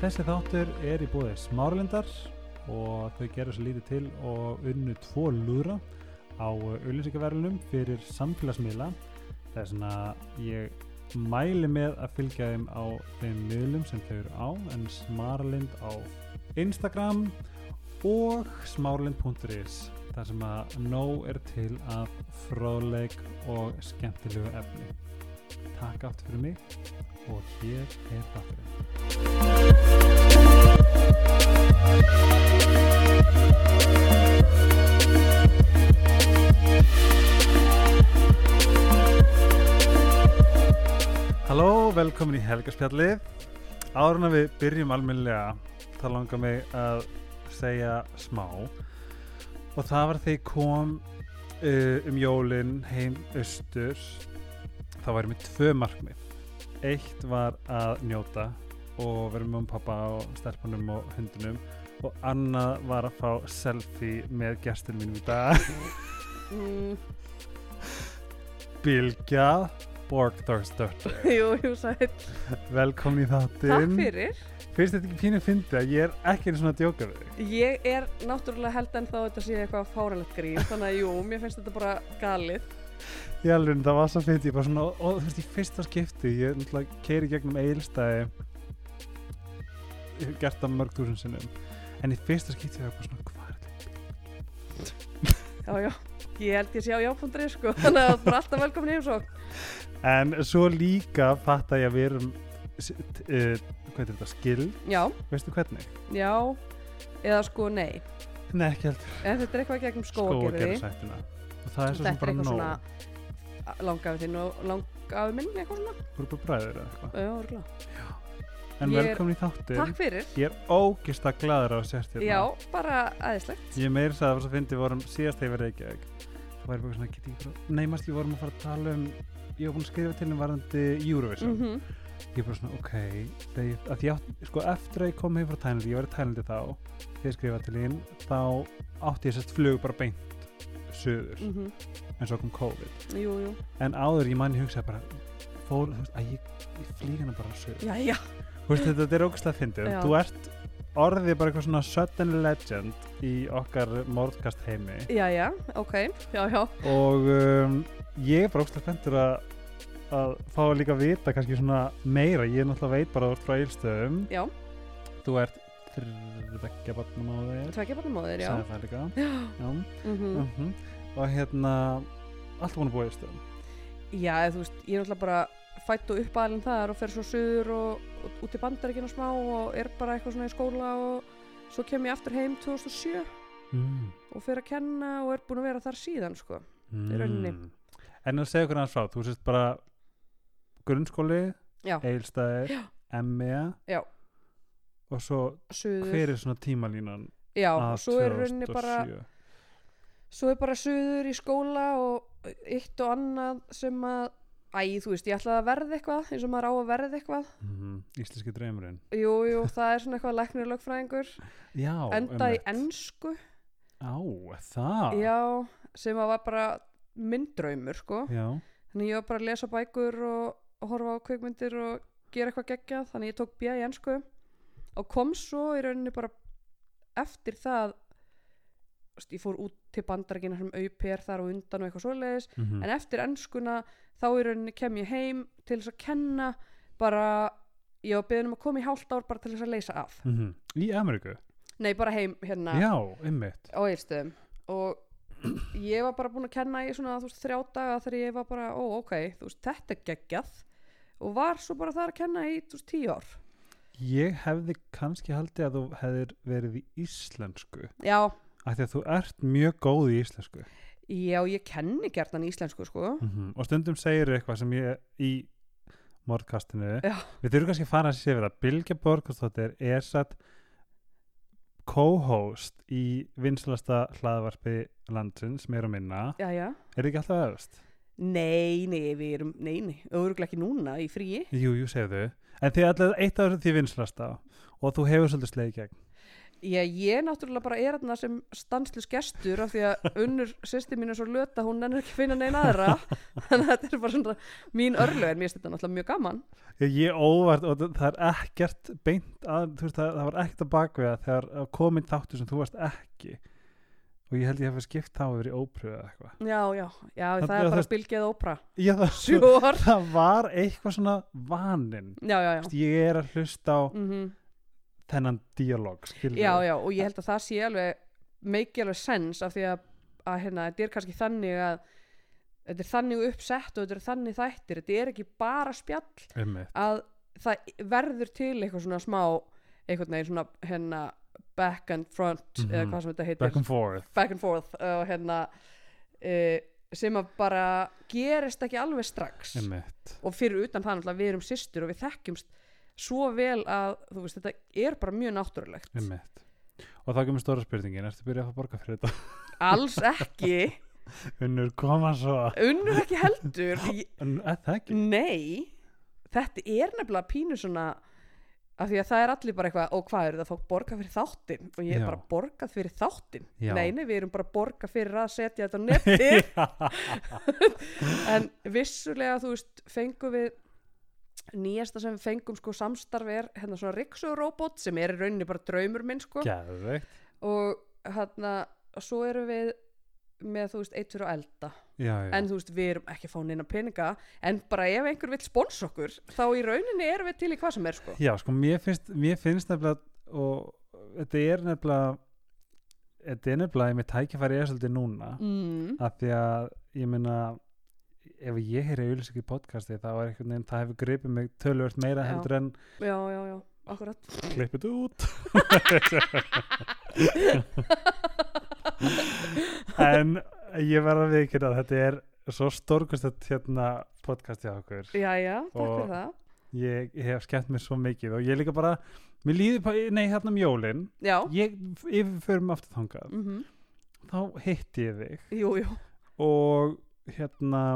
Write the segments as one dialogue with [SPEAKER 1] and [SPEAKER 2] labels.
[SPEAKER 1] Þessi þáttur er í bóði smárlindar og þau gerðu svo lítið til og unnu tvo lúðra á auðlýsingaverðunum fyrir samfélagsmiðla. Það er svona, ég mæli með að fylgja þeim á þeim miðlum sem þau eru á en smárlind á Instagram og smárlind.is þar sem að nóg er til af fróðleik og skemmtilegu efni. Takk aftur fyrir mig og hér er þátturinn. Halló, velkomin í Helgarspjallið. Áður en að við byrjum almennilega, þá langar mig að segja smá. Og það var þegar ég kom uh, um jólin heim austur, þá væri mér tvö markmið. Eitt var að njóta og vera með um pappa og stelpunum og hundunum og annað var að fá selfie með gestin mínum í dag,
[SPEAKER 2] Mm,
[SPEAKER 1] Bilgja Borgdórsdóttir.
[SPEAKER 2] jú, jú, sætt.
[SPEAKER 1] Velkomin í þáttinn.
[SPEAKER 2] Takk fyrir.
[SPEAKER 1] Finnst þetta ekki pínu fyndi að ég er ekki einu svona að djóka við þig?
[SPEAKER 2] Ég er náttúrulega held en þá þetta sé eitthvað fáralegt grín, þannig að jú, mér finnst þetta bara galið.
[SPEAKER 1] Ég alveg, en það var svo fyndi, ég bara svona, og þú veist, í fyrsta skipti, ég náttúrulega keiri gegnum eilstæði, ég hef gert það mörg túsund sinnum, en í fyrsta skipti ég var bara svona, hvað er þetta?
[SPEAKER 2] Já, já, ég held ég sé á já.ri, sko, þannig að það er bara alltaf velkomin í heimsók.
[SPEAKER 1] En svo líka fatt að ég að við erum, s- t- eh, hvað er þetta, skil,
[SPEAKER 2] Já,
[SPEAKER 1] veistu hvernig?
[SPEAKER 2] já, eða sko nei,
[SPEAKER 1] Nei, ekki heldur
[SPEAKER 2] en þetta er eitthvað gegnum
[SPEAKER 1] skóa að
[SPEAKER 2] skóagerði.
[SPEAKER 1] Og það er svo
[SPEAKER 2] Þetta
[SPEAKER 1] sem
[SPEAKER 2] er
[SPEAKER 1] bara nóg,
[SPEAKER 2] eitthvað svona a- langafi þinn og langafi minn, eitthvað svona.
[SPEAKER 1] þú eru bara bræðir eða eitthvað.
[SPEAKER 2] Já, örugglega.
[SPEAKER 1] En
[SPEAKER 2] Ég er-
[SPEAKER 1] velkomin í þáttin.
[SPEAKER 2] Takk fyrir.
[SPEAKER 1] Ég er ógista gladur á að sérst hérna.
[SPEAKER 2] Já, bara aðeinslegt.
[SPEAKER 1] Ég meir þess að það var svo fyndi við vorum síðast þegar við Reykjavík Það væri bara svona, geti ég frá Nei, mæst, ég vorum að fara að tala um Ég var búin að skrifa til henni varðandi Eurovision
[SPEAKER 2] Mm
[SPEAKER 1] Ég bara svona, ok þegar, ég- að ég átt, Sko, eftir að ég kom heim frá Tælandi Ég var í Tælandi þá Þegar ég skrifaði til henni Þá átti ég sérst flug bara beint Suður, en svo kom COVID
[SPEAKER 2] mhm. Jú, jú.
[SPEAKER 1] En áður ég manni hugsaði bara Fól, þú veist, að ég, ég flýg hana bara suður
[SPEAKER 2] Já, já.
[SPEAKER 1] Þú veist, þetta er ógæslega fyndið.
[SPEAKER 2] Já.
[SPEAKER 1] Þú ert orðið bara eitthvað svona sudden legend í okkar mordkast heimi
[SPEAKER 2] Já, já, ok. Já, já.
[SPEAKER 1] og um, ég er bara ógæslega fendur að, að fá að líka vita kannski svona meira. Ég er náttúrulega veit bara að þú ert frá eilstöðum.
[SPEAKER 2] Já,
[SPEAKER 1] Þú ert þrjubekja barnum á þér.
[SPEAKER 2] tvekja bara móðir, já.
[SPEAKER 1] Sagði það líka. Já.
[SPEAKER 2] Mm
[SPEAKER 1] Mm. Og hérna, allt búin að búa í eilstöðum.
[SPEAKER 2] Já, eða þú veist, ég er náttúrulega bara fætt og uppalinn þar og fer svo suður og, og út í bandaríkinu smá og er bara eitthvað svona í skóla og svo kem ég aftur heim 2007
[SPEAKER 1] Mm.
[SPEAKER 2] og fer að kenna og er búin að vera þar síðan, sko. Í rauninni.
[SPEAKER 1] Mm. En að segja okkur aðeins frá, þú sést bara grunnskóli,
[SPEAKER 2] Já,
[SPEAKER 1] Egilstaðir, ME
[SPEAKER 2] Já.
[SPEAKER 1] og svo
[SPEAKER 2] suður.
[SPEAKER 1] hver er svona tímalínan
[SPEAKER 2] Já,
[SPEAKER 1] að
[SPEAKER 2] og svo er rauninni bara,
[SPEAKER 1] 2007?
[SPEAKER 2] svo er bara suður í skóla og eitt og annað sem að, æ, þú veist, ég ætlaði að verða eitthvað, eins og maður á að verða eitthvað.
[SPEAKER 1] Mhm, Íslenski dreymurinn
[SPEAKER 2] Jú, jú, það er svona eitthvað læknir og lögfræðingur.
[SPEAKER 1] Já,
[SPEAKER 2] Enda í
[SPEAKER 1] einmitt.
[SPEAKER 2] ennsku.
[SPEAKER 1] Á, það
[SPEAKER 2] Já, sem að var bara minn draumur sko
[SPEAKER 1] Já,
[SPEAKER 2] þannig ég var bara að lesa bækur og, og horfa á kvikmyndir og gera eitthvað geggjað þannig ég tók bjá í ennsku og kom svo í rauninni bara eftir það þú veist, ég fór út til bandarækina sem auper þar og undan og eitthvað svoleiðis
[SPEAKER 1] mhm.
[SPEAKER 2] en eftir ennskuna þá í rauninni kem ég heim til þess að kenna bara ég var beðin um að koma í hálft ár bara til þess að leysa af
[SPEAKER 1] Mhm. Í Ameríku
[SPEAKER 2] nei bara heim hérna
[SPEAKER 1] Já, einmitt
[SPEAKER 2] á Egilstöðum og ég var bara búin að kenna í svona þú veist, þrjá daga þegar ég var bara, ó ok, þú veist, þetta er geggjað og var svo bara þar að kenna í þú veist, tíu ár.
[SPEAKER 1] Ég hefði kannski haldið að þú hefðir verið í íslensku
[SPEAKER 2] Já,
[SPEAKER 1] af því að þú ert mjög góð í íslensku
[SPEAKER 2] já, ég kenni gertan í íslensku sko.
[SPEAKER 1] -hmm. og stundum segir eitthvað sem ég í mordkastinu
[SPEAKER 2] Já.
[SPEAKER 1] við þurfum kannski að fara að sé við það Bilge Borgastóttir er satt co-host í vinsalasta hlaðvarpi landsins, meir og minna
[SPEAKER 2] Já, já.
[SPEAKER 1] er þið ekki alltaf öðvist?
[SPEAKER 2] Nei, nei, við erum, nei, nei, öðruglega ekki núna í fríi.
[SPEAKER 1] Jú, jú, segðu en þið er alltaf eitt af þessu því vinsalasta og þú hefur svolítið sleið í gegn
[SPEAKER 2] Ég, ég náttúrulega bara er þarna sem stanslus gestur af því að unnur sýsti mín er svo löta, hún nennir ekki að finna neina aðra þannig að þetta er bara svona mín örlög en mér finnst þetta náttúrulega mjög gaman
[SPEAKER 1] Ég, ég óvart og það það er ekkert beint að, þú veist, það, það var ekkert að bakvega þegar að komin þáttu sem þú varst ekki og ég held ég hef skipt þá yfir í ópröfu eða eitthvað.
[SPEAKER 2] Já, já, já, það,
[SPEAKER 1] Það-
[SPEAKER 2] er
[SPEAKER 1] það-
[SPEAKER 2] bara spilgið ópra
[SPEAKER 1] Já, það,
[SPEAKER 2] Sjór,
[SPEAKER 1] það var eitthvað svona vaninn.
[SPEAKER 2] já, já, já
[SPEAKER 1] Þú veist, Ég er að hlusta á
[SPEAKER 2] mm
[SPEAKER 1] þennan díalóg, skilur.
[SPEAKER 2] Já, já, og ég held að það sé alveg make alveg sense af því að, að hérna, þetta er kannski þannig að þetta er þannig uppsett og þetta er þannig þættir þetta er ekki bara spjall
[SPEAKER 1] Einmitt.
[SPEAKER 2] að það verður til eitthvað svona smá eitthvað neginn svona hérna back and front
[SPEAKER 1] Mhm.
[SPEAKER 2] eða hvað sem þetta heitir
[SPEAKER 1] Back and forth.
[SPEAKER 2] back and forth og hérna e, sem að bara gerist ekki alveg strax
[SPEAKER 1] Einmitt.
[SPEAKER 2] og fyrir utan það náttúrulega við erum systur og við þekkjumst svo vel að þú veist þetta er bara mjög náttúrulegt
[SPEAKER 1] Einmitt. Og þá kemur stóra spurningin, ertu byrjað að fá borga fyrir þetta?
[SPEAKER 2] alls ekki
[SPEAKER 1] Unnur, koma svo.
[SPEAKER 2] unnur ekki heldur Ég-
[SPEAKER 1] En er það ekki?
[SPEAKER 2] nei, þetta er nefnilega pínu svona af því að það er allir bara eitthvað og hvað eru það fólk borgað fyrir þáttinn og ég er
[SPEAKER 1] Já.
[SPEAKER 2] bara borgað fyrir þáttinn
[SPEAKER 1] Já.
[SPEAKER 2] nei, nei, við erum bara borgað fyrir að setja þetta á netið en vissulega, þú veist, fengum við nýjasta sem við fengum sko samstarf er hérna svona riksuróbót sem er í rauninni bara draumur minn sko
[SPEAKER 1] Geðveikt.
[SPEAKER 2] og hérna, svo erum við með, þú veist, eitur og elda
[SPEAKER 1] Já, já.
[SPEAKER 2] en þú veist, við erum ekki að fá neina peninga en bara ef einhver vill spons okkur þá í rauninni erum við til í hvað sem er sko
[SPEAKER 1] Já, sko, mér finnst, mér finnst nefnilega og þetta er nefnilega þetta er nefnilega ég með tækifæri er svolítið núna
[SPEAKER 2] mm,
[SPEAKER 1] af því að ég meina ef ég heyri auðlýsing í podcasti þá er einhvern veginn, það hefur gripið mig tölvöld meira
[SPEAKER 2] Já.
[SPEAKER 1] heldur en
[SPEAKER 2] já, já, já, akkurat
[SPEAKER 1] klippið þetta út en ég verð að viðkynna að þetta er svo stórkustið hérna podcasti á okkur
[SPEAKER 2] já, já, takk
[SPEAKER 1] Og-
[SPEAKER 2] fyrir það
[SPEAKER 1] ég hef skemmt mér svo mikið og ég líka bara, mér líður, bara- nei hérna um jólin
[SPEAKER 2] já,
[SPEAKER 1] ég yfirförum aftur þangað
[SPEAKER 2] mm
[SPEAKER 1] þá hitti ég þig
[SPEAKER 2] jú, jú,
[SPEAKER 1] og hérna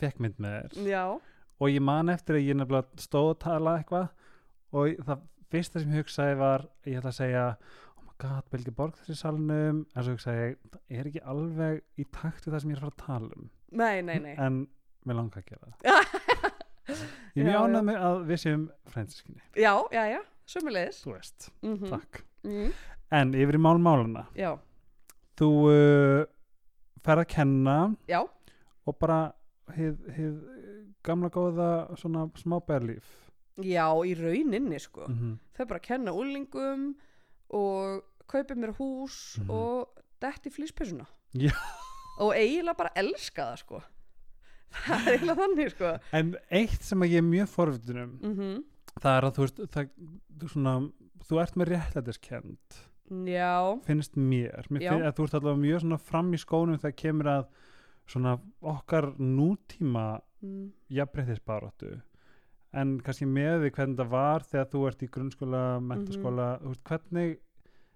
[SPEAKER 1] fekk mynd með þér
[SPEAKER 2] já
[SPEAKER 1] og ég man eftir að ég nefnilega stóð að tala eitthvað og það fyrsta sem ég hugsaði var ég ætla að segja oh my god, Belgi Borg þessi salnum en svo hugsaði ég, það er ekki alveg í takt við það sem ég er að fara að tala um
[SPEAKER 2] nei, nei, nei,
[SPEAKER 1] en mér langar að gera það ég er
[SPEAKER 2] Já,
[SPEAKER 1] mjög
[SPEAKER 2] já.
[SPEAKER 1] ánað með að við séum frændsiskinni,
[SPEAKER 2] já, já, já sömulegis
[SPEAKER 1] þú veist,
[SPEAKER 2] mm -hmm.
[SPEAKER 1] takk en yfir í málmáluna
[SPEAKER 2] já,
[SPEAKER 1] þú uh, fer að kenna
[SPEAKER 2] já,
[SPEAKER 1] og bara hið, hið gamla góða svona smá bærlíf
[SPEAKER 2] já, í rauninni sko
[SPEAKER 1] mm -hmm.
[SPEAKER 2] þau bara kenna úlingum og kaupi mér hús
[SPEAKER 1] Mhm.
[SPEAKER 2] og detti flýspessuna
[SPEAKER 1] Já.
[SPEAKER 2] og eiginlega bara elska það sko það er eiginlega þannig sko
[SPEAKER 1] en eitt sem að ég er mjög forvitunum
[SPEAKER 2] mm
[SPEAKER 1] það er að þú veist það, þú, svona, þú ert með réttlætiskend
[SPEAKER 2] já,
[SPEAKER 1] finnst mér, mér
[SPEAKER 2] Já.
[SPEAKER 1] finn, að þú ert allavega mjög svona fram í skónum þegar kemur að svona okkar nútíma
[SPEAKER 2] mm,
[SPEAKER 1] jafnbreytisbaróttu en kannski með því hvernig það var þegar þú ert í grunnskóla, mentaskóla
[SPEAKER 2] Mhm.
[SPEAKER 1] mm veist, hvernig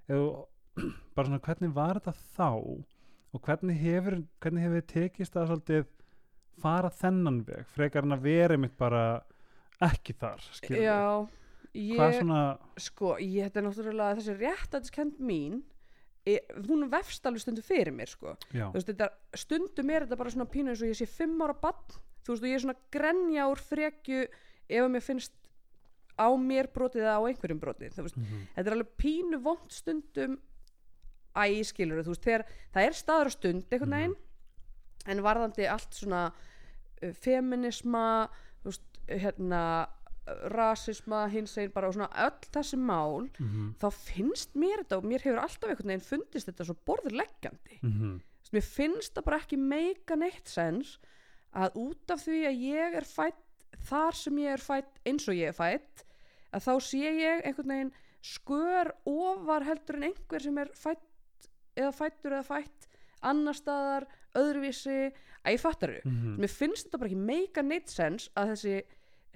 [SPEAKER 1] eða, bara svona hvernig var þetta þá og hvernig hefur hvernig hefur þið tekist að svolítið fara þennan veg, frekar en að vera mitt bara ekki þar skilurðu?
[SPEAKER 2] já
[SPEAKER 1] hvað
[SPEAKER 2] ég,
[SPEAKER 1] svona
[SPEAKER 2] sko, ég þetta er náttúrulega þessi réttætiskend mín e, hún vefst alveg stundu fyrir mér sko
[SPEAKER 1] já,
[SPEAKER 2] þú veist, þetta, stundum er þetta bara svona pínu eins og ég sé fimm ára bann þú veist, og ég er svona grenja úr frekju ef að mér finnst á mér brotið eða á einhverjum brotið þú veist,
[SPEAKER 1] mm
[SPEAKER 2] þetta er alveg pínu vond stundum æ, skilur þú veist, þegar það er staður og stund einhvern veginn, en varðandi allt svona uh, feminisma þú veist, hérna uh, rasisma, hins einn bara og svona öll þessi mál,
[SPEAKER 1] -hmm.
[SPEAKER 2] þá finnst mér þetta og mér hefur alltaf einhvern veginn fundist þetta svo borðurleggjandi
[SPEAKER 1] Mm -hmm.
[SPEAKER 2] Þú veist, mér finnst það bara ekki meika neitt sens að út af því að ég er fætt þar sem ég er fætt eins og ég er fætt að þá sé ég einhvern veginn skör ofar heldur en einhver sem er fætt eða fættur eða fætt annar staðar, öðruvísi að ég fattar þau
[SPEAKER 1] Mm.
[SPEAKER 2] mér finnst þetta bara ekki meika neitt sens að þessi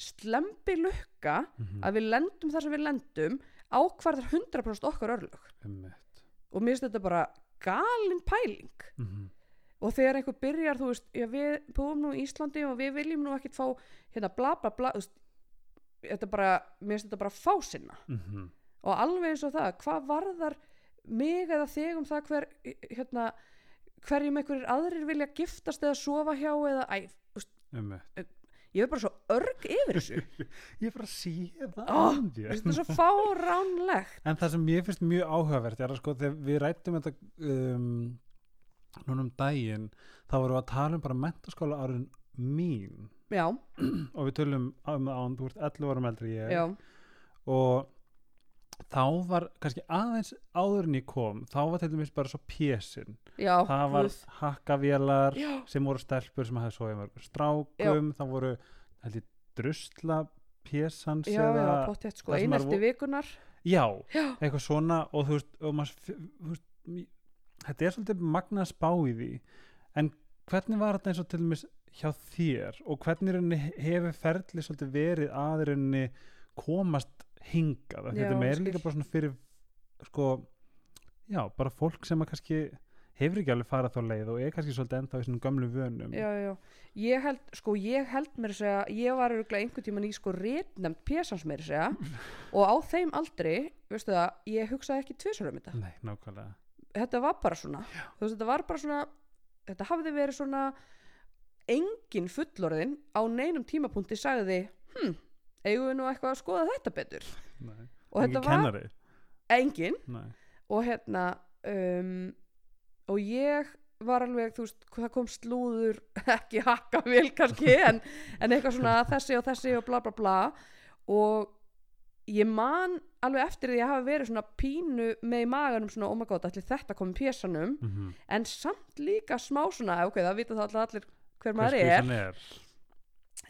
[SPEAKER 2] slempi lukka að við lendum þar sem við lendum ákvarðar 100% okkar örlög og mér finnst þetta bara galin pæling
[SPEAKER 1] mhm,
[SPEAKER 2] og þegar einhver byrjar þú veist, já, við búum nú í Íslandi og við viljum nú ekkit fá
[SPEAKER 1] mhm,
[SPEAKER 2] hérna bla bla bla þú veist, þetta bara, mér finnst þetta bara fásinna og alveg eins og það, hvað varðar mig eða þig um það hver hérna, hverjum einhverjir aðrir vilja giftast eða sofa hjá eða, æ,
[SPEAKER 1] um,
[SPEAKER 2] ég er bara svo örg yfir þessu
[SPEAKER 1] ég er bara að sé það
[SPEAKER 2] Ó,
[SPEAKER 1] um þér.
[SPEAKER 2] Mér finnst það svo fáránlegt
[SPEAKER 1] En það sem ég finnst mjög áhugavert er að sko þegar við rættum þetta um, núna um daginn þá vorum við að tala um bara mentaskóla árin mín
[SPEAKER 2] já,
[SPEAKER 1] og við tölum um það án, þú ert 11 árum eldri en ég
[SPEAKER 2] já,
[SPEAKER 1] og þá var kannski aðeins áður en ég kom þá var til dæmis bara svo pjesin
[SPEAKER 2] já
[SPEAKER 1] það var
[SPEAKER 2] guð.
[SPEAKER 1] hakkavélar
[SPEAKER 2] já,
[SPEAKER 1] sem voru stelpur sem hafði svoðið mörgum strákum það voru held ég drusla pjesans
[SPEAKER 2] já, já, pottétt sko
[SPEAKER 1] það sem maður
[SPEAKER 2] einelti
[SPEAKER 1] vo-
[SPEAKER 2] vikunar
[SPEAKER 1] já,
[SPEAKER 2] Já.
[SPEAKER 1] eitthvað svona og þú veist, og maður, f- þú veist m- þetta er svolítið magna spá í því en hvernig var þetta eins og til dæmis hjá þér og hvernig í rauninni he- hefur ferli svolítið verið að í rauninni komast hingað Af því
[SPEAKER 2] Já,
[SPEAKER 1] þetta er meira
[SPEAKER 2] skil.
[SPEAKER 1] líka bara svona fyrir sko, já, bara fólk sem að kannski hefur ekki alveg farað þá leið og er kannski svolítið ennþá í svona gömlu vönum
[SPEAKER 2] já, já, ég held, sko, ég held mér að segja, ég var örugglega einhvern tímann í sko rétnefnd pjæsans mér að segja og á þeim aldri, veistu það, ég hugsaði ekki tvisur um þetta
[SPEAKER 1] Nei, nákvæmlega
[SPEAKER 2] þetta var bara svona þú veist, þetta var bara svona þetta hafði verið svona engin fullorðin á neinum tímapunkti sagði, hm, eigum við nú eitthvað að skoða þetta betur
[SPEAKER 1] Nei.
[SPEAKER 2] og
[SPEAKER 1] Engin
[SPEAKER 2] þetta var
[SPEAKER 1] kennari
[SPEAKER 2] engin
[SPEAKER 1] Nei.
[SPEAKER 2] og hérna um, og ég var alveg, þú veist, það kom slúður ekki hakka vel kannski en, en eitthvað svona þessi og þessi og bla bla bla og ég man alveg eftir því að hafa verið svona pínu með í maganum svona, oh my god, allir þetta komið pésanum
[SPEAKER 1] Mm -hmm.
[SPEAKER 2] en samt líka smá svona ok, það vita það allir hver maður er
[SPEAKER 1] er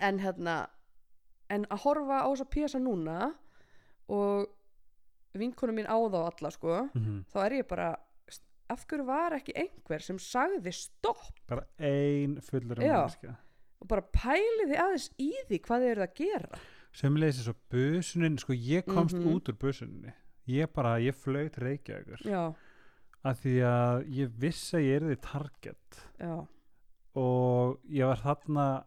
[SPEAKER 2] en hérna en að horfa á þessa pjasa núna og vinkonu mín á þá alla sko
[SPEAKER 1] mm
[SPEAKER 2] þá er ég bara af hverju var ekki einhver sem sagði stopp
[SPEAKER 1] bara ein fullur
[SPEAKER 2] Já.
[SPEAKER 1] mannskja
[SPEAKER 2] og bara pæliði aðeins í því hvað þið eruð að gera
[SPEAKER 1] sömulegis eins og busunin sko ég komst
[SPEAKER 2] Mhm.
[SPEAKER 1] út úr busuninni ég bara, ég flögt reykjaður
[SPEAKER 2] já,
[SPEAKER 1] af því að ég vissi að ég er því target
[SPEAKER 2] já,
[SPEAKER 1] og ég var þarna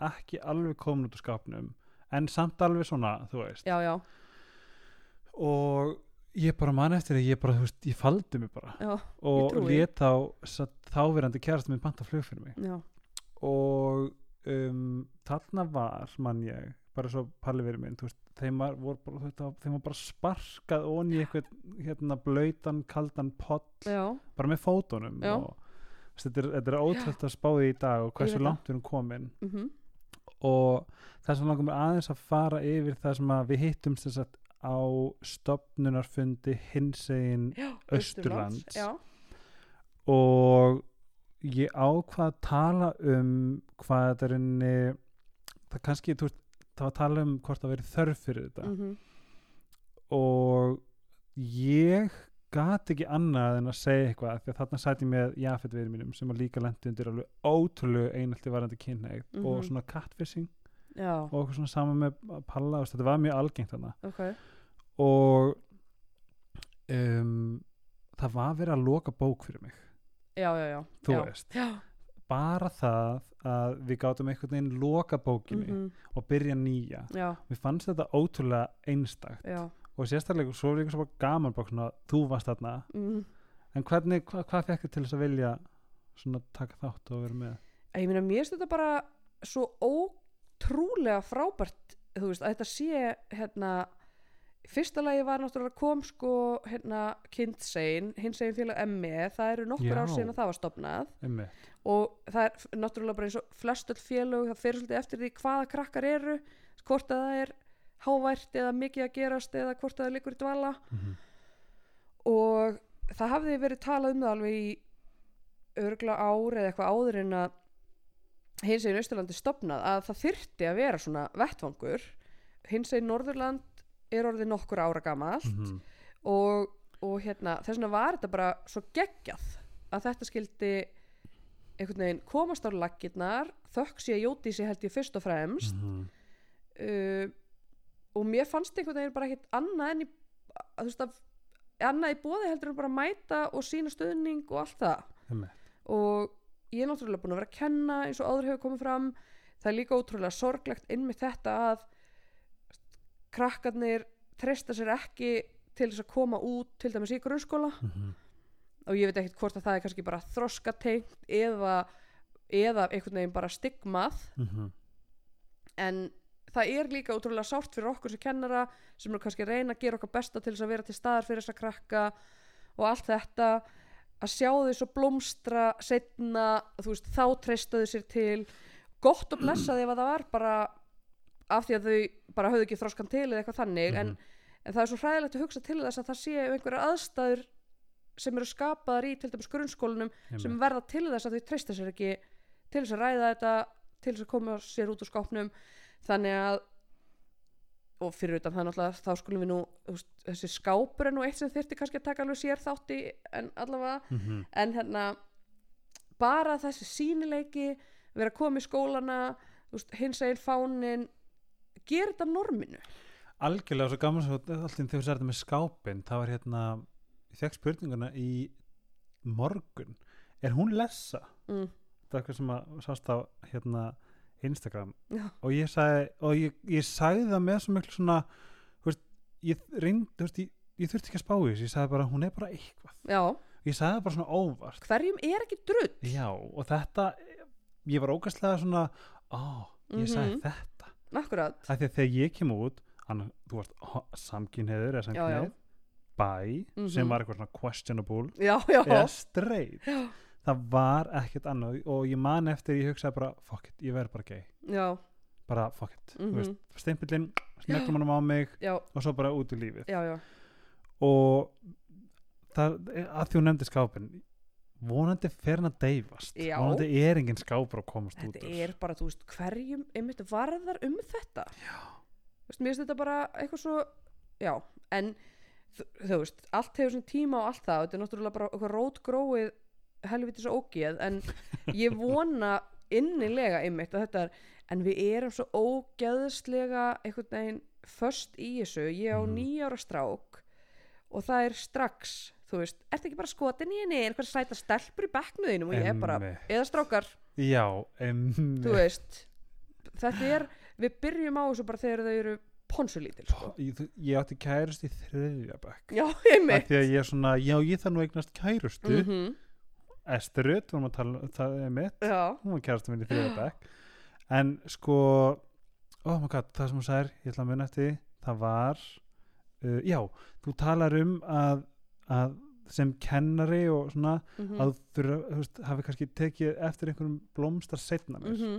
[SPEAKER 1] ekki alveg komin út úr skapnum en samt alveg svona, þú veist
[SPEAKER 2] já, já,
[SPEAKER 1] og ég bara man eftir að ég bara, þú veist, ég faldi mig bara
[SPEAKER 2] já,
[SPEAKER 1] og
[SPEAKER 2] trúi.
[SPEAKER 1] lét þá satt þáverandi kærast minn banta flug fyrir mig
[SPEAKER 2] já.
[SPEAKER 1] og um, þarna var mann ég bara svo palli verið minn þú veist, þeim, var, vor, bara, þetta, þeim var bara sparkað ón í eitthvað hérna, blautan, kaldan pott
[SPEAKER 2] já.
[SPEAKER 1] bara með fótunum
[SPEAKER 2] Já.
[SPEAKER 1] og, þú veist, þetta, er, þetta er ótrúlt að spáði í dag og
[SPEAKER 2] Ég
[SPEAKER 1] hversu
[SPEAKER 2] veit það.
[SPEAKER 1] langt við erum komin
[SPEAKER 2] Mm
[SPEAKER 1] og þess að langum aðeins að fara yfir það sem að við hittum sem sagt, á stopnunarfundi hinsegin
[SPEAKER 2] já
[SPEAKER 1] Austurlands.
[SPEAKER 2] já,
[SPEAKER 1] og ég ákvað að tala um hvað þetta er enni það kannski, þú veist, það var að tala um hvort það verið þörf fyrir þetta
[SPEAKER 2] mm -hmm. Mm.
[SPEAKER 1] og ég gat ekki annað en að segja eitthvað því að þarna sæti ég með Jafet viður mínum sem að líka lendi undir alveg ótrúlegu einaldi varandi kynneig og
[SPEAKER 2] Mhm.
[SPEAKER 1] svona catfishing
[SPEAKER 2] já,
[SPEAKER 1] og eitthvað svona saman með palla og þetta var mjög algengt þarna
[SPEAKER 2] ok
[SPEAKER 1] og um, það var verið að loka bók fyrir mig,
[SPEAKER 2] já, já, já,
[SPEAKER 1] þú
[SPEAKER 2] já.
[SPEAKER 1] veist
[SPEAKER 2] já.
[SPEAKER 1] bara það að við gátum einhvern veginn loka bókinni
[SPEAKER 2] mhm,
[SPEAKER 1] og byrja nýja
[SPEAKER 2] já,
[SPEAKER 1] mér fannst þetta ótrúlega einstakt
[SPEAKER 2] já
[SPEAKER 1] og sérstaklega svo er líka svo bara gaman bara svona, þú varst þarna
[SPEAKER 2] mm.
[SPEAKER 1] en hvernig, hva, hvað fekk þið til þess að vilja svona taka þátt og vera með
[SPEAKER 2] Æ, ég meina, mér finnst þetta bara svo ótrúlega frábært þú veist, að þetta sé hérna, fyrsta lagi var náttúrulega kom sko, hérna, kindsein hinsegin félag ME, það eru nokkur
[SPEAKER 1] Já.
[SPEAKER 2] ár síðan að það var stopnað
[SPEAKER 1] einmitt,
[SPEAKER 2] og það er f- náttúrulega bara eins og flestöld félög, það fyrir svolítið eftir því hvaða krakkar eru, hvort að það er hávært eða mikið að gerast eða hvort að það liggur í dvala
[SPEAKER 1] Mhm.
[SPEAKER 2] og það hafði verið talað um það alveg í örgla ári eða eitthvað áður en að hins einn Austurlandi stopnað að það þyrfti að vera svona vettvangur hins einn Norðurland er orðið nokkur ára gamalt
[SPEAKER 1] Mhm.
[SPEAKER 2] og, og hérna þess vegna var þetta bara svo geggjað að þetta skildi einhvern veginn komast á laggirnar þökk sé Jóti sé held ég fyrst og fremst
[SPEAKER 1] Mhm.
[SPEAKER 2] uh, og mér fannst einhvern veginn bara ekkit annað en í, að, þú veist, að, annað í bóði heldur en bara að mæta og sína stöðning og allt það
[SPEAKER 1] einmitt,
[SPEAKER 2] og ég er náttúrulega búin að vera að kenna eins og áður hefur komið fram það er líka ótrúlega sorglegt innmitt þetta að krakkarnir treysta sér ekki til þess að koma út til dæmis í grunnskóla
[SPEAKER 1] Mhm.
[SPEAKER 2] og ég veit ekkert hvort að það er kannski bara þroskatengt eða, eða einhvern veginn bara stigmað
[SPEAKER 1] Mhm.
[SPEAKER 2] en það er líka útrúlega sárt fyrir okkur sem kennara sem eru kannski að reyna að gera okkar besta til þess að vera til staðar fyrir þess að krakka og allt þetta að sjá þau svo blómstra setna, þú veist, þá treysta þau sér til gott og blessa þau ef að það var bara af því að þau bara höfðu ekki þroskan til eða eitthvað þannig
[SPEAKER 1] Mhm.
[SPEAKER 2] en, en það er svo hræðilegt að hugsa til þess að það sé um einhverja aðstæður sem eru skapaðar í til dæmis grunnskólanum sem
[SPEAKER 1] Einmitt.
[SPEAKER 2] verða til þess að þau treysta sér ekki til þess að ræða þetta til þess að koma sér út úr skápnum þannig að og fyrir utan það náttúrulega þá skulum við nú þú veist, þessi skápur er nú eitt sem þyrfti kannski að taka alveg sér þátti en allavega
[SPEAKER 1] Mhm.
[SPEAKER 2] en hérna bara þessi sínileiki vera að koma í skólana þú veist, hins einn fánin gera þetta norminu
[SPEAKER 1] algjörlega svo gaman svo alltaf þegar þú særði með skápin það var hérna, ég fekk spurninguna í morgun er hún lessa?
[SPEAKER 2] mm.
[SPEAKER 1] það er eitthvað sem að sást á hérna Instagram
[SPEAKER 2] Já.
[SPEAKER 1] og ég sagði, og ég, ég sagði það með svo miklu svona þú veist, ég reynd, þú veist, ég, ég þurfti ekki að spá í þessu, ég sagði bara, hún er bara eitthvað
[SPEAKER 2] já,
[SPEAKER 1] ég sagði það bara svona óvart
[SPEAKER 2] hverjum er ekki drull
[SPEAKER 1] Já, og þetta, ég var ógæslega svona, á, ég sagði
[SPEAKER 2] Mhm.
[SPEAKER 1] þetta.
[SPEAKER 2] akkurat,
[SPEAKER 1] Af því að þegar ég kem út, annað, þú varst samkynheiður eða
[SPEAKER 2] Já, já.
[SPEAKER 1] samkynheiður, bæ, sem
[SPEAKER 2] Mhm.
[SPEAKER 1] var eitthvað svona questionable,
[SPEAKER 2] já, já
[SPEAKER 1] eða straight.
[SPEAKER 2] Já.
[SPEAKER 1] Það var ekkert annað og ég man eftir, ég hugsaði bara, fuck it, ég verð bara gay.
[SPEAKER 2] já,
[SPEAKER 1] Bara fuck it,
[SPEAKER 2] Mhm.
[SPEAKER 1] þú veist, steimpillinn, sneglum hann á mig
[SPEAKER 2] já,
[SPEAKER 1] og svo bara út í lífið.
[SPEAKER 2] já, já.
[SPEAKER 1] Og það, að því hún nefndi skápin, vonandi fer hann að deyfast.
[SPEAKER 2] Já.
[SPEAKER 1] Vonandi er engin skápur að komast út
[SPEAKER 2] þetta
[SPEAKER 1] úr.
[SPEAKER 2] er bara, þú veist, hverjum einmitt varðar um þetta já. veist, mér finnst þetta bara eitthvað svo já, en þú, þú veist, allt hefur svona tíma og allt það þetta er náttúrulega bara eitthvað rótgróið helvitis ógeð, en ég vona innilega einmitt að þetta er, en við erum svo ógeðslega einhvern veginn först í þessu, ég á
[SPEAKER 1] Mhm.
[SPEAKER 2] níu ára strák og það er strax þú veist, ertu ekki bara skotin í henni er eitthvað sæta stelpur í bekknuðinum og ég er bara,
[SPEAKER 1] Einmitt.
[SPEAKER 2] eða strákar
[SPEAKER 1] Já,
[SPEAKER 2] þú
[SPEAKER 1] emmi
[SPEAKER 2] veist þetta er, við byrjum á þessu bara þegar þau eru ponsulítil sko.
[SPEAKER 1] ég, þú- ég átti kærust í þriðja bekk
[SPEAKER 2] já,
[SPEAKER 1] Af
[SPEAKER 2] einmitt
[SPEAKER 1] Því að ég er svona, já ég þarf nú að eignast kærustu mm
[SPEAKER 2] mm
[SPEAKER 1] -hmm. Esther Rutt, vorum að tala, um það er mitt
[SPEAKER 2] já,
[SPEAKER 1] Hún var kærustu minn í þriðja bekk En sko, oh my god, það sem hún sær Ég ætla að muna eftir, því, það var uh, Já, þú talar um að, að sem kennari og svona
[SPEAKER 2] mm
[SPEAKER 1] að þú þurfa, þú veist, hafi kannski tekið eftir einhverjum blómstar setna mér
[SPEAKER 2] Mhm.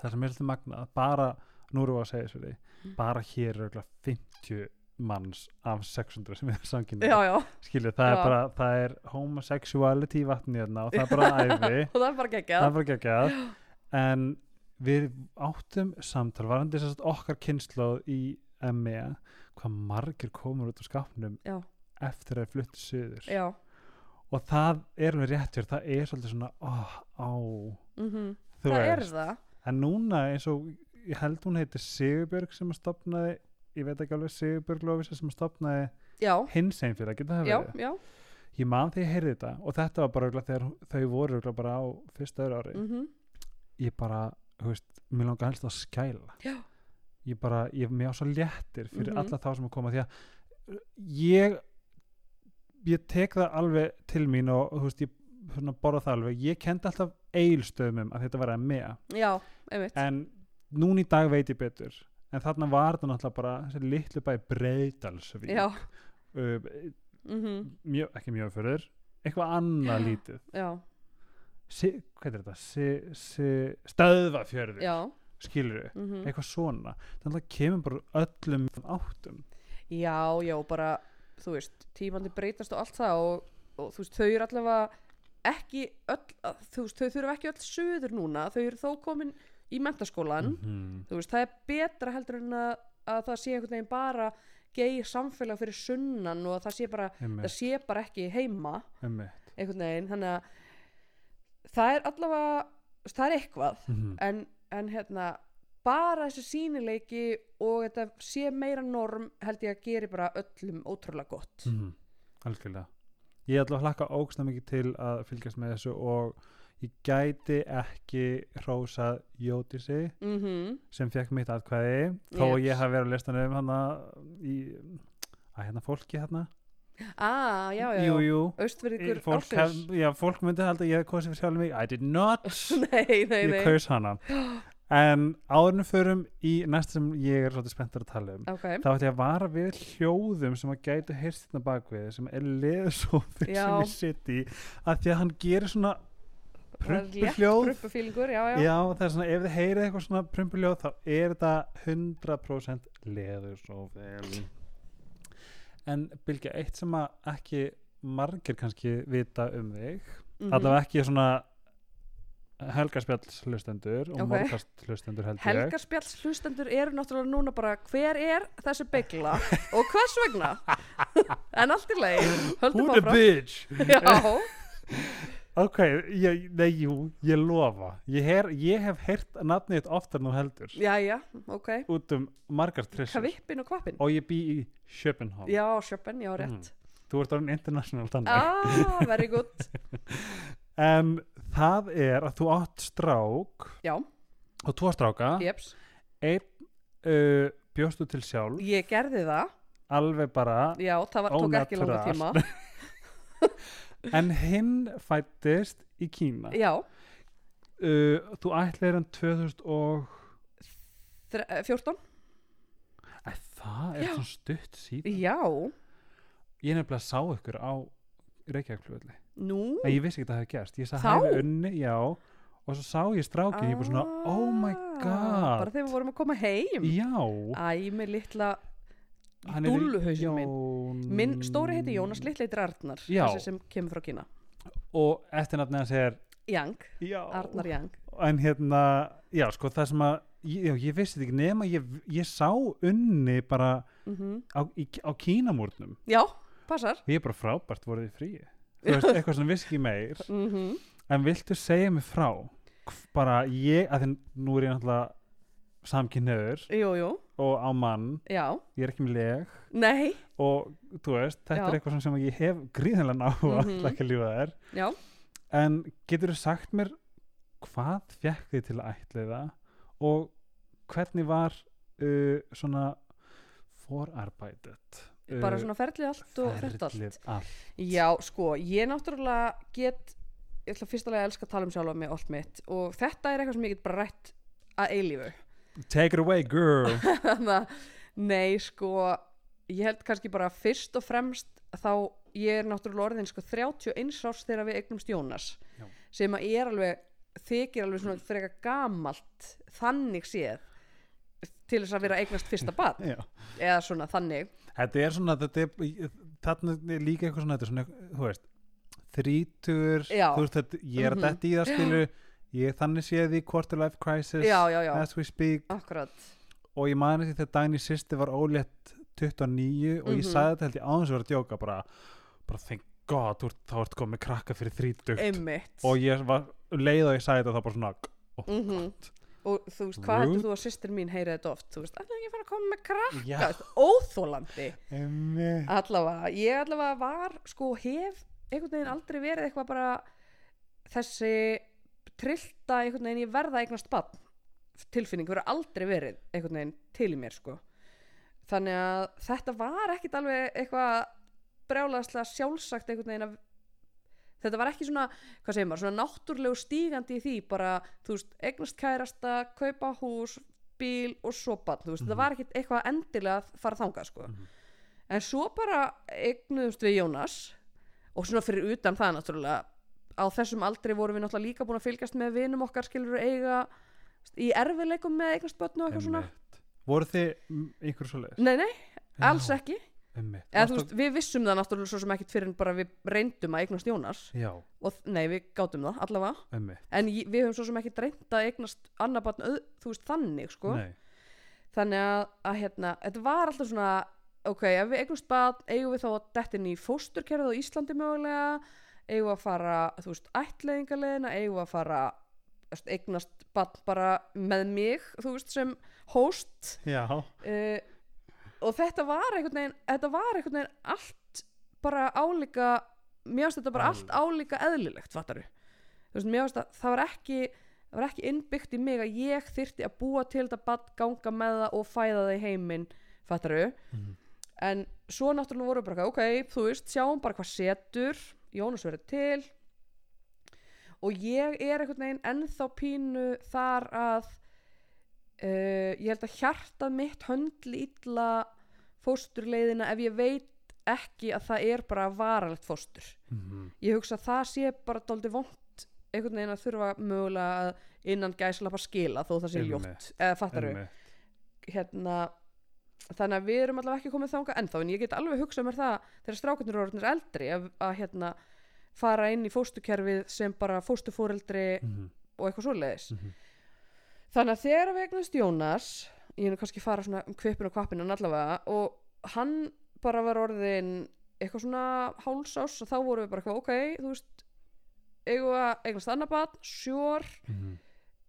[SPEAKER 1] það sem er alltaf magnað bara, nú erum við að segja þessu því
[SPEAKER 2] Mm.
[SPEAKER 1] bara hér eru örugglega 50 manns af 600 sem er samkynni
[SPEAKER 2] já, já,
[SPEAKER 1] skilju, það
[SPEAKER 2] Já.
[SPEAKER 1] er bara, það er homosexuality í vatni hérna og það er bara æfi
[SPEAKER 2] og það er bara
[SPEAKER 1] það er
[SPEAKER 2] geggjað
[SPEAKER 1] bara geggjað en við áttum samtal varandi sérst okkar kynnslóð í MEA, hvað margir komur út á skapnum
[SPEAKER 2] Já.
[SPEAKER 1] eftir að fluttu söður
[SPEAKER 2] já,
[SPEAKER 1] og það er alveg rétt hjá þér, það er svolítið svona oh, á,
[SPEAKER 2] mm
[SPEAKER 1] þú
[SPEAKER 2] það er
[SPEAKER 1] veist
[SPEAKER 2] það
[SPEAKER 1] en núna eins og ég held hún heitir Sigurbjörg sem að stopnaði ég veit ekki alveg Sigurbjörg Lofisa sem að stopnaði
[SPEAKER 2] já,
[SPEAKER 1] hins einn fyrir að geta það
[SPEAKER 2] já,
[SPEAKER 1] verið
[SPEAKER 2] já
[SPEAKER 1] ég man því að heyrði þetta og þetta var bara örugglega þegar hún- þau voru örugglega bara á fyrsta öðru ári
[SPEAKER 2] mm
[SPEAKER 1] ég bara, þú veist, mér langar helst að skæla
[SPEAKER 2] Já.
[SPEAKER 1] ég bara, ég mér á svo léttir fyrir
[SPEAKER 2] Mhm.
[SPEAKER 1] alla þá sem að koma því að ég ég tek það alveg til mín og þú veist, ég svona, borða það alveg ég kendi alltaf eilstöðumum að þetta var að mea
[SPEAKER 2] já, einmitt
[SPEAKER 1] en núna í dag veit ég betur en þarna var þetta náttúrulega bara þessi litlu bæ breytalsvík
[SPEAKER 2] já,
[SPEAKER 1] uh,
[SPEAKER 2] mm
[SPEAKER 1] mjög, ekki mjög fyrir eitthvað annað lítið
[SPEAKER 2] já,
[SPEAKER 1] si, hvað er þetta? Si, si, stöðvafjörður,
[SPEAKER 2] já
[SPEAKER 1] skilur
[SPEAKER 2] mm
[SPEAKER 1] eitthvað svona, þannig að kemur bara öllum áttum
[SPEAKER 2] já, já, bara þú veist, tímandi breytast og allt það og, og þú veist, þau eru allavega ekki öll, þú veist, þau þurfa ekki öll suður núna, þau eru þó komin í mentaskólan
[SPEAKER 1] -hmm.
[SPEAKER 2] þú veist, það er betra heldur en að, að það sé einhvern veginn bara gei samfélag fyrir sunnan og að það sé bara, það
[SPEAKER 1] einmitt,
[SPEAKER 2] sé bara ekki heima
[SPEAKER 1] einmitt
[SPEAKER 2] einhvern veginn, þannig að það er allavega, þú veist, það er eitthvað
[SPEAKER 1] Mhm,
[SPEAKER 2] en, en hérna bara þessi sínileiki og þetta sé meira norm held ég að geri bara öllum ótrúlega gott
[SPEAKER 1] mhm, algjörlega ég ætla að hlakka ógstna mikið til að fylgjast með þessu og ég gæti ekki hrósað Jódísi
[SPEAKER 2] mm
[SPEAKER 1] sem fekk mitt atkvæði þó að
[SPEAKER 2] Yes.
[SPEAKER 1] ég hafi verið á listanum hana í, æ, að hérna fólki hérna
[SPEAKER 2] ah, já, já, já,
[SPEAKER 1] jú, jú,
[SPEAKER 2] austverðingur
[SPEAKER 1] fólk, hef,
[SPEAKER 2] ársins
[SPEAKER 1] já, fólk myndi halda að ég hef kosið fyrir sjálfum mig I did not,
[SPEAKER 2] nei, nei,
[SPEAKER 1] ég
[SPEAKER 2] nei,
[SPEAKER 1] kaus hana en áðurinnum förum í næsta sem ég er svolítið spenntur að tala um
[SPEAKER 2] ok
[SPEAKER 1] þá ætti ég að vara við hljóðum sem að gætu heyrst hérna bakvið sem er leðsófið
[SPEAKER 2] Já.
[SPEAKER 1] sem ég sitt í að því að hann gerir svona
[SPEAKER 2] hljóð
[SPEAKER 1] prumpuhljóð
[SPEAKER 2] prumpufílingur, já, já,
[SPEAKER 1] Já, það er svona, ef þið heyrið eitthvað svona prumpuljóð þá er þetta 100% leður svo vel En Bilgja, eitt sem að ekki margir kannski vita um þig
[SPEAKER 2] Mhm.
[SPEAKER 1] allavega ekki svona helgarspjalls hlustendur og
[SPEAKER 2] Ok.
[SPEAKER 1] okay. morgast hlustendur held ég
[SPEAKER 2] Helgarspjalls hlustendur eru náttúrulega núna bara hver er þessi byggla og hvers vegna en allt í leið, höldum
[SPEAKER 1] Who the
[SPEAKER 2] áfram
[SPEAKER 1] bitch?
[SPEAKER 2] já,
[SPEAKER 1] Ok, ég, nei, jú, ég lofa ég, her, ég hef heyrt nafnið þitt oftar nú heldur
[SPEAKER 2] já, já, ok
[SPEAKER 1] út um margar trissur
[SPEAKER 2] kavippin og kvappin
[SPEAKER 1] og ég bý í Sjöpenhám
[SPEAKER 2] já, Chopin, já, rétt
[SPEAKER 1] Þú ert orðin international þannig
[SPEAKER 2] ah, very good,
[SPEAKER 1] En það er að þú átt strák
[SPEAKER 2] já,
[SPEAKER 1] og tvo stráka
[SPEAKER 2] jeps
[SPEAKER 1] einn uh, bjóstu til sjálf
[SPEAKER 2] ég gerði það,
[SPEAKER 1] alveg bara
[SPEAKER 2] já, það var, tók ekki langa
[SPEAKER 1] Ónatúral.
[SPEAKER 2] tíma
[SPEAKER 1] en hinn fættist í Kína
[SPEAKER 2] já,
[SPEAKER 1] uh, Þú ætlir hann 2000 og
[SPEAKER 2] þre- eh, 14
[SPEAKER 1] Æ, það er
[SPEAKER 2] Já.
[SPEAKER 1] svona stutt síðan
[SPEAKER 2] já,
[SPEAKER 1] Ég nefnilega sá ykkur á Reykjavíkflöðli
[SPEAKER 2] nú
[SPEAKER 1] Nei, ég vissi ekki að það hefði gerst Ég sá
[SPEAKER 2] Þá?
[SPEAKER 1] hæfi unni, já og svo sá ég strákin, ég er bara svona oh my
[SPEAKER 2] Ah,
[SPEAKER 1] god
[SPEAKER 2] bara þegar við vorum að koma heim
[SPEAKER 1] já,
[SPEAKER 2] æ, með litla
[SPEAKER 1] Hann er í-
[SPEAKER 2] dúlluhausinn minn.
[SPEAKER 1] Jón-
[SPEAKER 2] Minn stóri heiti Jónas, litli heitir Arnar
[SPEAKER 1] Já.
[SPEAKER 2] þessi sem kemur frá Kína
[SPEAKER 1] og eftirnafni hans er
[SPEAKER 2] Yang,
[SPEAKER 1] já.
[SPEAKER 2] Arnar Yang
[SPEAKER 1] en hérna, já sko það sem að ég, já, ég vissi þetta ekki nema ég, ég sá unni bara
[SPEAKER 2] mm
[SPEAKER 1] á, í, á kínamúrnum
[SPEAKER 2] Já, passar
[SPEAKER 1] ég er bara frábært voruð í fríi þú veist, eitthvað sem vissi ekki meir
[SPEAKER 2] mm
[SPEAKER 1] en viltu segja mig frá Hv- bara ég, að þinn nú er ég náttúrulega samkynniður
[SPEAKER 2] Jú, jú,
[SPEAKER 1] og á mann
[SPEAKER 2] já
[SPEAKER 1] ég er ekki með leg
[SPEAKER 2] Nei,
[SPEAKER 1] og þú veist, þetta
[SPEAKER 2] Já.
[SPEAKER 1] er eitthvað sem ég hef gríðanlega ná mm -hmm.
[SPEAKER 2] Mhm.
[SPEAKER 1] að ekki lífa þær
[SPEAKER 2] já
[SPEAKER 1] En getur þú sagt mér hvað fekk þið til að ætla það og hvernig var uh, svona forarbeidet? uh,
[SPEAKER 2] Bara svona ferlið allt og þetta allt
[SPEAKER 1] Eh, ferlið allt.
[SPEAKER 2] Já, sko, ég náttúrulega get Ég ætla fyrst alveg að elska að tala um sjálf á mig allt mitt og þetta er eitthvað sem ég get bara rætt að eilífu
[SPEAKER 1] Take it away girl.
[SPEAKER 2] Þannig að, Nei, sko Ég held kannski bara fyrst og fremst þá ég er náttúrulega orðin sko 31 árs þegar við eignumst Jónas
[SPEAKER 1] Já.
[SPEAKER 2] sem að er alveg þykir alveg svona frekar gamalt þannig séð til þess að vera að eignast fyrsta barn
[SPEAKER 1] Já.
[SPEAKER 2] eða svona þannig
[SPEAKER 1] þetta er svona, þetta er, þarna er líka eitthvað svona, þetta er svona, þú veist, þrítur,
[SPEAKER 2] Já.
[SPEAKER 1] þú veist, þetta, ég er að
[SPEAKER 2] Mhm.
[SPEAKER 1] detta í það skilu, ég þannig séð í quarter life crisis
[SPEAKER 2] já, já, já,
[SPEAKER 1] as we speak
[SPEAKER 2] akkurat
[SPEAKER 1] og ég mani því þegar Dagný sýsti var ólétt 29 og ég
[SPEAKER 2] Mhm.
[SPEAKER 1] sagði þetta held ég án þess að vera að djóka bara, bara thank god, þú ert, þá ert komið krakka fyrir 30
[SPEAKER 2] einmitt
[SPEAKER 1] og ég var um leið og ég sagði þetta þá bara svona oh,
[SPEAKER 2] Mhm.
[SPEAKER 1] god.
[SPEAKER 2] og þú veist, hvað
[SPEAKER 1] Rude.
[SPEAKER 2] heldur þú að systir mín heyrið þetta oft, þú veist, ætlaðu ekki að fara að koma með krakka þú
[SPEAKER 1] já,
[SPEAKER 2] veist, óþólandi
[SPEAKER 1] emmi
[SPEAKER 2] allavega, ég allavega var sko, hef einhvern veginn aldrei verið eitthvað bara þessi trillta einhvern veginn ég verða að eignast bann tilfinning, verið aldrei verið einhvern veginn til í mér sko þannig að þetta var ekkit alveg eitthvað brjálaðslega sjálfsagt einhvern veginn að þetta var ekki svona, hvað segir maður, svona náttúrlegu stígandi í því bara, þú veist, eignast kærasta, kaupa hús bíl og svo bann, þú veist,
[SPEAKER 1] Mhm.
[SPEAKER 2] þetta var ekkit eitthvað endilega að fara þangað sko
[SPEAKER 1] Mhm.
[SPEAKER 2] en svo bara eignuðumst við Jónas og svona fyrir utan það náttúrulega á þessum aldri vorum við náttúrulega líka búin að fylgjast með vinum okkar skilur eiga í erfiðleikum með eignast börn og eitthvað svona
[SPEAKER 1] voru þið mm, ykkur svo leiðis?
[SPEAKER 2] nei, nei, alls ekki
[SPEAKER 1] emmi
[SPEAKER 2] Mm. Eða, þú veist, við vissum það náttúrulega svo sem ekkit fyrir en bara við reyndum að eignast Jónas
[SPEAKER 1] já,
[SPEAKER 2] og þ- nei, við gátum það allavega
[SPEAKER 1] emmi
[SPEAKER 2] en ég- við höfum svo sem ekkit reynd að eignast annað barn, öð- þú veist, þannig sko
[SPEAKER 1] Nei.
[SPEAKER 2] þannig að, að hérna, þetta var alltaf svona ok, ef við eignumst bad, eigum við þá að dettin í fósturkerfið á Íslandi mögulega eigum við að fara, þú veist, ættleiðingarleðina, eigum við að fara þú veist, eignast bad bara með mig, þú veist, sem host
[SPEAKER 1] já,
[SPEAKER 2] uh, og þetta var einhvern veginn þetta var einhvern veginn allt bara álíka mér finnst þetta bara allt álíka eðlilegt fattaru þú veist, mér finnst að það var ekki það var ekki innbyggt í mig að ég þyrti að búa til þetta bad ganga með það og fæða það í heiminn fattaru
[SPEAKER 1] Mhm.
[SPEAKER 2] en svo náttúrulega voru bara eitthvað, ok, þú veist, sjáum bara hvað setur Jónas verður til og ég er einhvern veginn ennþá pínu þar að uh, ég held að hjartað mitt höndli illa fósturleiðina ef ég veit ekki að það er bara varalegt fóstur
[SPEAKER 1] Mhm.
[SPEAKER 2] ég hugsa að það sé bara dálítið vont einhvern veginn að þurfa mögulega að innan gæslappa skila þó það sé
[SPEAKER 1] Einmitt.
[SPEAKER 2] ljótt eða fattar við
[SPEAKER 1] Einmitt.
[SPEAKER 2] hérna, þannig að við erum allavega ekki komið þangað ennþá en ég get alveg hugsað mér það þegar strákarnir eru orðnir eldri að, að hérna, fara inn í fóstukerfið sem bara fóstufóreldri
[SPEAKER 1] Mhm.
[SPEAKER 2] og eitthvað svoleiðis
[SPEAKER 1] Mhm.
[SPEAKER 2] þannig að þegar við eignast Jónas ég er nú kannski að fara svona um kvipin og kvapin en allavega og hann bara var orðin eitthvað svona hálsás og þá vorum við bara eitthvað ok þú veist eigum við að eignast annað barn, sjór
[SPEAKER 1] Mhm.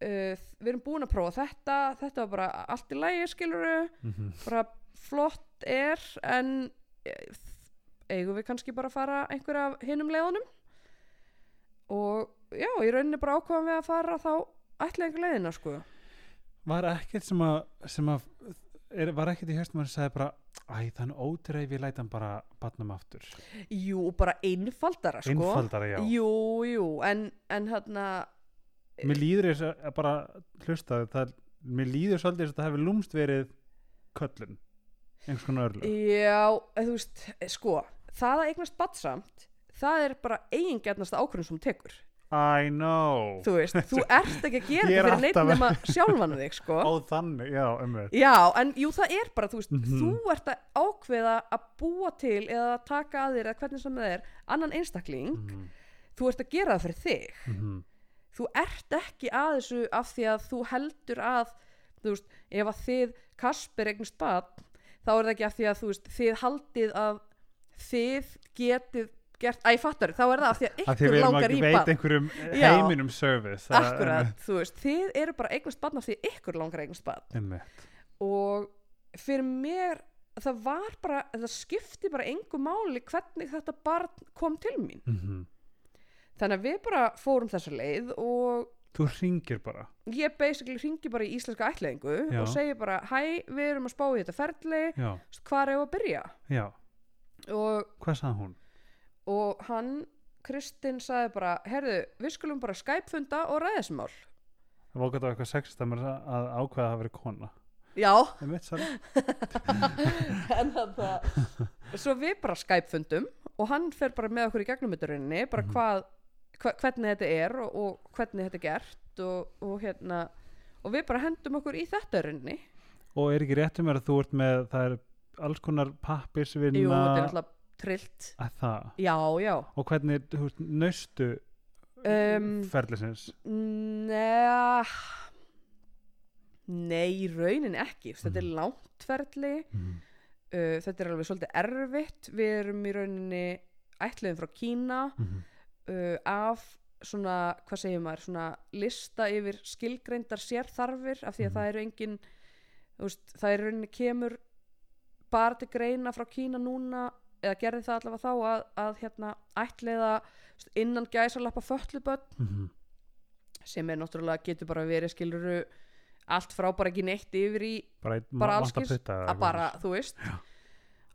[SPEAKER 2] uh, við erum búin að prófa þetta þetta var bara allt í lægi skiluru
[SPEAKER 1] Mhm.
[SPEAKER 2] bara flott er en eh, eigum við kannski bara að fara einhverja af hinum leiðunum og já, í rauninni bara ákvaðum við að fara þá ætla einhver leiðina sko
[SPEAKER 1] var ekkert sem að, sem að er, var ekkert í höstum að sagði bara æ, þann ódreif ég læt hann bara batnum aftur,
[SPEAKER 2] jú, bara einfaldara sko
[SPEAKER 1] einfaldara já
[SPEAKER 2] jú, jú, en, en hérna
[SPEAKER 1] mér líður þess að að bara hlusta það, mér líður svolítið þess að það hefur lúmst verið köllun einhvers konar örlög
[SPEAKER 2] já, eh, þú veist, eh, sko það að eignast batsamt það er bara eigingjarnasta ákvörðum sem þú tekur
[SPEAKER 1] I know
[SPEAKER 2] þú veist, þú ert ekki að gera
[SPEAKER 1] Ég er
[SPEAKER 2] þetta fyrir neitt
[SPEAKER 1] alltaf-
[SPEAKER 2] nema sjálfan þig sko
[SPEAKER 1] á þannig, já, umveg
[SPEAKER 2] Já, en jú, það er bara, þú veist,
[SPEAKER 1] Mhm.
[SPEAKER 2] þú ert að ákveða að búa til eða að taka að þér eða hvernig sem það er annan einstakling,
[SPEAKER 1] mm
[SPEAKER 2] þú ert að gera það fyrir þig.
[SPEAKER 1] -hmm.
[SPEAKER 2] Þú ert ekki að þessu af því að þú heldur að, þú veist, ef að þið Kasper eignist bann, þá er það ekki af því að, þú veist, þið haldið að þið getið gert, æ, fattar, þá er það af því að
[SPEAKER 1] að því
[SPEAKER 2] ykkur
[SPEAKER 1] við erum
[SPEAKER 2] langar
[SPEAKER 1] að
[SPEAKER 2] í
[SPEAKER 1] veita
[SPEAKER 2] bann.
[SPEAKER 1] einhverjum
[SPEAKER 2] Já.
[SPEAKER 1] heiminum service það-
[SPEAKER 2] Akkurat, þú veist, þið eru bara að eignast bann af því að ykkur langar að eignast bann.
[SPEAKER 1] einmitt,
[SPEAKER 2] og fyrir mér það var bara, það skipti bara engu máli hvernig þetta barn kom til mín
[SPEAKER 1] mhm.
[SPEAKER 2] þannig að við bara fórum þessa leið og
[SPEAKER 1] þú ringir bara
[SPEAKER 2] ég basically ringi bara í íslenska ætlaðingu
[SPEAKER 1] Já.
[SPEAKER 2] og segi bara, hæ, við erum að spá í þetta ferli
[SPEAKER 1] já,
[SPEAKER 2] hvað er að byrja
[SPEAKER 1] já,
[SPEAKER 2] og,
[SPEAKER 1] hvað sagði hún
[SPEAKER 2] og hann, Kristinn sagði bara, herðu, við skulum bara Skype-funda og ræðismál
[SPEAKER 1] það var ákvæmt á eitthvað sexist að maður að ákvæða að vera kona
[SPEAKER 2] já,
[SPEAKER 1] einmitt, sagði-
[SPEAKER 2] en þannig að svo við bara Skype-fundum og hann fer bara með okkur í gegnum þetta í rauninni, bara
[SPEAKER 1] Mhm.
[SPEAKER 2] hvað, hva, hvernig þetta er og, og hvernig þetta er gert og, og hérna og við bara hendum okkur í þetta í rauninni
[SPEAKER 1] og er ekki réttum er að þú ert með það er alls konar pappisvinna
[SPEAKER 2] jú, þetta er alltaf trillt
[SPEAKER 1] að það
[SPEAKER 2] já, já
[SPEAKER 1] og hvernig, þú veist, nöstu
[SPEAKER 2] um,
[SPEAKER 1] ferlisins
[SPEAKER 2] neða nei, í rauninni ekki þetta er langt ferli
[SPEAKER 1] mm.
[SPEAKER 2] uh, þetta er alveg svolítið erfitt við erum í rauninni ætluðum frá Kína
[SPEAKER 1] Mm.
[SPEAKER 2] uh, af svona, hvað segir maður, svona lista yfir skilgreindar sérþarfir af því að
[SPEAKER 1] Mhm.
[SPEAKER 2] það eru engin þú veist, það er í rauninni kemur bara til greina frá Kína núna eða gerði það allavega þá að, að hérna, ætliða þú veist, innan gæsalappa fölluböld
[SPEAKER 1] Mm.
[SPEAKER 2] sem er náttúrulega getur bara verið skiluru allt frá bara ekki neitt yfir í
[SPEAKER 1] bara,
[SPEAKER 2] Bara alls kyns-
[SPEAKER 1] allskins
[SPEAKER 2] að bara, þú veist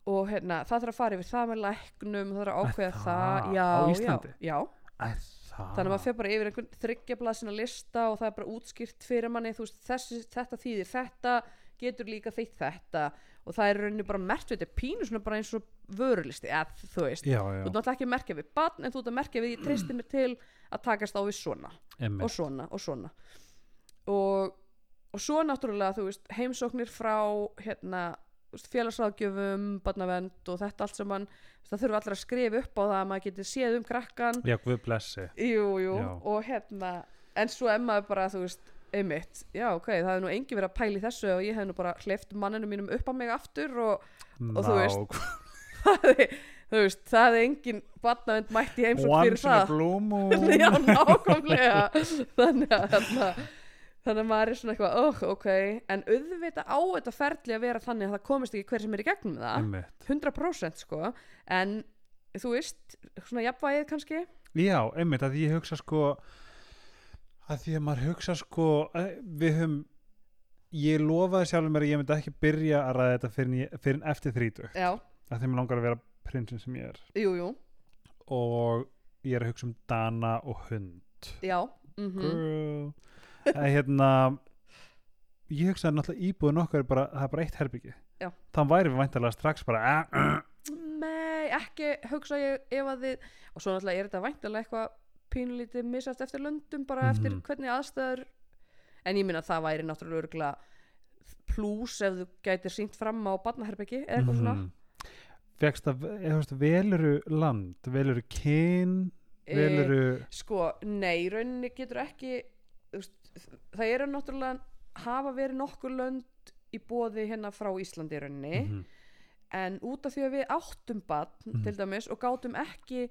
[SPEAKER 2] og hérna, það þarf að fara yfir það með læknum það þarf að ákveða
[SPEAKER 1] það?
[SPEAKER 2] það,
[SPEAKER 1] Á
[SPEAKER 2] já,
[SPEAKER 1] Íslandi? Ah.
[SPEAKER 2] já, já þannig að maður
[SPEAKER 1] þannig
[SPEAKER 2] fer bara yfir einhvern þryggjablað sinna lista og það er bara útskýrt fyrir manni þú veist, þessi, þetta þýðir þetta getur líka þeitt þetta og það er í rauninni bara merkt við þetta pínu svona bara eins og vörulisti eð, þú veist,
[SPEAKER 1] já,
[SPEAKER 2] þú
[SPEAKER 1] já,
[SPEAKER 2] ert náttúrulega ekki að merkja við barn en þú ert að merkja við ég treysti mig til að takast á við svona
[SPEAKER 1] emmi
[SPEAKER 2] og svona og svona og, og svo náttúrulega þú veist heimsóknir frá hérna þú veist, félagsráðgjöfum, barnavend og þetta allt saman, þú veist, það þurfa allir að skrifa upp á það að maður geti séð um krakkan
[SPEAKER 1] já, guð blessi
[SPEAKER 2] Jú, jú,
[SPEAKER 1] Já.
[SPEAKER 2] og hérna en svo er maður bara, þú veist, einmitt já, ok, það er nú engin verið að pæla í þessu og ég hef nú bara hleyft manninu mínum upp á mig aftur og Og þú veist,
[SPEAKER 1] Ná,
[SPEAKER 2] þú veist, það er engin barnavend mætt í heimsókn fyrir
[SPEAKER 1] once in a
[SPEAKER 2] það
[SPEAKER 1] blue moon
[SPEAKER 2] Já, nákvæmlega þannig að þarna þannig að maður er svona eitthvað, oh, ok en auðvitað á þetta ferli að vera þannig að það komist ekki hver sem er í gegnum það
[SPEAKER 1] Einmitt.
[SPEAKER 2] 100% sko, en þú veist, svona jafnvægið kannski
[SPEAKER 1] já, emmi, að ég hugsa sko að því að maður hugsa sko að við eh, höfum ég lofaði sjálfur mér að ég myndi ekki byrja að ræða þetta fyrir, ég, fyrir eftir þrítu
[SPEAKER 2] já,
[SPEAKER 1] að þeim langar að vera prinsinn sem ég er
[SPEAKER 2] jú, jú,
[SPEAKER 1] og ég er að hugsa um dana og hund
[SPEAKER 2] já mm
[SPEAKER 1] girl en hérna ég hugsaði náttúrulega íbúðin okkar er bara, það er bara eitt herbyggi
[SPEAKER 2] Já.
[SPEAKER 1] þann væri við væntalega strax bara "Ah, ah."
[SPEAKER 2] Nei, ekki hugsa ég ef að þið og svo náttúrulega er þetta væntalega eitthvað pínlítið misjast eftir löndum bara eftir
[SPEAKER 1] Mhm.
[SPEAKER 2] hvernig aðstæður en ég minna það væri náttúrulega örgla plús ef þú gætir sínt fram á barnaherbyggi eða eitthvað svona
[SPEAKER 1] Mhm. fékkst að, eða þú veist, veluru land veluru kyn
[SPEAKER 2] Eh,
[SPEAKER 1] veluru,
[SPEAKER 2] Sko, nei, í rauninni getur ekki þú veist, það eru náttúrulega hafa verið nokkur lönd í bóði hérna frá Íslandi í rauninni
[SPEAKER 1] Mhm.
[SPEAKER 2] en út af því að við áttum badn
[SPEAKER 1] Mhm.
[SPEAKER 2] til dæmis og gátum ekki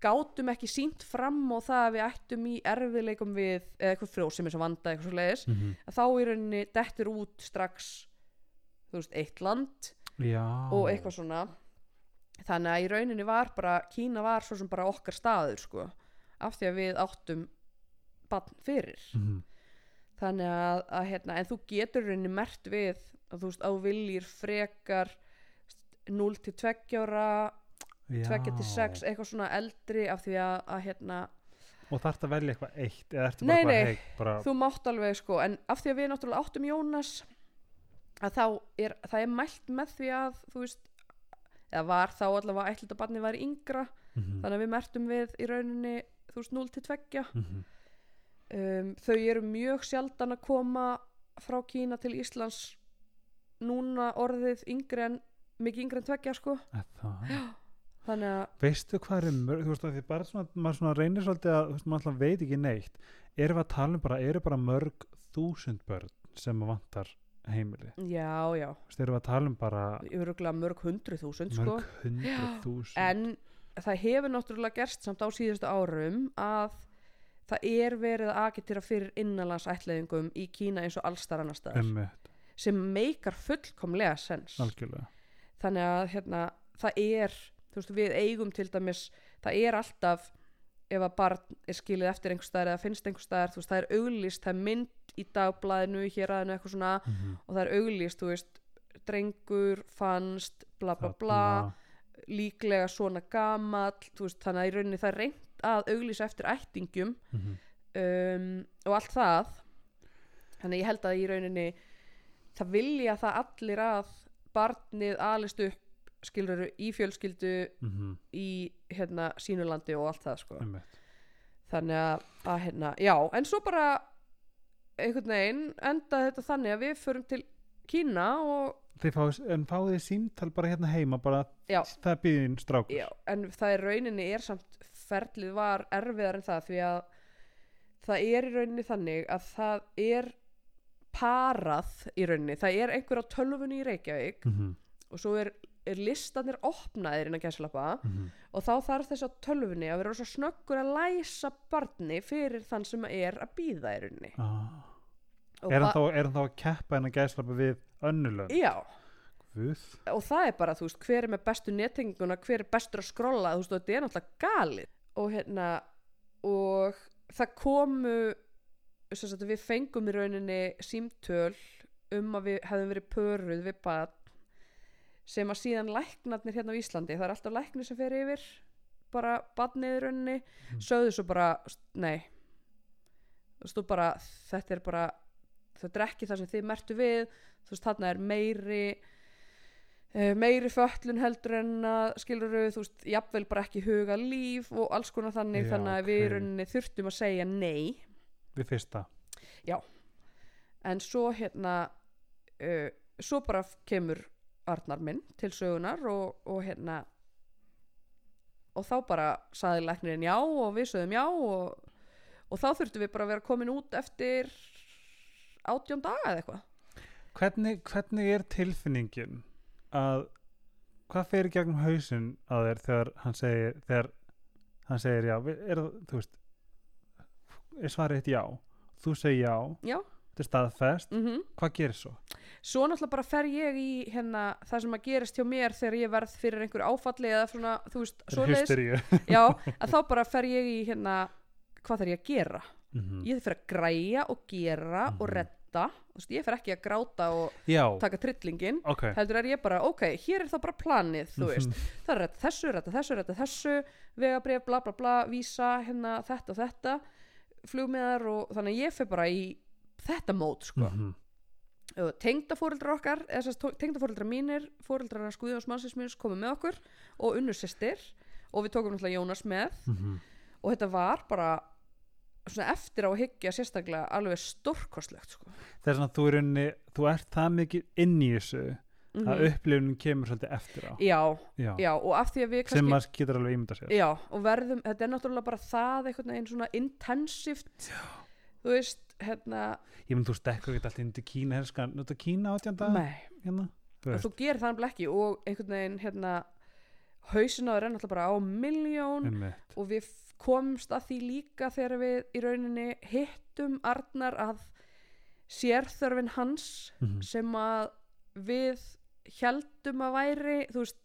[SPEAKER 2] gátum ekki sínt fram og það að við ættum í erfiðleikum við eða eitthvað frjósemi sem vanda eitthvað svo leiðis
[SPEAKER 1] Mhm.
[SPEAKER 2] að þá í rauninni dettur út strax þú veist, eitt land
[SPEAKER 1] já
[SPEAKER 2] og eitthvað svona þannig að í rauninni var bara Kína var svo sem bara okkar staður sko, af því að við áttum bann fyrir
[SPEAKER 1] Mhm.
[SPEAKER 2] þannig að, að hérna, en þú getur í rauninni mert við að þú veist á viljir frekar 0 til 2 ára 2 til 6
[SPEAKER 1] Já.
[SPEAKER 2] eitthvað svona eldri af því að, að hérna,
[SPEAKER 1] og þarf að velja eitthvað eitt eða ertu
[SPEAKER 2] Nei,
[SPEAKER 1] bara, bara,
[SPEAKER 2] nei.
[SPEAKER 1] hey, bara
[SPEAKER 2] þú mátt alveg sko en af því að við náttúrulega áttum Jónas að þá er, það er mælt með því að þú veist eða var þá allavega ætlita barni var yngra
[SPEAKER 1] Mhm.
[SPEAKER 2] þannig að við mertum við í rauninni þú veist 0 til 2
[SPEAKER 1] Mhm.
[SPEAKER 2] um, þau eru mjög sjaldan að koma frá Kína til Íslands núna orðið yngri en mikið yngri en 2 sko
[SPEAKER 1] Er það
[SPEAKER 2] þannig að
[SPEAKER 1] veistu hvað er mörg þú veist að því bara svona, maður svona reynir svolítið að þú veist, maður alltaf veit ekki neitt erum við að tala um bara, eru bara mörg þúsund börn sem að vantar heimili,
[SPEAKER 2] já já,
[SPEAKER 1] þú veist, erum við að tala um bara
[SPEAKER 2] öruglega mörg hundruð þúsund sko
[SPEAKER 1] mörg hundruð þúsund
[SPEAKER 2] en það hefur náttúrulega gerst samt á síðustu árum að það er verið að agitera fyrir innanlandsætleðingum í Kína eins og allstar annar staðar
[SPEAKER 1] Einmitt,
[SPEAKER 2] sem meikar fullkomlega sens
[SPEAKER 1] algjörlega
[SPEAKER 2] þannig að hérna, það er þú veist, við eigum til dæmis það er alltaf ef að barn er skilið eftir einhvers staðar eða finnst einhvers staðar þú veist, það er auglýst, það er mynd í dagblæðinu hér aðeinu eitthvað svona
[SPEAKER 1] mm -hmm.
[SPEAKER 2] og það er auglýst, þú veist drengur, fannst, bla bla bla líklega svona gamall þú veist, þannig að í rauninni það er reynt að auglýsa eftir ættingjum
[SPEAKER 1] Mhm,
[SPEAKER 2] um, og allt það þannig að ég held að í rauninni það vilja það allir að barnið alist upp skiluru í fjölskyldu
[SPEAKER 1] mhm,
[SPEAKER 2] í hérna sínu landi og allt það sko þannig að, að hérna, já, en svo bara einhvern veginn endaði þetta þannig að við förum til Kína og
[SPEAKER 1] Þið fáið, en fáið þið símtal bara hérna heima bara
[SPEAKER 2] Já.
[SPEAKER 1] það er býðin strákur
[SPEAKER 2] Já, en það er rauninni er samt ferlið var erfiðar en það því að það er í rauninni þannig að það er parað í rauninni það er einhver á tölvunni í Reykjavík
[SPEAKER 1] Mhm,
[SPEAKER 2] og svo er, er listanir opnaðir innan gæslappa
[SPEAKER 1] mhm.
[SPEAKER 2] og þá þarf þess að tölvunni að vera svo snöggur að læsa barni fyrir þann sem er að býða í rauninni
[SPEAKER 1] Ah.
[SPEAKER 2] Og
[SPEAKER 1] Er hann
[SPEAKER 2] það-
[SPEAKER 1] þá- er hann þá að keppa hennar gæslappa við önnulönd?
[SPEAKER 2] Já,
[SPEAKER 1] Guð
[SPEAKER 2] og það er bara, þú veist, hver er með bestu nettenginguna, hver er bestur að skrolla, þú veist, og þetta er náttúrulega galið. Og hérna, og það komu, sem sagt, við fengum í rauninni símtöl um að við hefðum verið pöruð við bara sem að síðan læknarnir hérna á Íslandi, það er alltaf læknir sem fer yfir bara badnið í rauninni
[SPEAKER 1] Mm.
[SPEAKER 2] sögðu svo bara, nei þú veist, þú bara þetta er bara, þetta er ekki það sem þið mertu við, þú veist, þarna er meiri eh, meiri föllun heldur en að skilur þú veist, jafnvel bara ekki huga líf og alls konar þannig,
[SPEAKER 1] Já,
[SPEAKER 2] þannig að við í
[SPEAKER 1] ok.
[SPEAKER 2] rauninni þurftum að segja nei
[SPEAKER 1] Við fyrsta
[SPEAKER 2] en svo hérna uh, svo bara f- kemur Arnar minn til sögunar og, og hérna og þá bara saði læknirinn já og við sögum já og, og þá þurftum við bara að vera komin út eftir átjón daga eða eitthvað
[SPEAKER 1] hvernig, hvernig er tilfinningin að hvað fer í gegnum hausinn að þér þegar hann segir þegar hann segir já við- er, það- þú veist er svarið eitt já, þú segir já
[SPEAKER 2] Já.
[SPEAKER 1] þetta er staðfest,
[SPEAKER 2] mm
[SPEAKER 1] hvað gerir svo?
[SPEAKER 2] svo náttúrulega bara fer ég í hérna það sem að gerist hjá mér þegar ég verð fyrir einhver áfalli eða svona þú veist svoleiðis
[SPEAKER 1] Hysteríu.
[SPEAKER 2] já, að þá bara fer ég í hérna hvað þarf ég að gera
[SPEAKER 1] Mhm.
[SPEAKER 2] ég þarf að græja og gera og
[SPEAKER 1] Mhm.
[SPEAKER 2] redda gráta þú veist, ég fer ekki að gráta og
[SPEAKER 1] já,
[SPEAKER 2] taka trillingin
[SPEAKER 1] ok Mhm.
[SPEAKER 2] heldur er ég bara, ok, hér er þá bara planið þú veist, það er rétt þessu, rétt þessu, rétt þessu vegabrif, bla bla bla, vísa hérna þetta og þetta flugmiðar og þannig að ég fer bara í þetta mót sko
[SPEAKER 1] Mhm.
[SPEAKER 2] mm. tengdafóreldrar okkar eða þess að tengdafóreldrar mínir fóreldrar hans Guðjóns mannsins mínus komu með okkur og unnur sýstir og við tókum náttúrulega Jónas með
[SPEAKER 1] Mhm.
[SPEAKER 2] og þetta var bara svona eftir á að hyggja sérstaklega alveg stórkostlegt sko.
[SPEAKER 1] það er svona að þú, er unni, þú ert það mikið inn í þessu að
[SPEAKER 2] Mhm.
[SPEAKER 1] upplifunum kemur svolítið eftir á
[SPEAKER 2] já,
[SPEAKER 1] já.
[SPEAKER 2] já, og af því að við
[SPEAKER 1] sem
[SPEAKER 2] kannski
[SPEAKER 1] maður getur alveg ímynda sér
[SPEAKER 2] já, og verðum, þetta er náttúrulega bara það einhvern veginn svona intensíft þú veist, hérna
[SPEAKER 1] ég mynd þú stekkur ekki alltaf inn til Kína herskan, nú þetta Kína átjanda
[SPEAKER 2] nei,
[SPEAKER 1] hérna. þú
[SPEAKER 2] þú gerir það nefnilega ekki og einhvern veginn, hérna hausin á þér er náttúrulega bara á miljón
[SPEAKER 1] Einmitt.
[SPEAKER 2] og við f- komumst að því líka þegar við í rauninni hittum Arnar að sérþörfin hans
[SPEAKER 1] Mhm.
[SPEAKER 2] sem að við heldum að væri þú veist,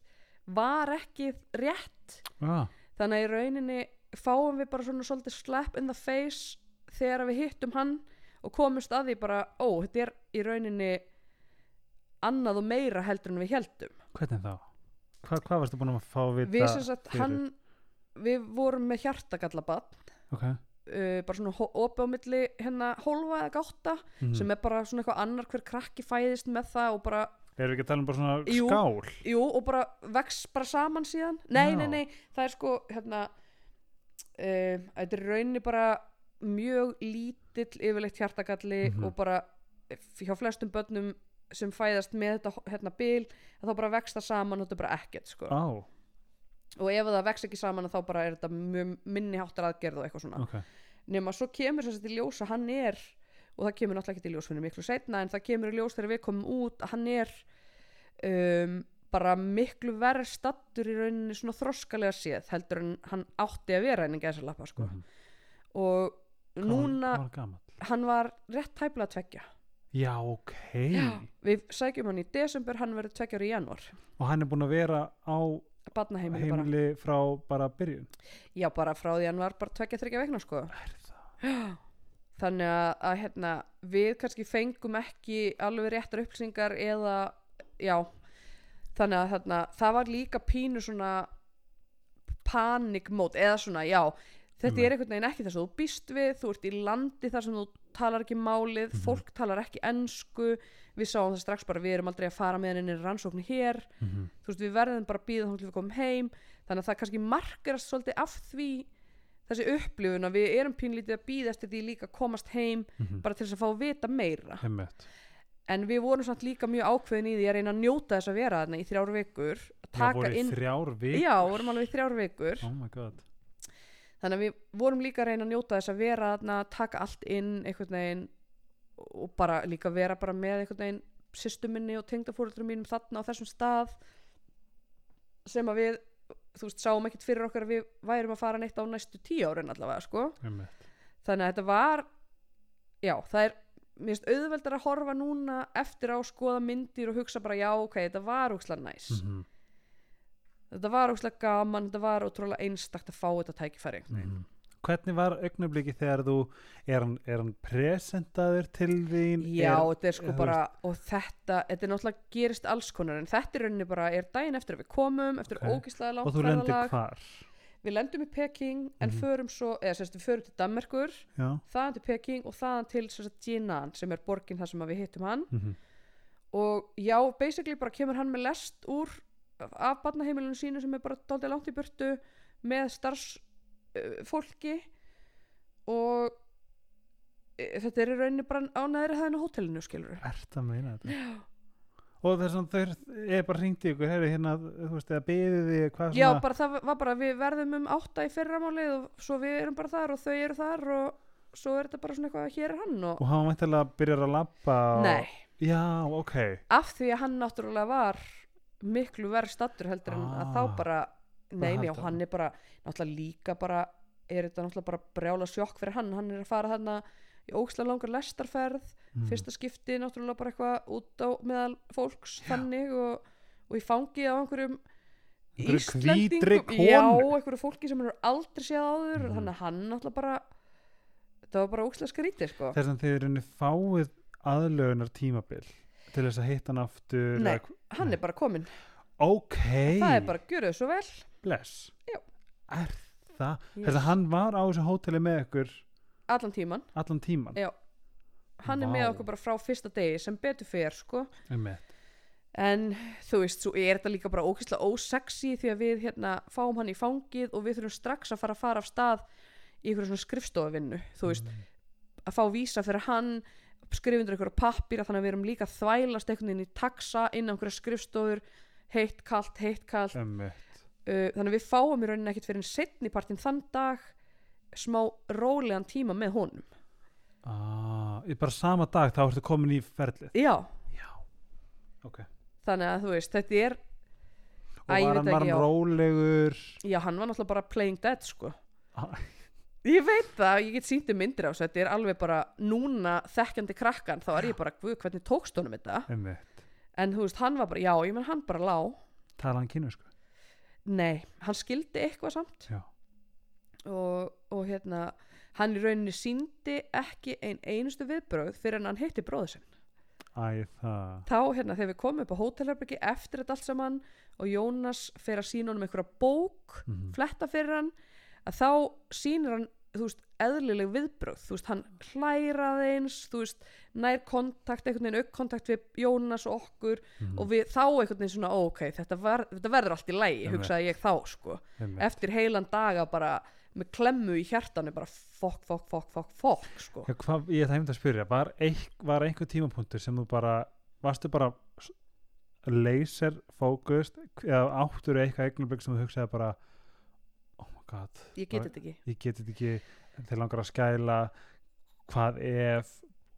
[SPEAKER 2] var ekki rétt
[SPEAKER 1] Já,
[SPEAKER 2] þannig að í rauninni fáum við bara svona svolítið slap in the face þegar við hittum hann og komumst að því bara, ó, þetta er í rauninni annað og meira heldur en við heldum
[SPEAKER 1] hvernig þá? Hva, hvað varstu búin að fá að vita?
[SPEAKER 2] við sem sagt,
[SPEAKER 1] fyrir?
[SPEAKER 2] hann við vorum með hjartagallabad
[SPEAKER 1] Ok.
[SPEAKER 2] uh, bara svona hó- opið á milli hérna hólfa eða gátta
[SPEAKER 1] Mm.
[SPEAKER 2] sem er bara svona eitthvað annar hver krakki fæðist með það og bara,
[SPEAKER 1] Erum við ekki að tala um bara svona
[SPEAKER 2] Jú.
[SPEAKER 1] skál?
[SPEAKER 2] jú, og bara vex bara saman síðan, nei,
[SPEAKER 1] Já.
[SPEAKER 2] nei, nei það er sko, hérna uh, þetta er í rauninni bara mjög lítill yfirleitt hjartagalli
[SPEAKER 1] Mhm.
[SPEAKER 2] og bara f- hjá flestum börnum sem fæðast með þetta hó- hérna bil, að þá bara vex það saman og þetta er bara ekkert, sko
[SPEAKER 1] Á,
[SPEAKER 2] og ef það vex ekki saman að þá bara er þetta mjög minni háttar aðgerð og eitthvað svona
[SPEAKER 1] ok.
[SPEAKER 2] nema svo kemur þess að í ljós að hann er og það kemur náttúrulega ekki í ljós fyrir miklu setna en það kemur í ljós þegar við komum út að hann er um, bara miklu verð stattur í rauninni svona þroskalega séð heldur en hann átti að vera en gæsa lappa sko
[SPEAKER 1] Mhm.
[SPEAKER 2] og
[SPEAKER 1] Hvað var-
[SPEAKER 2] núna,
[SPEAKER 1] Hvað var gamall?
[SPEAKER 2] hann var rétt tæplega tveggja
[SPEAKER 1] Já, ok.
[SPEAKER 2] við sækjum hann í desember, hann verður tveggja ára í janúar
[SPEAKER 1] Og hann er búin að vera á
[SPEAKER 2] barnaheimili bara,
[SPEAKER 1] heimili frá bara byrjun.
[SPEAKER 2] já bara frá því hann var bara tveggja þryggja vegna sko
[SPEAKER 1] Er það?
[SPEAKER 2] þannig að, að hérna, við kannski fengum ekki alveg réttar upplýsingar eða já þannig að þarna, það var líka pínu svona panikmót eða svona já þetta
[SPEAKER 1] Einmitt.
[SPEAKER 2] er einhvern veginn ekki þess að þú býst við þú ert í landi þar sem þú talar ekki málið
[SPEAKER 1] Mhm.
[SPEAKER 2] fólk talar ekki ensku við sáum það strax bara við erum aldrei að fara með henni rannsóknu hér
[SPEAKER 1] Mm -hmm.
[SPEAKER 2] þú veist, við verðum bara að býða þá til við komum heim þannig að það kannski markirast svolítið af því þessi upplifun að við erum pínlítið að býða eftir því líka að komast heim bara til þess að fá að vita meira
[SPEAKER 1] Mhm. Einmitt.
[SPEAKER 2] en við vorum samt líka mjög ákveðin í því að reyna að njóta þess að vera þarna í þrjár vikur að
[SPEAKER 1] Það
[SPEAKER 2] taka
[SPEAKER 1] voru
[SPEAKER 2] inn
[SPEAKER 1] inn... þrjár vik.
[SPEAKER 2] já, vorum alveg í þrjár vikur
[SPEAKER 1] Oh my god.
[SPEAKER 2] þannig að við vorum líka að reyna að njóta þess að vera þarna taka allt inn einhvern veginn og bara líka vera bara með einhvern veginn systuminni og tengdafóreldrum mínum þarna á þessum stað sem að við þú veist, sáum ekkert fyrir okkar að við værum að fara neitt á næstu tíu árin allavega sko.
[SPEAKER 1] Einmitt.
[SPEAKER 2] þannig að þetta var já, það er mér finnst auðveldar að horfa núna eftir á skoða myndir og hugsa bara já, ok, þetta var úkslega næs
[SPEAKER 1] Mm -hmm.
[SPEAKER 2] þetta var úkslega gaman, þetta var ótrúlega einstakt að fá þetta tækifæri einhvern veginn.
[SPEAKER 1] Mhm. Hvernig var augnabliki þegar þú, er hann, er hann presentaður til þín?
[SPEAKER 2] Já,
[SPEAKER 1] Er,
[SPEAKER 2] þetta er sko
[SPEAKER 1] eða þú
[SPEAKER 2] bara, og þetta, þetta er náttúrulega gerist alls konar, en þetta er rauninni bara, er daginn eftir að við komum, eftir
[SPEAKER 1] Ok.
[SPEAKER 2] okay. ógislega
[SPEAKER 1] og
[SPEAKER 2] langt
[SPEAKER 1] þú lendir
[SPEAKER 2] ferðalag,
[SPEAKER 1] hvar?
[SPEAKER 2] við lendum í Peking, en
[SPEAKER 1] Mhm.
[SPEAKER 2] förum svo, eða sérst, við förum til Danmerkur,
[SPEAKER 1] Já.
[SPEAKER 2] þaðan til Peking og þaðan til sérst Jinan, sem er borgin þar sem að við hittum hann,
[SPEAKER 1] Mm
[SPEAKER 2] og já, basically bara kemur hann með lest úr, af barnaheimilinu sínu sem er bara daldið langt í burtu, með starfsfólki, fólki og eh, þetta er í rauninni bara á neðri hæðinu hótelinu, skilur
[SPEAKER 1] Ert að meina þetta? Já. Og þess að þau er bara hringt í ykkur, herri, hérna, þú veist, eða beðið þið, hvað
[SPEAKER 2] Já,
[SPEAKER 1] svona,
[SPEAKER 2] bara það var bara við verðum um átta í fyrramálið og svo við erum bara þar og þau eru þar og svo er þetta bara svona eitthvað hér er hann og...
[SPEAKER 1] og hann væntalega byrjar að labba. og-
[SPEAKER 2] Nei,
[SPEAKER 1] Já, ok.
[SPEAKER 2] af því að hann náttúrulega var miklu verð stattur heldur en að
[SPEAKER 1] Ah.
[SPEAKER 2] þá bara Nei,
[SPEAKER 1] halda
[SPEAKER 2] nei, og hann er bara náttúrulega líka bara er þetta náttúrulega bara brjála sjokk fyrir hann hann er að fara þarna í óksla langar lestarferð
[SPEAKER 1] Mm.
[SPEAKER 2] fyrsta skipti náttúrulega bara eitthvað út á meðal fólks þannig og, og ég fangi á einhverjum
[SPEAKER 1] Einhverju hvítri
[SPEAKER 2] Íslendingum,
[SPEAKER 1] konu.
[SPEAKER 2] já, einhverju fólki sem hann er aldrei séð áður
[SPEAKER 1] Mhm.
[SPEAKER 2] þannig að hann náttúrulega bara þetta var bara ókslega skrítið sko
[SPEAKER 1] Þess að þið eru henni fáið aðlögunar tímabil til þess að hitta hann aftur
[SPEAKER 2] Nei.
[SPEAKER 1] eða-
[SPEAKER 2] hann er bara kominn
[SPEAKER 1] ok,
[SPEAKER 2] það er bara, gjöru svo vel
[SPEAKER 1] bless
[SPEAKER 2] Já.
[SPEAKER 1] er það,
[SPEAKER 2] Yes.
[SPEAKER 1] þess að hann var á þessu hóteli með ykkur
[SPEAKER 2] allan tíman,
[SPEAKER 1] allan tíman
[SPEAKER 2] Já. hann er
[SPEAKER 1] Vá.
[SPEAKER 2] með okkur bara frá fyrsta degi sem betur fer sko
[SPEAKER 1] Einmitt.
[SPEAKER 2] en þú veist, svo er þetta líka bara ókýrslega ósexy því að við hérna fáum hann í fangið og við þurfum strax að fara að fara af stað í einhverjum svona skrifstofavinnu þú veist, að fá vísa fyrir hann skrifundur einhverja pappir þannig að við erum líka að þvælast einhvern veginn í taxa inn á einhverja skrifstofur heitt, kalt, heitt, kalt uh,
[SPEAKER 1] Einmitt.
[SPEAKER 2] þannig að við fáum í rauninni ekkit fyrir en setni partinn þann dag smá rólegan tíma með honum
[SPEAKER 1] Ah, í bara sama dag þá ertu komin í ferlið
[SPEAKER 2] já,
[SPEAKER 1] já, ok
[SPEAKER 2] þannig að þú veist, þetta er
[SPEAKER 1] og
[SPEAKER 2] Æ, ég
[SPEAKER 1] var hann,
[SPEAKER 2] veit ekki,
[SPEAKER 1] var hann
[SPEAKER 2] já.
[SPEAKER 1] rólegur
[SPEAKER 2] já, hann var náttúrulega bara playing dead sko
[SPEAKER 1] Ah,
[SPEAKER 2] Ég veit það, ég get síndi myndir á þessu, þetta er alveg bara núna þekkjandi krakkan, þá er ég bara, guð, hvernig tókst honum þetta?
[SPEAKER 1] einmitt,
[SPEAKER 2] En þú veist, hann var bara, já, ég menn hann bara lá.
[SPEAKER 1] tala hann kynversku
[SPEAKER 2] Nei, hann skildi eitthvað samt
[SPEAKER 1] já,
[SPEAKER 2] og, og hérna, hann í rauninni síndi ekki ein einustu viðbröð fyrir en hann hitti bróðu sinn.
[SPEAKER 1] æ, það
[SPEAKER 2] Þá, hérna, þegar við komum upp á hótelherbyggi eftir þetta allt saman og Jónas fer að sína honum einhverja bók,
[SPEAKER 1] mm -hmm.
[SPEAKER 2] fletta fyrir hann, að þá sýnir hann, þú veist, eðlileg viðbröð, þú veist, hann hlærað eins, þú veist, nær kontakt, einhvern veginn aukkontakt við Jónas og okkur
[SPEAKER 1] Mm. mhm.
[SPEAKER 2] og við þá einhvern veginn svona, ó, ok, þetta, var, þetta verður allt í lægi,
[SPEAKER 1] Einmitt.
[SPEAKER 2] hugsaði ég þá, sko, eftir heilan daga bara með klemmu í hjartanu, bara fokk, fokk, fokk, fokk, fokk, sko.
[SPEAKER 1] Já, hvað, ég ætla heimt að spyrja, var, eik, var einhver tímapunktur sem þú bara, varstu bara s- laser fókust eða áttur eitthvað eignarbygg sem þú hugsaði bara oh my god,
[SPEAKER 2] Ég get þetta ekki.
[SPEAKER 1] ég geti þetta ekki þeir langar að skæla hvað ef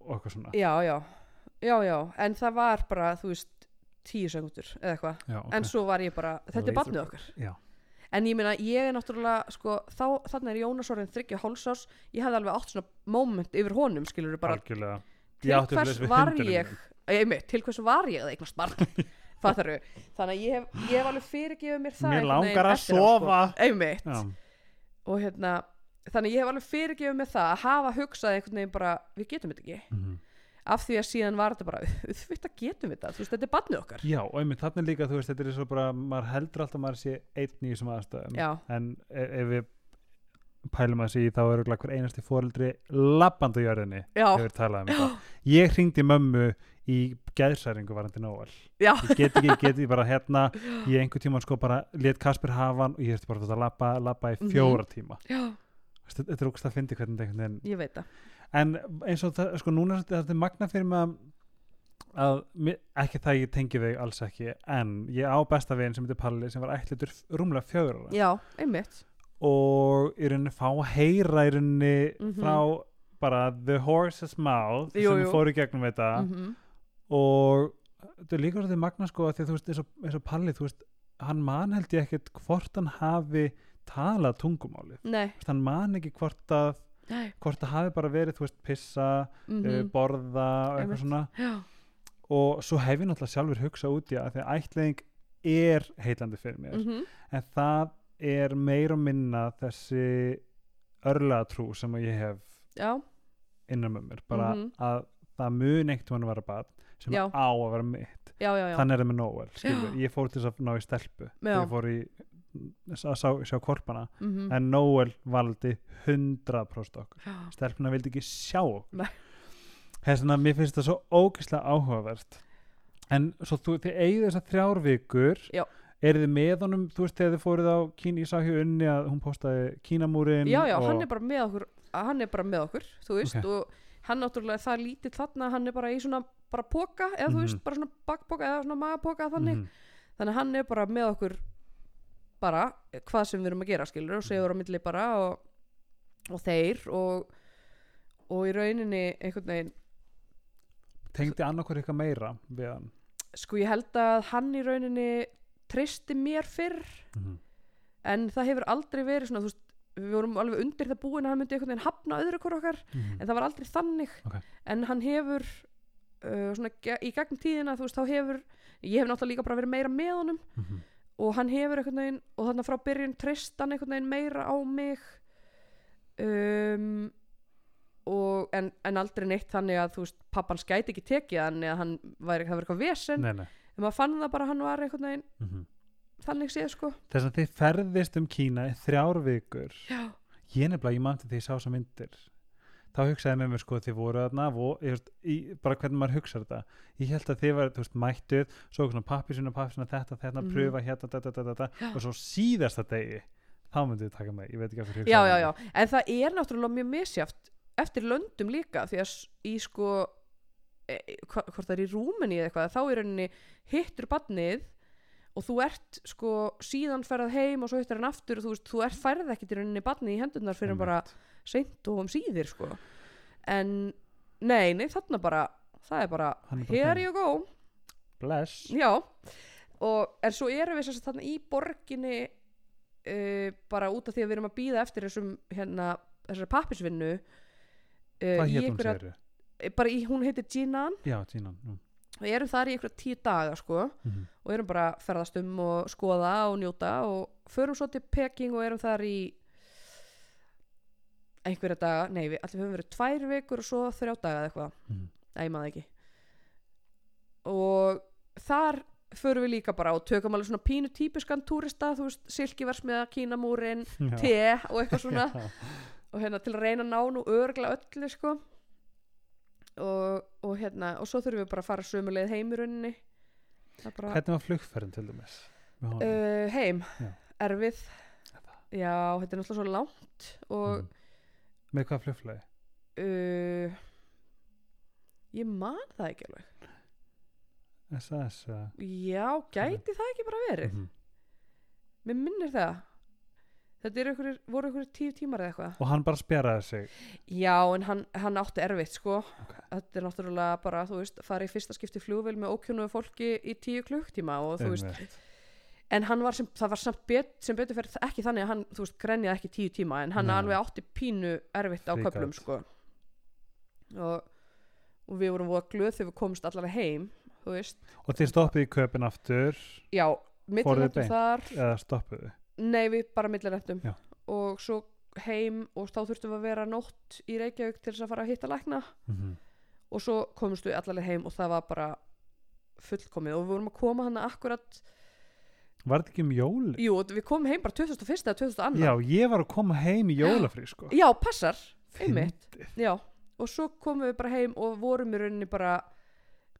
[SPEAKER 1] og eitthvað svona
[SPEAKER 2] Já, já, já, já, en það var bara, þú veist, tíu segundur eða eitthvað.
[SPEAKER 1] Já, ok.
[SPEAKER 2] En svo var ég bara, þetta
[SPEAKER 1] Laser-
[SPEAKER 2] er barnið okkar.
[SPEAKER 1] Já,
[SPEAKER 2] En ég meina, ég er náttúrulega, sko, þá, þannig er Jónas orðin þryggja hálsás, ég hefði alveg átt svona moment yfir honum, skilur bara,
[SPEAKER 1] algjörlega
[SPEAKER 2] til
[SPEAKER 1] Ég átti
[SPEAKER 2] hvers
[SPEAKER 1] svoleiðis við
[SPEAKER 2] var
[SPEAKER 1] hundinum
[SPEAKER 2] ég,
[SPEAKER 1] mínum.
[SPEAKER 2] einmitt, til hvers var ég að eignast barn, fattar þau? Þannig að ég hef, ég hef alveg fyrirgefið mér það.
[SPEAKER 1] Mér
[SPEAKER 2] einhvern veginn
[SPEAKER 1] langar að
[SPEAKER 2] eftir á, sko.
[SPEAKER 1] sofa.
[SPEAKER 2] Einmitt,
[SPEAKER 1] Já,
[SPEAKER 2] og hérna, þannig að ég hef alveg fyrirgefið mér það að hafa hugsað einhvern veginn bara, við getum þetta ekki,
[SPEAKER 1] mhm.
[SPEAKER 2] af því að síðan var þetta bara, auðvitað getum við þetta, þú veist, þetta er barnið okkar.
[SPEAKER 1] Já, og einmitt þarna er líka, þú veist, þetta er svo bara maður heldur alltaf að maður sé einn í þessum aðstæðum
[SPEAKER 2] Já,
[SPEAKER 1] en e- ef við pælum að því þá er örugglega hver einasti foreldri labbandi á jörðinni
[SPEAKER 2] já,
[SPEAKER 1] ef við talaðum um þetta ég hringdi í mömmu í geðsæringu varandi Nóel
[SPEAKER 2] já,
[SPEAKER 1] ég get ekki, ég get ekki bara hérna ég einhver tíma sko bara let Kasper hafa hann og ég ertu bara að labba, labba í
[SPEAKER 2] Mhm.
[SPEAKER 1] fjóra tíma
[SPEAKER 2] já,
[SPEAKER 1] Veist, þetta þetta er ógst að fyndi hvernig þetta einhvern veginn
[SPEAKER 2] ég veit það.
[SPEAKER 1] en eins og það, sko núna er þetta er magna fyrir mig að- að mér- ekki það ég tengi þau alls ekki en ég á besta veginn sem heitir Palli sem var ætlitur rúmlega fjögur ára
[SPEAKER 2] Já, einmitt,
[SPEAKER 1] og í rauninni fá að heyra í rauninni
[SPEAKER 2] Mhm.
[SPEAKER 1] frá bara the horse's mouth
[SPEAKER 2] Jú,
[SPEAKER 1] sem
[SPEAKER 2] jú.
[SPEAKER 1] jú. fór í gegnum þetta
[SPEAKER 2] mm
[SPEAKER 1] og þetta er líka svolítið magna sko af því að þú veist eins og, eins og Palli þú veist hann man held ég ekkert hvort hann hafi talað tungumálið
[SPEAKER 2] nei,
[SPEAKER 1] Þú veist, hann man ekki hvort að
[SPEAKER 2] nei,
[SPEAKER 1] hvort það hafi bara verið, þú veist, pissa
[SPEAKER 2] mhm.
[SPEAKER 1] mm. borða og
[SPEAKER 2] Einmitt.
[SPEAKER 1] eitthvað svona
[SPEAKER 2] Já,
[SPEAKER 1] og svo hef ég náttúrulega sjálfur hugsað út í að því að ætling er heitlandi fyrir mér
[SPEAKER 2] mhm,
[SPEAKER 1] en það er meir og minna þessi örlaðatrú sem ég hef
[SPEAKER 2] já,
[SPEAKER 1] innan með mér bara
[SPEAKER 2] Mhm.
[SPEAKER 1] að það mun eitt mann vera barn sem
[SPEAKER 2] Já.
[SPEAKER 1] á að vera mitt
[SPEAKER 2] já, já, já.
[SPEAKER 1] þannig er það með Noel skilur. ég fór til þess að ná í stelpu
[SPEAKER 2] Já.
[SPEAKER 1] þegar ég fór í að sá, sjá korpana
[SPEAKER 2] Mhm.
[SPEAKER 1] en Noel valdi 100% okkur
[SPEAKER 2] Já.
[SPEAKER 1] stelpuna vildi ekki sjá okkur
[SPEAKER 2] Nei.
[SPEAKER 1] þess að mér finnst það svo ógeðslega áhugavert en svo þú, þið eigið þessar þrjár vikur
[SPEAKER 2] Já.
[SPEAKER 1] Eruð þið með honum, þú veist, þegar þið fóruð á Kína, ég sá hér unni að hún postaði Kínamúrin
[SPEAKER 2] já, já,
[SPEAKER 1] og...
[SPEAKER 2] hann er bara með okkur hann er bara með okkur, þú veist og hann náttúrulega það er lítið þarna hann er bara í svona bara póka, eða þú
[SPEAKER 1] Mhm.
[SPEAKER 2] veist bara svona bakpoka eða svona magapoka þannig,
[SPEAKER 1] Mhm.
[SPEAKER 2] þannig að hann er bara með okkur bara hvað sem við erum að gera skilur og segur á milli bara og, og þeir og, og í rauninni einhvern veginn
[SPEAKER 1] tengdi annarkur eitthvað meira við hann
[SPEAKER 2] sko ég held að hann í rauninni tristi mér fyrr en það hefur aldrei verið svona þú veist, við vorum alveg undir það búin að hann myndi einhvern veginn hafna öðru hvort okkar en það var aldrei þannig
[SPEAKER 1] Ok.
[SPEAKER 2] en hann hefur uh, svona, ge- í gegn tíðina þú veist þá hefur ég hef náttúrulega líka bara verið meira með honum
[SPEAKER 1] Mhm.
[SPEAKER 2] og hann hefur einhvern veginn og þannig frá byrjun trist hann einhvern veginn meira á mig um, og, en, en aldrei neitt þannig að þú veist, pappan skæti ekki tekið hann eða hann væri, það var eitthvað vesen
[SPEAKER 1] nei, nei.
[SPEAKER 2] en maður fann það bara að hann var einhvern veginn
[SPEAKER 1] Mm
[SPEAKER 2] þannig séð sko
[SPEAKER 1] Þess að þið ferðist um Kína í þrjár vikur
[SPEAKER 2] já,
[SPEAKER 1] ég nefnilega, ég mannti því ég sá þess myndir þá hugsaði með mér sko þið voru þarna og, ég, veist, í, bara hvernig maður hugsa þetta ég held að þið var, þú veist, mættuð svo svona pappisuna, pappisuna, þetta, þetta,
[SPEAKER 2] Mhm.
[SPEAKER 1] pröfa hérna, þetta, þetta, þetta, og svo síðasta degi þá myndið þið taka mig, ég veit ekki af hverju ég
[SPEAKER 2] já,
[SPEAKER 1] hugsaði
[SPEAKER 2] já, já,
[SPEAKER 1] þannig.
[SPEAKER 2] en það er náttúrulega mjög misjáft eftir löndum líka því að s- í sko e, hva- hvort það er í Rúmeni eða eitthvað þá í rauninni hittur badnið og þú ert sko síðan ferðað heim og svo hittur hann aftur og þú veist, þú ert færð ekkit í rauninni badnið í hendurnar fyrir bara seint og um síðir sko en nei, nei, þarna bara það er bara,
[SPEAKER 1] Hann er bara
[SPEAKER 2] here
[SPEAKER 1] þarna.
[SPEAKER 2] you go
[SPEAKER 1] bless
[SPEAKER 2] já, og en svo erum við sérst þarna í borginni uh, bara út af því að við erum að býða eftir þessum hérna, þessari pappisvinnu uh,
[SPEAKER 1] hvað hétt hún séru?
[SPEAKER 2] bara í, hún heitir Jinan
[SPEAKER 1] já, Tínan nú.
[SPEAKER 2] og erum þar í einhverja tíu daga sko
[SPEAKER 1] Mhm.
[SPEAKER 2] og erum bara að ferðast um og skoða og njóta og förum svo til Peking og erum þar í einhverja daga, nei við allir höfum verið tvær vikur og svo þrjá daga eða eitthvað
[SPEAKER 1] Mhm.
[SPEAKER 2] nei, maður ekki og þar förum við líka bara og tökum alveg svona pínu típiskan túrista, þú veist, silkiversmiða kínamúrin,
[SPEAKER 1] Já.
[SPEAKER 2] te og eitthvað svona
[SPEAKER 1] Mhm. Já.
[SPEAKER 2] og hérna til að reyna að ná nú örgla öllu sko og, og hérna og svo þurfum við bara að fara sömu leið heim í rauninni Það er bara-
[SPEAKER 1] hvernig var flugferðin til dæmis? Með honum?
[SPEAKER 2] uh, heim,
[SPEAKER 1] Já.
[SPEAKER 2] erfið
[SPEAKER 1] Þetta.
[SPEAKER 2] já, þetta er náttúrulega svo langt og
[SPEAKER 1] Mhm. með hvað flugflagi?
[SPEAKER 2] uh, ég man það ekki alveg
[SPEAKER 1] SS? Uh,
[SPEAKER 2] já, gæti það ekki bara verið
[SPEAKER 1] mhm.
[SPEAKER 2] mér minnir það þetta er einhverjir, voru einhverjir tíu tímar eða eitthvað
[SPEAKER 1] og hann bara spjaraði sig
[SPEAKER 2] já, en hann, hann átti erfitt sko þetta er náttúrulega bara, þú veist, fara í fyrsta skipti flugvél með ókjónuðu fólki í tíu klukktíma og þú veist,
[SPEAKER 1] Einmitt.
[SPEAKER 2] en hann var sem, það var samt bet, sem betur fyrir ekki þannig að hann, þú veist, grenjaði ekki tíu tíma en hann
[SPEAKER 1] Nei.
[SPEAKER 2] alveg átti pínu erfitt á
[SPEAKER 1] Fríkat.
[SPEAKER 2] köflum, sko og, og við vorum voða glöð þegar við komumst allavega heim, þú veist
[SPEAKER 1] og þið stoppið í köpinn aftur
[SPEAKER 2] já, millilendum
[SPEAKER 1] beint?
[SPEAKER 2] þar
[SPEAKER 1] eða stoppuðu
[SPEAKER 2] nei, við bara millilendum
[SPEAKER 1] Já.
[SPEAKER 2] og svo heim og þá þurftum við að vera nótt í Reykjavík til þess að fara að hitta lækna
[SPEAKER 1] mm -hmm.
[SPEAKER 2] og svo komumst við allavega heim og það var bara fullkomið og við vorum að koma hann akkurat,
[SPEAKER 1] var þetta ekki um jóli?
[SPEAKER 2] jú, við komum heim bara 2001 eða 2002
[SPEAKER 1] já, ég var að koma heim í jólafrí sko.
[SPEAKER 2] Já, passar, einmitt
[SPEAKER 1] Fyndið.
[SPEAKER 2] Já, og svo komum við bara heim og vorum í rauninni bara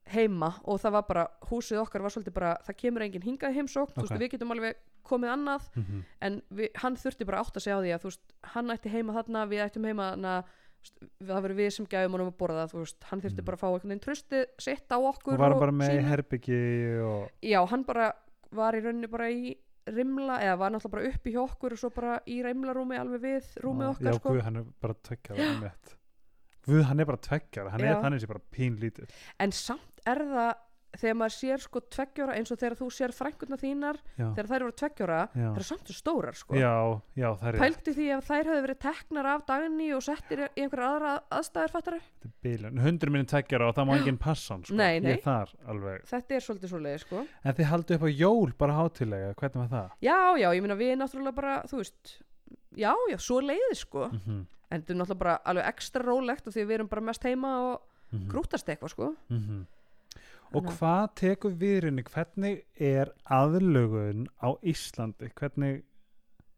[SPEAKER 2] heima og það var bara, húsið okkar var svolítið bara, það kemur enginn hingað í heimsókn þú
[SPEAKER 1] Ok.
[SPEAKER 2] veist, við getum alveg komið annað
[SPEAKER 1] Mhm.
[SPEAKER 2] en við, hann þurfti bara átt að segja á því að þú veist, hann ætti heima þarna, við ættum heima þarna þú veist, það verið við sem gæfum honum að borða þú veist, hann þurfti
[SPEAKER 1] Mhm.
[SPEAKER 2] bara að fá einhvern veginn trösti sitt á okkur
[SPEAKER 1] og var bara með í
[SPEAKER 2] sínu.
[SPEAKER 1] herbyggi og
[SPEAKER 2] Já, hann bara var í rauninni bara í rimla, eða var náttúrulega bara upp í hjá okkur og svo bara í rimlarúmi alveg við rúmið
[SPEAKER 1] og-
[SPEAKER 2] okkar
[SPEAKER 1] já,
[SPEAKER 2] sko.
[SPEAKER 1] Guð, hann er bara tveggjara einmitt Guð, hann er bara tveggjara, hann
[SPEAKER 2] Já.
[SPEAKER 1] er þannig sé bara pínlítill
[SPEAKER 2] en samt er það þegar maður sér sko tveggjóra eins og þegar þú sér frængurna þínar
[SPEAKER 1] já,
[SPEAKER 2] þegar þær voru
[SPEAKER 1] já.
[SPEAKER 2] tveggjóra þær eru samt svo stórar sko
[SPEAKER 1] já, já, það er rétt.
[SPEAKER 2] pældu því að þær hefðu verið teknar af daginni og settir í einhverja aðra aðstæður fattara
[SPEAKER 1] Þetta er bilun. hundur minn er tveggjara og það má enginn passa hann sko.
[SPEAKER 2] Nei, nei.
[SPEAKER 1] ég er þar alveg
[SPEAKER 2] þetta er svolítið svo leið sko
[SPEAKER 1] en þið haldið upp á jól bara hátilega, hvernig var það?
[SPEAKER 2] já já ég meina við náttúrulega bara þú veist já já svo leiði sko
[SPEAKER 1] Mm -hmm.
[SPEAKER 2] en þetta er náttúrulega bara alveg ekstra rólegt og því að við erum bara mest heima og
[SPEAKER 1] Mm
[SPEAKER 2] grútast eitthvað sko
[SPEAKER 1] -hmm. Og
[SPEAKER 2] Þannig að-
[SPEAKER 1] hvað tekur viðrinni, hvernig er aðlögun á Íslandi, hvernig,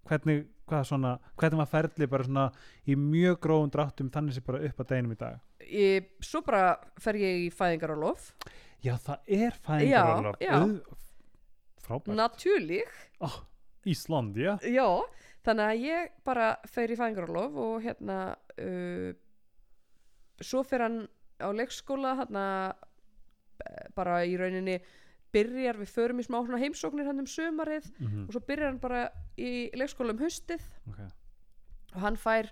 [SPEAKER 1] hvernig, hvað svona, hvernig var ferli bara svona í mjög gróðum dráttum þannig sem bara upp að deginum í dag?
[SPEAKER 2] ég, svo bara fer ég í fæðingar og lof
[SPEAKER 1] Já, það er fæðingarólof,
[SPEAKER 2] Já, já.
[SPEAKER 1] frábært,
[SPEAKER 2] natúrlík
[SPEAKER 1] Ísland, já,
[SPEAKER 2] Já, þannig að ég bara fer í fæðingarólof og hérna uh, svo fer hann á leikskóla hérna eh, bara í rauninni byrjar við förum í smá svona heimsóknir hann um sumarið
[SPEAKER 1] mm
[SPEAKER 2] og svo byrjar hann bara í leikskóla um haustið
[SPEAKER 1] ok,
[SPEAKER 2] og hann fær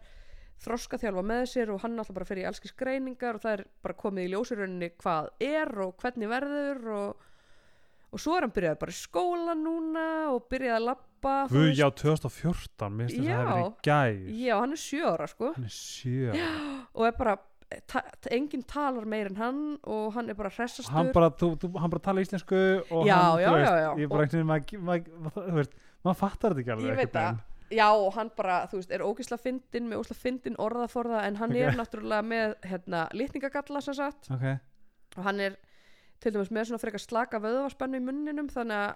[SPEAKER 2] þroska þjálfa með sér og hann alltaf bara fer í allskis greiningar og það er bara komið í ljósirunni hvað er og hvernig verður og, og svo er hann byrjað bara í skóla núna og byrjað að labba þú
[SPEAKER 1] Guð,
[SPEAKER 2] veist.
[SPEAKER 1] já, 2014, mér finnst þess að það hafi verið í gæð,
[SPEAKER 2] Já, hann er sjö ára sko
[SPEAKER 1] hann er sjö, já,
[SPEAKER 2] og er bara, eh, ta ta- enginn talar meir en hann og hann er bara hressastur
[SPEAKER 1] hann bara, þú, þú, hann bara tala íslensku og
[SPEAKER 2] Já,
[SPEAKER 1] hann,
[SPEAKER 2] já,
[SPEAKER 1] þú veist,
[SPEAKER 2] já, já.
[SPEAKER 1] ég bara einhvern veginn maður, maður, maður, maður fattar þetta ekki alveg
[SPEAKER 2] Ég veit
[SPEAKER 1] einhvern
[SPEAKER 2] það.
[SPEAKER 1] veginn.
[SPEAKER 2] já og hann bara, þú veist, er ógisla fyndin með ógisla fyndin orðaforða en hann
[SPEAKER 1] Ok.
[SPEAKER 2] er náttúrulega með hérna litningagalla sem sagt
[SPEAKER 1] ok,
[SPEAKER 2] og hann er til dæmis með svona frekar slaka vöðvarspennu í munninum þannig að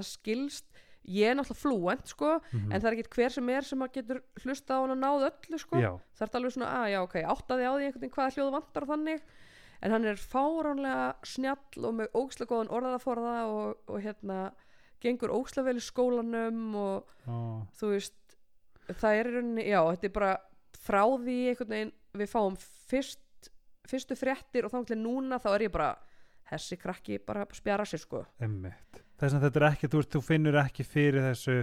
[SPEAKER 2] það skilst ég er náttúrulega flúent sko
[SPEAKER 1] mhm.
[SPEAKER 2] en það er ekki hver sem er sem að getur hlusta á hann og náð öllu sko
[SPEAKER 1] já,
[SPEAKER 2] það er alveg svona að já ok, áttaði á því einhvern veginn hvaða hljóðu vantar og þannig en hann er fáránlega snjall og með ógislega góðan orðaforða og, og hérna gengur ógislega vel í skólanum og
[SPEAKER 1] og,
[SPEAKER 2] þú veist það er í rauninni, já þetta er bara frá því einhvern veginn við fáum fyrst, fyrstu fréttir og þá til núna þá er ég bara þessi krakki bara spjara sér sko
[SPEAKER 1] emmitt þess að þetta er ekki, þú veist, þú finnur ekki fyrir þessu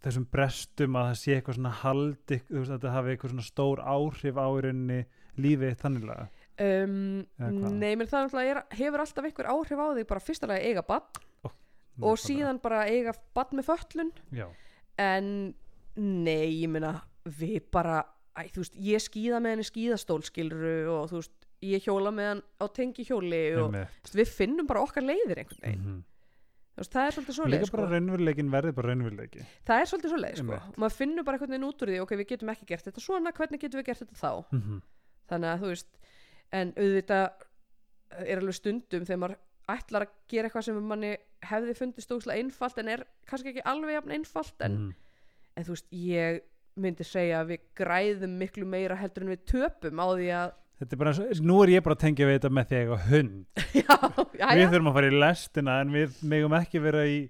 [SPEAKER 1] þessum brestum að það sé eitthvað svona hald þú veist, að þetta hafi eitthvað svona stór áhrif á í rauninni lífið þitt þanniglega
[SPEAKER 2] um,
[SPEAKER 1] Eða hvað?
[SPEAKER 2] nei, menn það náttúrulega er, hefur alltaf einhver áhrif á því bara fyrstulega eiga bann og síðan bara eiga bann með föllun
[SPEAKER 1] já,
[SPEAKER 2] en nei, ég meina við bara, æ, þú veist, ég skýða með henni skýðastól skilru og þú veist ég hjóla með hann á tengi hjóli og
[SPEAKER 1] emmitt
[SPEAKER 2] þú veist, við finnum bara okkar leiðir einhvern veginn þú veist, það er svolítið svoleið
[SPEAKER 1] Mhm. Mm. líka
[SPEAKER 2] sko.
[SPEAKER 1] bara raunveruleikin verði bara raunveruleiki
[SPEAKER 2] það er svolítið svoleið sko.
[SPEAKER 1] Einmitt.
[SPEAKER 2] og maður finnur bara einhvern veginn út úr því ok, við getum ekki gert þetta svona, hvernig getum við gert þetta þá
[SPEAKER 1] Mhm.
[SPEAKER 2] þannig að þú veist en auðvitað eh, er alveg stundum þegar maður ætlar að gera eitthvað sem manni hefði fundist óslega einfalt en er kannski ekki alveg jafn einfalt en,
[SPEAKER 1] Mhm.
[SPEAKER 2] en þú veist, ég myndi segja að við græðum miklu meira heldur en við töpum á því að
[SPEAKER 1] þetta er bara, eins og- nú er ég bara að tengja við þetta með því að ég á hund
[SPEAKER 2] já, já,
[SPEAKER 1] við
[SPEAKER 2] já,
[SPEAKER 1] þurfum að fara í lestina en við megum ekki vera í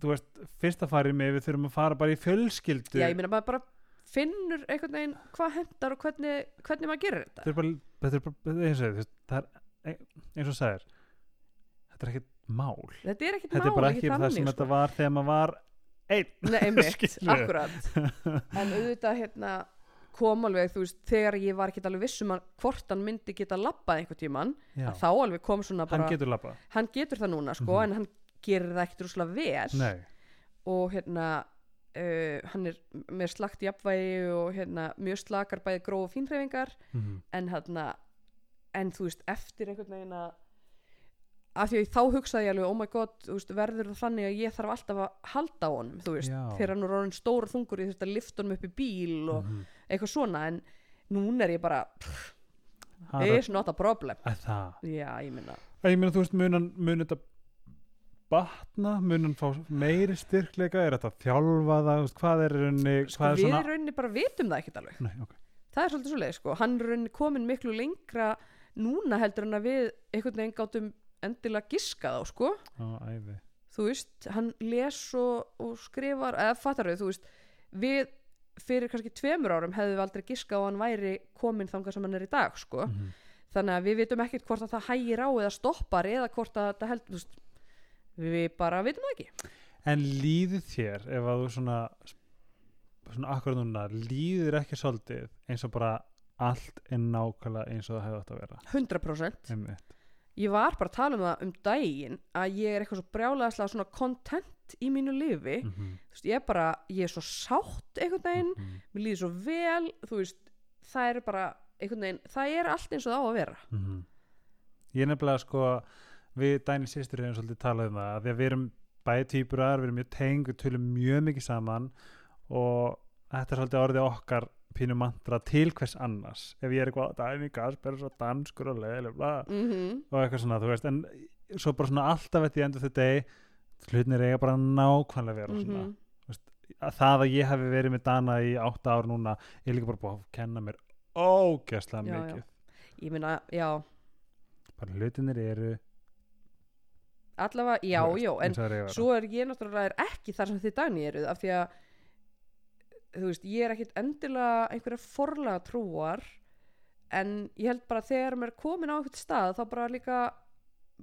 [SPEAKER 1] þú veist, fyrsta farið með við þurfum að fara bara í fjölskyldu
[SPEAKER 2] já, ég meina maður bara finnur einhvern veginn hvað hendar og hvernig, hvernig maður gerir þetta
[SPEAKER 1] þetta er bara, þetta er bara eins og, þetta, það er e, eins og sagðir þetta er ekkert mál
[SPEAKER 2] þetta er ekkert
[SPEAKER 1] þetta er
[SPEAKER 2] mál,
[SPEAKER 1] bara
[SPEAKER 2] ekki
[SPEAKER 1] ekki það
[SPEAKER 2] þannig
[SPEAKER 1] sem
[SPEAKER 2] sko.
[SPEAKER 1] þetta var þegar maður var einn
[SPEAKER 2] Nei, einmitt,
[SPEAKER 1] Skilurðu?
[SPEAKER 2] akkurat En auðvitað hérna kom alveg, þú veist, þegar ég var ekki alveg viss um að hvort hann myndi geta labbað einhvern tíman
[SPEAKER 1] já,
[SPEAKER 2] þá alveg kom svona bara,
[SPEAKER 1] hann getur lappa
[SPEAKER 2] hann getur það núna sko,
[SPEAKER 1] Mhm.
[SPEAKER 2] en hann gerir það ekkert rúslega vel
[SPEAKER 1] nei,
[SPEAKER 2] og hérna uh, hann er með slakt jafnvægi og hérna mjög slakar bæði gróf og fínreifingar
[SPEAKER 1] mm
[SPEAKER 2] en hérna en þú veist, eftir einhvern veginn að af því að þá hugsaði ég alveg, oh my god þú veist, verður það þannig að ég þarf alltaf að halda á honum, þú veist
[SPEAKER 1] já
[SPEAKER 2] þegar hann er orðin stór og þungur ég þurfti að lifta honum upp í bíl og
[SPEAKER 1] Mhm.
[SPEAKER 2] eitthvað svona en núna er ég bara pff,
[SPEAKER 1] Hann er-
[SPEAKER 2] it's not a problem
[SPEAKER 1] að það
[SPEAKER 2] já, ég minna
[SPEAKER 1] Að ég meina, þú veist, munan, mun þetta batna, munan fá meiri styrkleika, er þetta þjálfa það, þú veist, hvað er í rauninni,
[SPEAKER 2] sko,
[SPEAKER 1] hvað er
[SPEAKER 2] við í
[SPEAKER 1] svona
[SPEAKER 2] rauninni bara vitum það ekkert alveg
[SPEAKER 1] Nei, ok,
[SPEAKER 2] það er svolítið svoleið, sko, hann er í rauninni komin miklu lengra núna heldur en að við einhvern veginn gátum endilega giska þá, sko,
[SPEAKER 1] á æfi
[SPEAKER 2] þú veist hann les og, og skrifar eða fattar við, þú veist við fyrir kannski tveimur árum hefðum við aldrei giska og hann væri komin þangað sem hann er í dag, sko
[SPEAKER 1] Mhm.
[SPEAKER 2] þannig að við vitum ekkert hvort að það hægir á eða stoppar eða hvort að það heldur þú veist, við bara vitum það ekki
[SPEAKER 1] En líður þér ef að þú svona svona akkur núna, líður ekki svolítið eins og bara allt er nákvæmlega eins og það hefði átt að vera
[SPEAKER 2] 100%
[SPEAKER 1] einmitt,
[SPEAKER 2] ég var bara að tala um það um daginn að ég er eitthvað svo brjálæðislega svona content í mínu lifi
[SPEAKER 1] mm -hmm.
[SPEAKER 2] þú veist, ég er bara, ég er svo sátt einhvern veginn,
[SPEAKER 1] Mhm. Mm.
[SPEAKER 2] mér líður svo vel þú veist, það er bara einhvern veginn, það er allt eins og það á að vera
[SPEAKER 1] Mhm. Ég er nefnilega sko við Dæni sýstur hefum svolítið talað um það af því að við erum bæði týpurar, við erum mjög teng við tölum mjög mikið saman og þetta er svolítið orðið okkar pínu mantra til hvers annars ef ég er eitthvað Dæni Gasper er svo danskur og leðilega
[SPEAKER 2] mm
[SPEAKER 1] og eitthvað svona þú veist en svo bara svona alltaf þetta í endur þetta hlutinir eiga bara nákvæmlega að vera mm
[SPEAKER 2] Mhm.
[SPEAKER 1] -hmm. svona það að ég hafi verið með Dana í átta ár núna er líka bara búið að kenna mér ógæslega
[SPEAKER 2] Já,
[SPEAKER 1] mikið
[SPEAKER 2] já. ég meina, já,
[SPEAKER 1] bara hlutinir eru
[SPEAKER 2] allavega, já,
[SPEAKER 1] Þú veist,
[SPEAKER 2] já en
[SPEAKER 1] eins og þeir eiga að vera.
[SPEAKER 2] svo er ég náttúrulega er ekki þar sem þið dagni eruð af því að þú veist, ég er ekkit endilega einhverja forlega trúar en ég held bara að þegar maður er komin á einhvern stað þá bara líka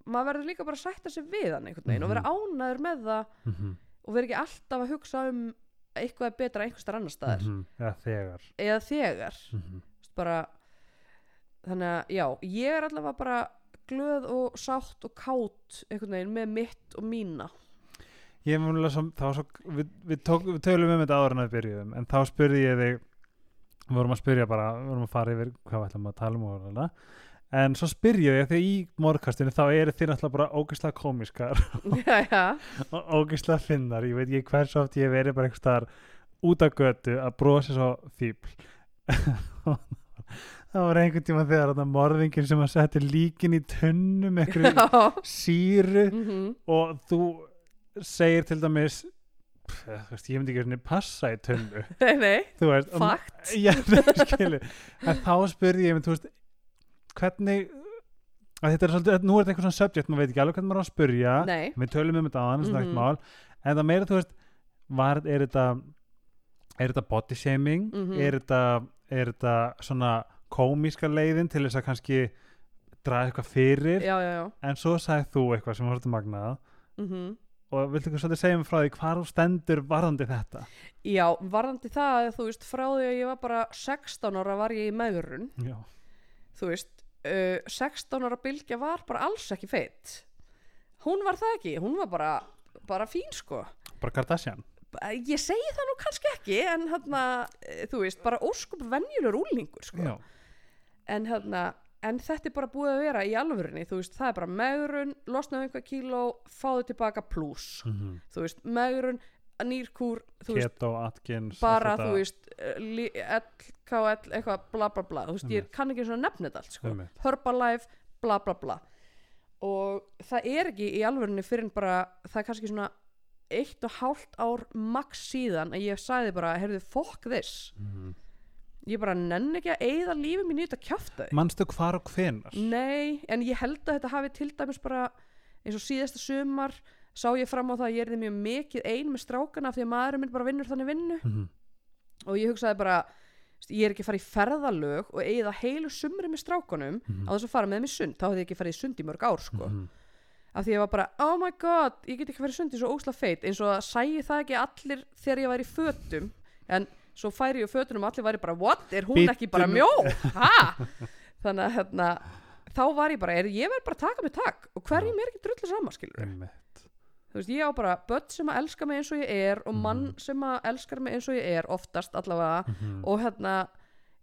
[SPEAKER 2] maður verður líka bara að sætta sig við hann einhvern veginn og vera ánæður með það
[SPEAKER 1] Mhm,
[SPEAKER 2] og vera ekki alltaf að hugsa um að eitthvað er betra einhvers staðar annar staðar
[SPEAKER 1] mhm, eða þegar
[SPEAKER 2] eða þegar
[SPEAKER 1] Mhm,
[SPEAKER 2] Þú veist, bara, þannig að já, ég er allavega bara glöð og sátt og kátt einhvern veginn með mitt og mína
[SPEAKER 1] ég er mjög svo, það var svo við, við, tók, við tölum um þetta áður en að við byrjuðum en þá spurði ég þig við vorum að spyrja bara, við vorum að fara yfir hvað við ætlum að tala um og hana en svo spyrja ég því í morgkastinu þá eru þið náttúrulega bara ógeðslega komískar
[SPEAKER 2] já, já,
[SPEAKER 1] og ógeðslega finnar, ég veit ég hversu oft ég hef verið bara einhvers staðar út af götu að brosa svo fíbl það var einhvern tíma þegar þarna morðingin sem að setja líkin í tunnu með einhverju
[SPEAKER 2] Já.
[SPEAKER 1] síru
[SPEAKER 2] Mhm.
[SPEAKER 1] og þú segir til dæmis pff, þú veist, ég myndi ekki svona passa í tunnu
[SPEAKER 2] Nei, nei,
[SPEAKER 1] þú veist og-
[SPEAKER 2] fakt
[SPEAKER 1] já, skilu en þá spurði ég mig, þú veist hvernig að þetta er svolítið, nú er þetta eitthvað svona subject maður veit ekki alveg hvernig maður á að spurja
[SPEAKER 2] Nei,
[SPEAKER 1] við tölum um þetta á annars mm
[SPEAKER 2] Mhm.
[SPEAKER 1] mál en það meira, þú veist, var, er þetta er þetta body shaming
[SPEAKER 2] Mhm.
[SPEAKER 1] er, þetta, er þetta svona komíska leiðin til þess að kannski draga eitthvað fyrir
[SPEAKER 2] já, já, já
[SPEAKER 1] en svo sagði þú eitthvað sem var svolítið magnað
[SPEAKER 2] mm
[SPEAKER 1] og viltu ekki svolítið segja mér frá því hvar þú stendur varðandi þetta
[SPEAKER 2] Já, varðandi það, þú veist, frá því að ég var bara 16 ára var ég í meðurun
[SPEAKER 1] já,
[SPEAKER 2] þú veist, uh, 16 ára bylgja var bara alls ekki feitt hún var það ekki, hún var bara bara fín sko
[SPEAKER 1] bara Kardashian
[SPEAKER 2] Ba- ég segi það nú kannski ekki en hérna, þú veist, bara óskup venjulur úlingur sko
[SPEAKER 1] já,
[SPEAKER 2] en hérna, en þetta er bara búið að vera í alvörinni, þú veist, það er bara meðurun losnaðu einhver kíló, fáðu tilbaka pluss,
[SPEAKER 1] mm
[SPEAKER 2] þú veist, meðurun nýrkúr, þú veist,
[SPEAKER 1] Keto, Atkins
[SPEAKER 2] bara,
[SPEAKER 1] allt þetta.
[SPEAKER 2] þú veist, eh, li- LKL, eitthvað, bla bla bla, þú veist, ég kann ekki svona nefna þetta allt, sko,
[SPEAKER 1] Einmitt.
[SPEAKER 2] Herbalife, bla bla bla, og það er ekki í alvörinu fyrir en bara, það er kannski svona eitt og hálft ár max síðan að ég sagði bara, heyrðu, fuck this,
[SPEAKER 1] Mhm.
[SPEAKER 2] ég bara nenn ekki að eyða lífi mín í þetta kjáftæði.
[SPEAKER 1] manstu hvar og hvenar
[SPEAKER 2] Nei, en ég held að þetta hafi til dæmis bara eins og síðasta sumar sá ég fram á það að ég erði mjög mikið ein með strákana af því að maðurinn minn bara vinnur þannig vinnu
[SPEAKER 1] Mhm.
[SPEAKER 2] og ég hugsaði bara veist, ég er ekki að fara í ferðalög og eigið að heilu sumri með strákunum á þess að fara með þeim í sund, þá hefði ég ekki farið í sund í mörg ár sko,
[SPEAKER 1] Mhm.
[SPEAKER 2] af því ég var bara oh my god, ég get ekki farið í sund, ég er svo ósla feit eins og að sæi það ekki allir þegar ég væri í fötum en svo færi ég á fötunum og allir væri bara what, er hún
[SPEAKER 1] Bíddu
[SPEAKER 2] ekki bara
[SPEAKER 1] nú.
[SPEAKER 2] mjó ha? þannig að hérna þá var ég bara, er, ég verð bara að taka mig takk og hverjum er ekki drullu sama skilur
[SPEAKER 1] Einmitt.
[SPEAKER 2] þú veist, ég á bara börn sem að elska mig eins og ég er og mann
[SPEAKER 1] Mhm.
[SPEAKER 2] sem að elskar mig eins og ég er oftast allavega
[SPEAKER 1] Mm.
[SPEAKER 2] og hérna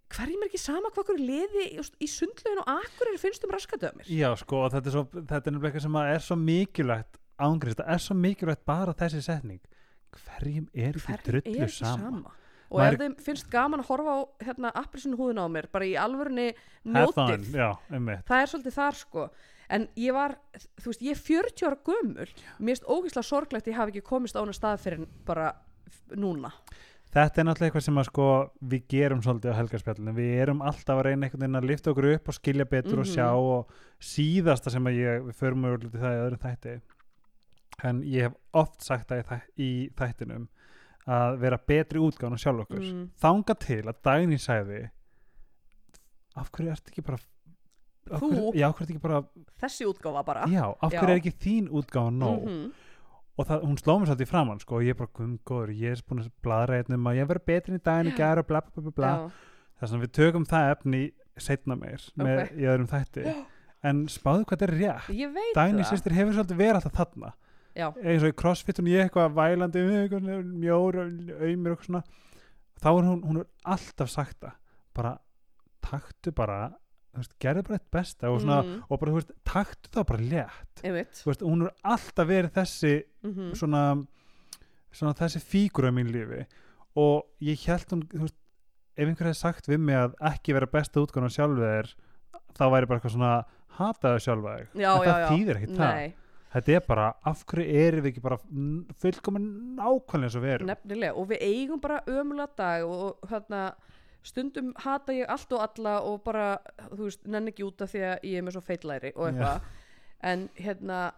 [SPEAKER 2] hverjum er ekki sama hvað hverju liði í, í sundlegin og akkur er finnst um raskatöð mér
[SPEAKER 1] já, sko, og þetta er, svo, þetta er nefnilega eitthvað sem að er svo mikilvægt ángrist, það er svo mikilvægt bara þessi setning hverjum er ekki
[SPEAKER 2] hverjum er
[SPEAKER 1] drullu
[SPEAKER 2] ekki sama,
[SPEAKER 1] sama
[SPEAKER 2] og
[SPEAKER 1] Maður-
[SPEAKER 2] ef þeim finnst gaman að horfa á hérna appelsinu húðin á mér bara í alvörunni
[SPEAKER 1] Have fun,
[SPEAKER 2] nótið
[SPEAKER 1] já, einmitt
[SPEAKER 2] það er svolítið þar sko en ég var, þú veist, ég er 40 ára gömul mér finnst ógeðslega sorglegt að ég hafi ekki komist á hana stað fyrir en bara f- núna
[SPEAKER 1] þetta er náttúrulega eitthvað sem að sko við gerum svolítið á helgarspjallinu, við erum alltaf að reyna einhvern veginn að lifta okkur upp og skilja betur og
[SPEAKER 2] Mhm.
[SPEAKER 1] sjá og síðasta sem að ég við förum mjög lítið það í öðrum þætti en ég hef oft sagt það í, þæ í þættinum að vera betri útgáðan og sjálf okkur
[SPEAKER 2] Mm.
[SPEAKER 1] þanga til að daginn sæði af hverju ertu ekki bara af
[SPEAKER 2] Þú?
[SPEAKER 1] hverju, já, af hverju ertu ekki bara
[SPEAKER 2] þessi útgáfa bara
[SPEAKER 1] já, af
[SPEAKER 2] Já.
[SPEAKER 1] hverju er ekki þín útgáðan nóg
[SPEAKER 2] Mhm.
[SPEAKER 1] og það, hún sló mér svolítið framann sko, og ég bara kumgóður, ég er búin að bladra hérna um að ég verið betri en í daginn í
[SPEAKER 2] Já.
[SPEAKER 1] gæra bla bla bla bla,
[SPEAKER 2] Já.
[SPEAKER 1] þess að við tökum það efni setna meir með
[SPEAKER 2] Ok.
[SPEAKER 1] í öðrum þætti
[SPEAKER 2] Já.
[SPEAKER 1] en spáðu hvað þetta er rétt
[SPEAKER 2] ég veit
[SPEAKER 1] Dagný
[SPEAKER 2] það
[SPEAKER 1] sýstir hefur svolítið verið alltaf þarna
[SPEAKER 2] Já.
[SPEAKER 1] eins og í crossfitun ég eitthvað vælandi "Ugh, eitthvað mjór, auðmur og eitthvað svona þá er hún, hún er alltaf sagt það bara taktu bara þú veist, gerðu bara eitt besta og, svona,
[SPEAKER 2] Mhm.
[SPEAKER 1] og bara þú veist, taktu það bara létt
[SPEAKER 2] einmitt
[SPEAKER 1] þú veist, hún er alltaf verið þessi
[SPEAKER 2] Mhm.
[SPEAKER 1] svona, svona þessi fígura mín lífi og ég held hún þú veist, ef einhver hefði sagt við mig að ekki vera besta útgáðan á sjálfu þér þá væri bara eitthvað svona hataðu sjálfa þig
[SPEAKER 2] Já,
[SPEAKER 1] en
[SPEAKER 2] já,
[SPEAKER 1] það
[SPEAKER 2] já.
[SPEAKER 1] þýðir ekki það
[SPEAKER 2] Nei,
[SPEAKER 1] þetta er bara, af hverju erum við ekki bara fullkomin nákvæmlega eins og við erum
[SPEAKER 2] nefnilega og við eigum bara ömulega dag og, og hérna stundum hata ég allt og alla og bara, þú veist, nenn ekki út af því að ég er með svo feitlæri og eitthvað en hérna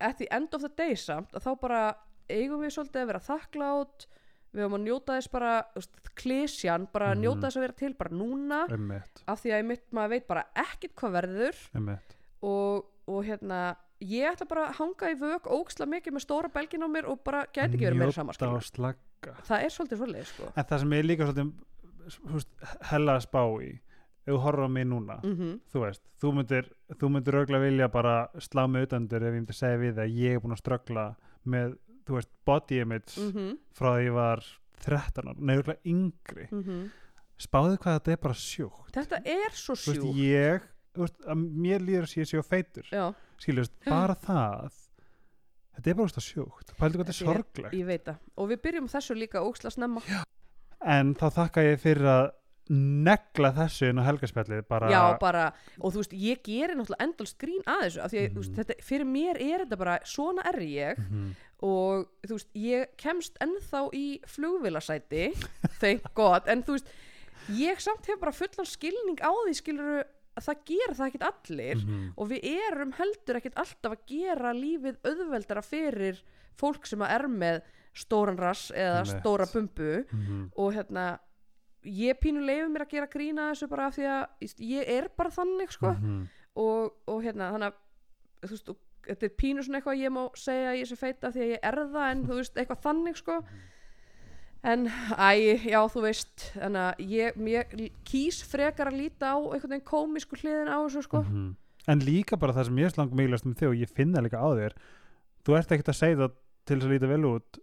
[SPEAKER 2] at the end of the day samt að þá bara eigum við svolítið að vera þakklátt við höfum að njóta þess bara þú veist, klísjan, bara
[SPEAKER 1] Mhm.
[SPEAKER 2] njóta þess að vera til bara núna
[SPEAKER 1] ummitt,
[SPEAKER 2] af því að ég mitt maður veit bara ekkit hvað verður
[SPEAKER 1] ummitt
[SPEAKER 2] og, og hérna ég ætla bara að hanga í vök óksla mikið með stóra belgin á mér og bara gæti ekki verið meira saman skilur.
[SPEAKER 1] slag...
[SPEAKER 2] það er svolítið svolítið sko.
[SPEAKER 1] en það sem ég er líka svolítið þú veist, hella að spá í ef þú horfður á mig núna
[SPEAKER 2] mm
[SPEAKER 1] þú veist, þú myndir, þú myndir örgla vilja bara slá mig utandur ef ég myndi segja við að ég er búin að ströggla með, þú veist, body image
[SPEAKER 2] Mhm.
[SPEAKER 1] frá því ég var 13 ára, neður örgla
[SPEAKER 2] Mhm.
[SPEAKER 1] yngri spáðu hvað þetta er bara sjúkt
[SPEAKER 2] þetta er svo
[SPEAKER 1] þú veist,
[SPEAKER 2] sjúk
[SPEAKER 1] ég,
[SPEAKER 2] Eh.
[SPEAKER 1] þú veist, að mér líður að sé ég sé á feitur
[SPEAKER 2] já,
[SPEAKER 1] skiljast, bara það þetta er bara óslega sjókt pældu hvað þetta er
[SPEAKER 2] Þetta er-
[SPEAKER 1] sorglegt
[SPEAKER 2] ég veit það og við byrjum á þessu líka óksla snemma
[SPEAKER 1] en þá þakka ég fyrir að negla þessu inn á helgaspjallið bara,
[SPEAKER 2] já bara og þú veist ég gerir náttúrulega endalst grín að þessu af því að þú veist,
[SPEAKER 1] Mhm.
[SPEAKER 2] þetta, fyrir mér er þetta bara svona er ég
[SPEAKER 1] Mhm.
[SPEAKER 2] og þú veist ég kemst ennþá í flugvilasæti thank god en þú veist ég samt hef bara fullan skilning á því skilur að það gera það ekkit allir
[SPEAKER 1] Mhm.
[SPEAKER 2] og við erum heldur ekkit alltaf að gera lífið auðveldara fyrir fólk sem að er með stóran rass eða
[SPEAKER 1] Einmitt.
[SPEAKER 2] stóra bumbu
[SPEAKER 1] Mhm.
[SPEAKER 2] og hérna ég pínu leiði mér að gera grína þessu bara af því að þú veist, ég er bara þannig sko
[SPEAKER 1] Mhm.
[SPEAKER 2] og, og hérna þannig að þú veist, og, þetta er pínu svona eitthvað ég má segja að ég sé feita af því að ég er það en þú veist eitthvað þannig sko en æ, já þú veist þannig að ég, ég kýs frekar að líta á einhvern veginn komisku hliðin á þessu sko
[SPEAKER 1] Mhm. en líka bara það sem ég slang mikilvægast um þig og ég finna líka á þér þú ert ekkert að segja það til þess að líta vel út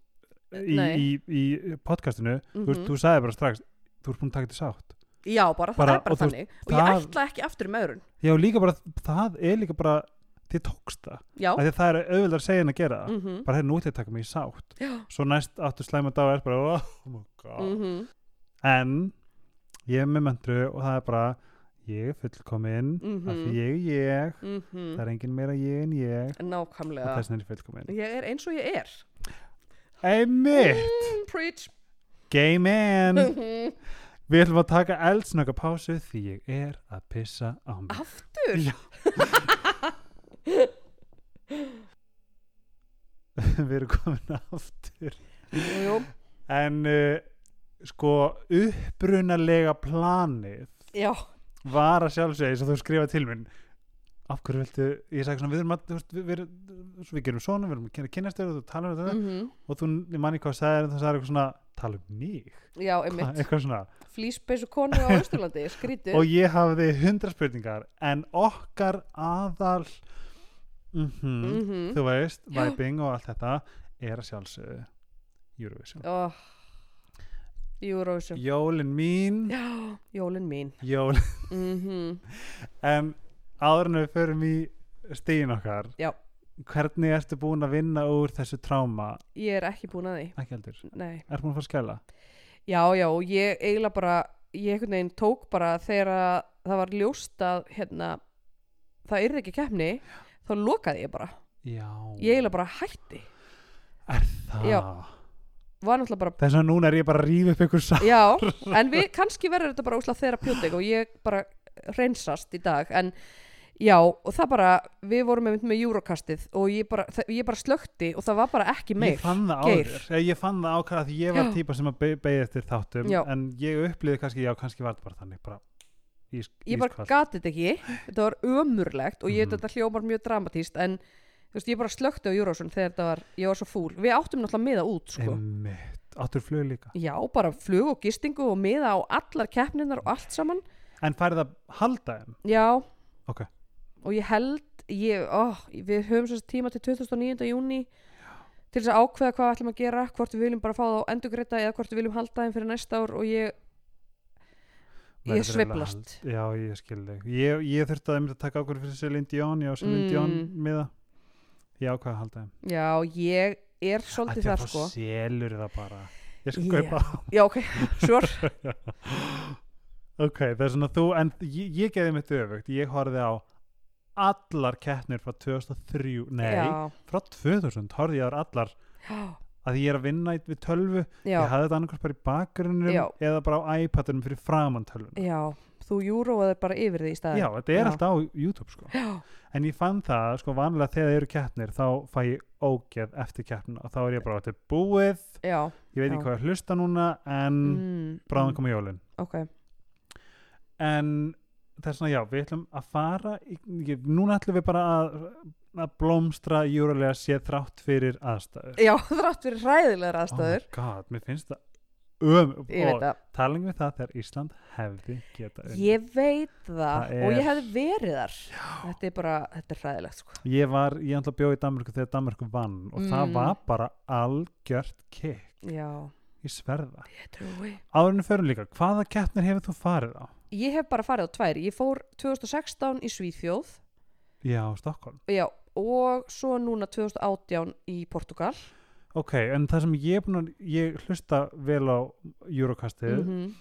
[SPEAKER 1] í,
[SPEAKER 2] Nei.
[SPEAKER 1] í, í podcastinu Mm. þú, veist,
[SPEAKER 2] Mhm.
[SPEAKER 1] þú sagði bara strax þú ert búin að taka þetta í sátt
[SPEAKER 2] Já, bara,
[SPEAKER 1] Bara-
[SPEAKER 2] það er bara
[SPEAKER 1] og þú
[SPEAKER 2] þannig og ég
[SPEAKER 1] það-
[SPEAKER 2] ætla ekki aftur í maðurinn
[SPEAKER 1] já líka bara það er líka bara þið tókst það
[SPEAKER 2] Já,
[SPEAKER 1] af því að það er auðvitað að segja en að gera það
[SPEAKER 2] mm -hmm.
[SPEAKER 1] bara hérna út að taka mig í sátt
[SPEAKER 2] Já. Mm.
[SPEAKER 1] svo næst áttu slæma dag og er bara oh my god
[SPEAKER 2] mhm,
[SPEAKER 1] en ég er með möndru og það er bara ég er fullkomin
[SPEAKER 2] Mhm. Mm.
[SPEAKER 1] af því ég er ég það er engin meira ég en ég og
[SPEAKER 2] nákvæmlega
[SPEAKER 1] þess vegna er ég fullkomin
[SPEAKER 2] Ég er eins og ég er
[SPEAKER 1] einmitt,
[SPEAKER 2] mm, Preach
[SPEAKER 1] game in
[SPEAKER 2] Mhm.
[SPEAKER 1] við ætlum að taka eldsnöka pásu því ég er að pissa á
[SPEAKER 2] Ah.
[SPEAKER 1] mig
[SPEAKER 2] Aftur
[SPEAKER 1] Já. við erum komin aftur
[SPEAKER 2] Jú, jú.
[SPEAKER 1] en uh, sko upprunalega planið
[SPEAKER 2] Já,
[SPEAKER 1] var að sjálfsögja eins og þú skrifa til minn af hverju viltu, ég sagði svona við erum að, þú veist, við, við, við, við gerum svona við erum að kynna- kynnast þér og þú talar um þetta
[SPEAKER 2] mhm.
[SPEAKER 1] og þú, ég manni hvað sagði en þú sagði eitthvað svona tala um mig,
[SPEAKER 2] já
[SPEAKER 1] Hvað,
[SPEAKER 2] einmitt
[SPEAKER 1] eitthvað svona
[SPEAKER 2] Flýsbeis og konu á Östurlandi, skrítið
[SPEAKER 1] og ég hafði hundra spurningar en okkar aðal mhm,
[SPEAKER 2] Mhm.
[SPEAKER 1] þú veist,
[SPEAKER 2] Já.
[SPEAKER 1] viping og allt þetta er að sjálfsögðu Eurovision
[SPEAKER 2] oh. Eurovision
[SPEAKER 1] Jólin mín,
[SPEAKER 2] Já, jólin mín
[SPEAKER 1] jólin
[SPEAKER 2] mhm.
[SPEAKER 1] en áður en við förum í stíðin okkar
[SPEAKER 2] Já.
[SPEAKER 1] hvernig ertu búin að vinna úr þessu tráma
[SPEAKER 2] Ég er ekki búin að því
[SPEAKER 1] ekki heldur,
[SPEAKER 2] Nei
[SPEAKER 1] er búin að fara að skæla
[SPEAKER 2] Já, já, og ég eiginlega bara, ég einhvern veginn tók bara þegar að það var ljóst að hérna, það yrði ekki keppni, þá lokaði ég bara.
[SPEAKER 1] já,
[SPEAKER 2] Ég eiginlega bara hætti.
[SPEAKER 1] er það
[SPEAKER 2] Já. Var náttúrulega bara,
[SPEAKER 1] þess að núna er ég bara að rífa upp ykkur sá
[SPEAKER 2] já, en við, kannski verður þetta bara úslega þerapjótik og ég bara reynsast í dag, en já, og það bara, við vorum einmitt með júrokastið og ég bara, það, ég bara slökti og það var bara ekki meir.
[SPEAKER 1] ég fann það á
[SPEAKER 2] Geir.
[SPEAKER 1] þér, Ég- ég fann það á hvað því ég var
[SPEAKER 2] Já.
[SPEAKER 1] típa sem að be- beigja eftir þáttum
[SPEAKER 2] Já.
[SPEAKER 1] en ég upplýði kannski, já kannski var þetta bara þannig bara ís,
[SPEAKER 2] ég bara
[SPEAKER 1] ískalt.
[SPEAKER 2] gati þetta ekki þetta var ömurlegt og ég
[SPEAKER 1] Mhm.
[SPEAKER 2] veit að þetta hljómar mjög dramatíst en þú veist, ég bara slökkti á Júrósson þegar þetta var, ég var svo fúl við áttum náttúrulega miða út sko.
[SPEAKER 1] Einmitt, áttur flug líka
[SPEAKER 2] já, bara flug og gistingu og miða á allar keppninar og allt saman
[SPEAKER 1] en færið að halda þeim
[SPEAKER 2] já,
[SPEAKER 1] Ok.
[SPEAKER 2] og ég held ég, ó, við höfum þess tíma til 29. júni til þess að ákveða hvað við ætlum að gera hvort við viljum bara fá það á endugreita eða hvort við viljum halda þeim fyrir næsta ár og ég
[SPEAKER 1] Verður
[SPEAKER 2] ég
[SPEAKER 1] eiginlega
[SPEAKER 2] sveiflast
[SPEAKER 1] hald- já ég skil þig ég, ég þurfti að, einmitt að taka ákvörð fyrir Celine Dion já Celine Dion
[SPEAKER 2] Mm.
[SPEAKER 1] miða ég ákvað að halda þeim
[SPEAKER 2] já, ég er svolítið
[SPEAKER 1] Ætli að
[SPEAKER 2] þar
[SPEAKER 1] fá
[SPEAKER 2] sko
[SPEAKER 1] selur það bara ég skal
[SPEAKER 2] Já.
[SPEAKER 1] kaupa
[SPEAKER 2] já, ok, sure
[SPEAKER 1] ok, það er svona þú en ég, ég geði mitt öfugt, ég horfði á allar keppnir frá 2003 nei,
[SPEAKER 2] já,
[SPEAKER 1] frá 2000 horfði ég á þær allar
[SPEAKER 2] já
[SPEAKER 1] að ég er að vinna í- við tölvu
[SPEAKER 2] Já,
[SPEAKER 1] ég hafði þetta annarkvæmst bara í bakgrunum
[SPEAKER 2] Já.
[SPEAKER 1] eða bara á iPadunum fyrir framan tölvuna
[SPEAKER 2] já, þú júróaði bara yfir því í staðin.
[SPEAKER 1] já, þetta er
[SPEAKER 2] Já.
[SPEAKER 1] alltaf á YouTube sko
[SPEAKER 2] Já,
[SPEAKER 1] en ég fann það, sko vanlega þegar það eru keppnir þá fæ ég ógeð eftir keppnina og þá er ég bara þetta er búið
[SPEAKER 2] já.
[SPEAKER 1] ég veit ekki
[SPEAKER 2] Já.
[SPEAKER 1] hvað ég er að hlusta núna en
[SPEAKER 2] Mm.
[SPEAKER 1] bráðan koma jólin
[SPEAKER 2] Ok,
[SPEAKER 1] en þess vegna já, við ætlum að fara í, ég, núna ætlum við bara að, að blómstra júrulega séð þrátt fyrir aðstæður
[SPEAKER 2] já, þrátt fyrir ræðilegar aðstæður.
[SPEAKER 1] oh my god, mér finnst það um,
[SPEAKER 2] ég veit
[SPEAKER 1] og
[SPEAKER 2] það.
[SPEAKER 1] talingu við það þegar Ísland hefði geta unnið.
[SPEAKER 2] Ég veit það,
[SPEAKER 1] Það
[SPEAKER 2] og
[SPEAKER 1] er-
[SPEAKER 2] ég hefði verið þar. Já. Þetta er bara, þetta er ræðilegt, sko.
[SPEAKER 1] ég var, ég ætla að bjóða í Danmörku þegar Danmörku vann og
[SPEAKER 2] Mm.
[SPEAKER 1] það var bara algjört kick,
[SPEAKER 2] Já,
[SPEAKER 1] ég sverða
[SPEAKER 2] ég trúi.
[SPEAKER 1] áður en förum líka, hvaða keppnir hefur þú farið á?
[SPEAKER 2] Ég hef bara farið á tvær. Ég fór 2016 í Svíþjóð,
[SPEAKER 1] Já, Stockholm
[SPEAKER 2] já, og svo núna 2018 í Portugal
[SPEAKER 1] ok, en það sem ég er búin að ég hlusta vel á Eurocastið
[SPEAKER 2] -hmm.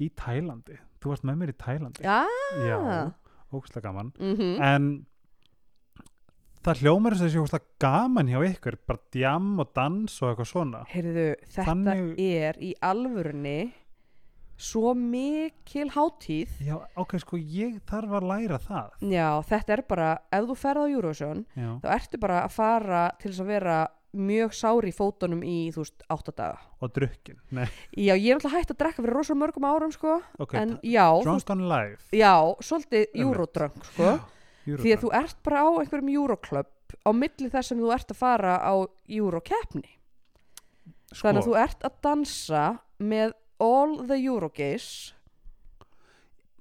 [SPEAKER 1] í Tælandi þú varst með mér í Tælandi
[SPEAKER 2] Já,
[SPEAKER 1] já ógustlega gaman
[SPEAKER 2] mm
[SPEAKER 1] en það hljómar þess að sé ógustlega gaman hjá ykkur bara djam og dans og eitthvað svona
[SPEAKER 2] Heyrðu, þetta
[SPEAKER 1] Þannig-
[SPEAKER 2] er í alvörunni svo mikil hátíð
[SPEAKER 1] já, ok, sko ég þarf að læra það
[SPEAKER 2] Já, þetta er bara, ef þú ferð á Eurovision
[SPEAKER 1] já,
[SPEAKER 2] þá ertu bara að fara til þess að vera mjög sári í fótunum í, þú veist, áttadaga
[SPEAKER 1] og drukkin Nei,
[SPEAKER 2] Já, ég er alltaf hægt að drekka fyrir rosa mörgum árum, sko
[SPEAKER 1] ok,
[SPEAKER 2] en
[SPEAKER 1] en,
[SPEAKER 2] já, þú,
[SPEAKER 1] Drunk on Life
[SPEAKER 2] já, svolítið
[SPEAKER 1] Einmitt.
[SPEAKER 2] eurodrunk, sko því að þú ert bara á einhverjum euroclub á milli þess sem þú ert að fara á eurokeppni
[SPEAKER 1] sko,
[SPEAKER 2] þannig að þú ert að dansa með all the eurogays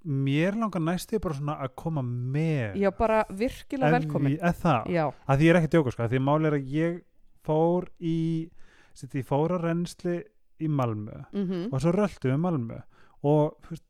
[SPEAKER 1] mér langar næstu bara svona að koma með
[SPEAKER 2] já bara virkilega velkomin
[SPEAKER 1] eða það,
[SPEAKER 2] já,
[SPEAKER 1] að því ég er ekki að djóka sko, að því máli er að ég fór í sitt, ég fór á reynsli í Malmö
[SPEAKER 2] mhm,
[SPEAKER 1] og svo röldu við Malmö og þú veist,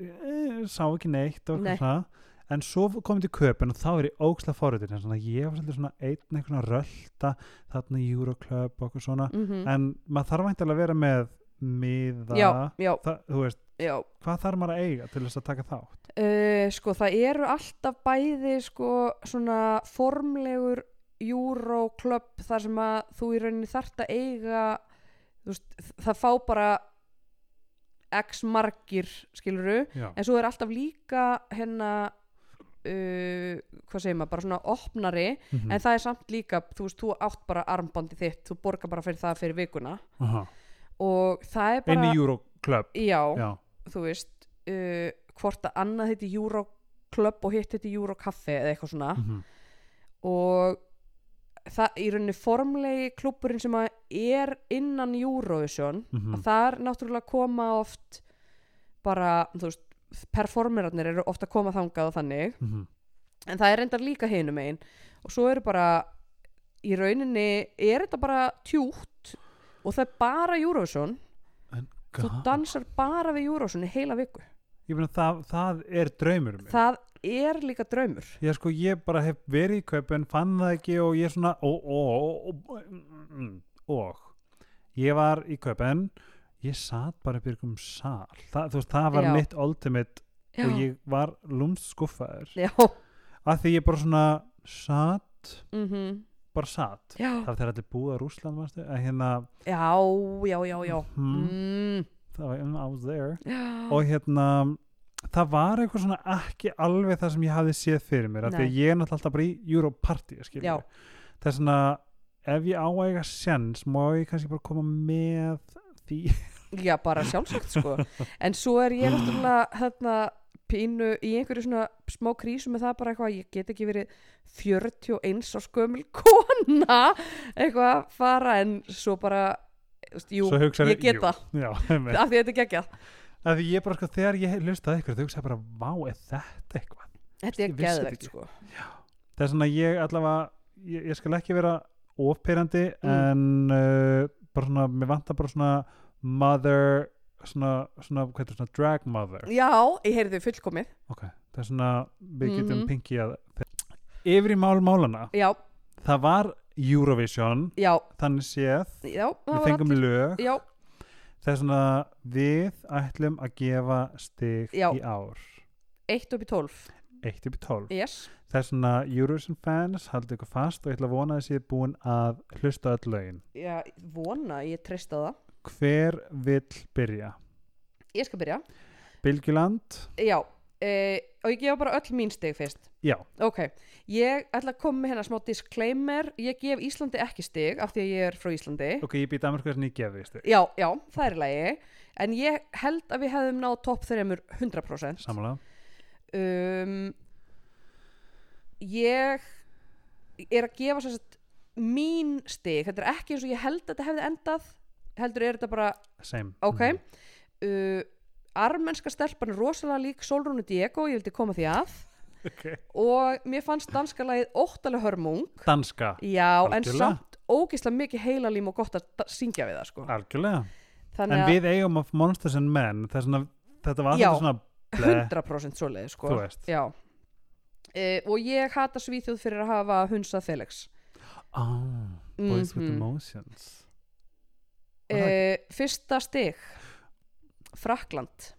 [SPEAKER 1] ég- ég sá ekki neitt og
[SPEAKER 2] Nei.
[SPEAKER 1] eitthvað svona en svo komið til köpun og þá er ég ókslega forröðin þannig að ég var svolítið svona einn eitthvað svona rölda þarna í Euroclub og eitthvað svona
[SPEAKER 2] mhm.
[SPEAKER 1] en maður þarf væntanlega að vera með miða
[SPEAKER 2] já, já,
[SPEAKER 1] það, þú veist,
[SPEAKER 2] já
[SPEAKER 1] hvað þarf maður að eiga til þess að taka þátt
[SPEAKER 2] uh, sko það eru alltaf bæði sko svona formlegur euroclub þar sem að þú í rauninni þarft að eiga þú veist, það fá bara x margir skiluru
[SPEAKER 1] já,
[SPEAKER 2] en svo er alltaf líka hérna uh, hvað segir maður, bara svona opnari
[SPEAKER 1] mhm,
[SPEAKER 2] en það er samt líka, þú veist, þú átt bara armbandi þitt, þú borgar bara fyrir það fyrir vikuna
[SPEAKER 1] aha.
[SPEAKER 2] og það er
[SPEAKER 1] inn
[SPEAKER 2] bara
[SPEAKER 1] í Euroclub
[SPEAKER 2] já,
[SPEAKER 1] já,
[SPEAKER 2] þú veist uh, hvort að annað heiti Euroclub og hitt heiti Eurocafé eða eitthvað svona
[SPEAKER 1] mhm,
[SPEAKER 2] og það í rauninni formlegi klúpurinn sem að er innan Eurovision
[SPEAKER 1] mhm,
[SPEAKER 2] að þar náttúrulega koma oft bara, þú veist, performerarnir eru ofta að koma þangað og þannig
[SPEAKER 1] mhm.
[SPEAKER 2] en það er reyndar líka hinum einn og svo eru bara í rauninni er þetta bara tjútt og það er bara Eurovision þú
[SPEAKER 1] Ga-
[SPEAKER 2] dansar bara við Eurovision í heila viku
[SPEAKER 1] ég meina það, það er draumur minn
[SPEAKER 2] það er líka draumur
[SPEAKER 1] ég sko ég bara hef verið í kaupin fann það ekki og ég svona og, og, og, mm, og, og ég var í kaupin ég satt bara upp í ykkur sal það, þú veist það var
[SPEAKER 2] Já.
[SPEAKER 1] mitt ultimate
[SPEAKER 2] já,
[SPEAKER 1] og ég var lúmst skuffaður
[SPEAKER 2] já.
[SPEAKER 1] að því ég bara svona satt
[SPEAKER 2] Mm
[SPEAKER 1] bara satt
[SPEAKER 2] já.
[SPEAKER 1] það var þegar allir búið að Rússland varstu að hérna
[SPEAKER 2] já já, já, já
[SPEAKER 1] hmm,
[SPEAKER 2] mm. Ah.
[SPEAKER 1] það var I was there
[SPEAKER 2] já.
[SPEAKER 1] og hérna það var eitthvað svona ekki alveg það sem ég hafði séð fyrir mér af því að
[SPEAKER 2] Nei.
[SPEAKER 1] ég er náttúrulega alltaf bara í Europarty skilur
[SPEAKER 2] Já.
[SPEAKER 1] við. það er svona ef ég á að eiga sens má ég kannski bara koma með því
[SPEAKER 2] já, bara sjálfsagt sko en svo er ég náttúrulega hérna, pínu í einhverju svona smá krísu með það bara eitthvað, ég get ekki verið 41 árs gömul kona eitthvað að fara en svo bara, þú veist, jú
[SPEAKER 1] svo hugsaði
[SPEAKER 2] ég get það,
[SPEAKER 1] já, einmitt.
[SPEAKER 2] af því þetta er geggjað
[SPEAKER 1] af því ég bara sko þegar ég lustaði ykkur þau hugsaði bara vá er þetta eitthvað
[SPEAKER 2] þetta er
[SPEAKER 1] Ég vissi þetta
[SPEAKER 2] geðvegt
[SPEAKER 1] ekki.
[SPEAKER 2] sko
[SPEAKER 1] það er svona ég allavega ég, ég skal ekki vera ofperandi
[SPEAKER 2] Mm.
[SPEAKER 1] en uh, bara svona mér vantar bara svona mother svona, svona, hvað heitir, svona drag mother
[SPEAKER 2] já, ég heyrði þau fullkomið
[SPEAKER 1] ok, það er svona við getum mm
[SPEAKER 2] Mhm.
[SPEAKER 1] að yfir í mál málana
[SPEAKER 2] já,
[SPEAKER 1] það var Eurovision
[SPEAKER 2] já,
[SPEAKER 1] þannig séð,
[SPEAKER 2] já, það
[SPEAKER 1] við
[SPEAKER 2] var
[SPEAKER 1] fengum
[SPEAKER 2] allir-
[SPEAKER 1] lög
[SPEAKER 2] já,
[SPEAKER 1] það er svona við ætlum að gefa stig
[SPEAKER 2] Já.
[SPEAKER 1] í ár
[SPEAKER 2] 1 upp í 12
[SPEAKER 1] 1 upp í 12
[SPEAKER 2] yes.
[SPEAKER 1] það er svona Eurovision fans haldið ykkur fast og ég ætla að vona að þessi búin að hlusta öll lögin
[SPEAKER 2] Já, vona, ég treysta það
[SPEAKER 1] hver vill byrja?
[SPEAKER 2] Ég skal byrja
[SPEAKER 1] Bilgjuland?
[SPEAKER 2] Já, e, og ég gefa bara öll mín stig fyrst
[SPEAKER 1] Já,
[SPEAKER 2] Ok, ég ætla að koma með hérna smá disclaimer Ég gef Íslandi ekki stig af því að ég er frá Íslandi
[SPEAKER 1] ok, ég hérna býta að mér hvað sem ég gefi stig
[SPEAKER 2] Já, já, það er í lagi En ég held að við hefðum náð topp 3 100%
[SPEAKER 1] samanlega,
[SPEAKER 2] um, Ég er að gefa sér satt mín stig Þetta er ekki eins og ég held að þetta hefði endað Heldur er þetta bara
[SPEAKER 1] same
[SPEAKER 2] ok
[SPEAKER 1] Mhm.
[SPEAKER 2] uh, armenska stelpan er rosalega lík Solrúnu Diego, ég vildi koma því að
[SPEAKER 1] Ok.
[SPEAKER 2] og mér fannst danska lagið óttalega hörmung
[SPEAKER 1] Danska,
[SPEAKER 2] já, en
[SPEAKER 1] Algjörlega.
[SPEAKER 2] samt ógislega mikið heilalím og gott að da- syngja við það sko.
[SPEAKER 1] algjörlega En
[SPEAKER 2] þannig að
[SPEAKER 1] við eigum of Monsters and Men það er svona, þetta var
[SPEAKER 2] Já.
[SPEAKER 1] alltaf svona ble,
[SPEAKER 2] 100% svoleið sko.
[SPEAKER 1] þú veist
[SPEAKER 2] já uh, og ég hata Svíþjóð fyrir að hafa hunsað Felix
[SPEAKER 1] ah, Boys with
[SPEAKER 2] Mhm.
[SPEAKER 1] Emotions
[SPEAKER 2] uh, fyrsta stig Frakland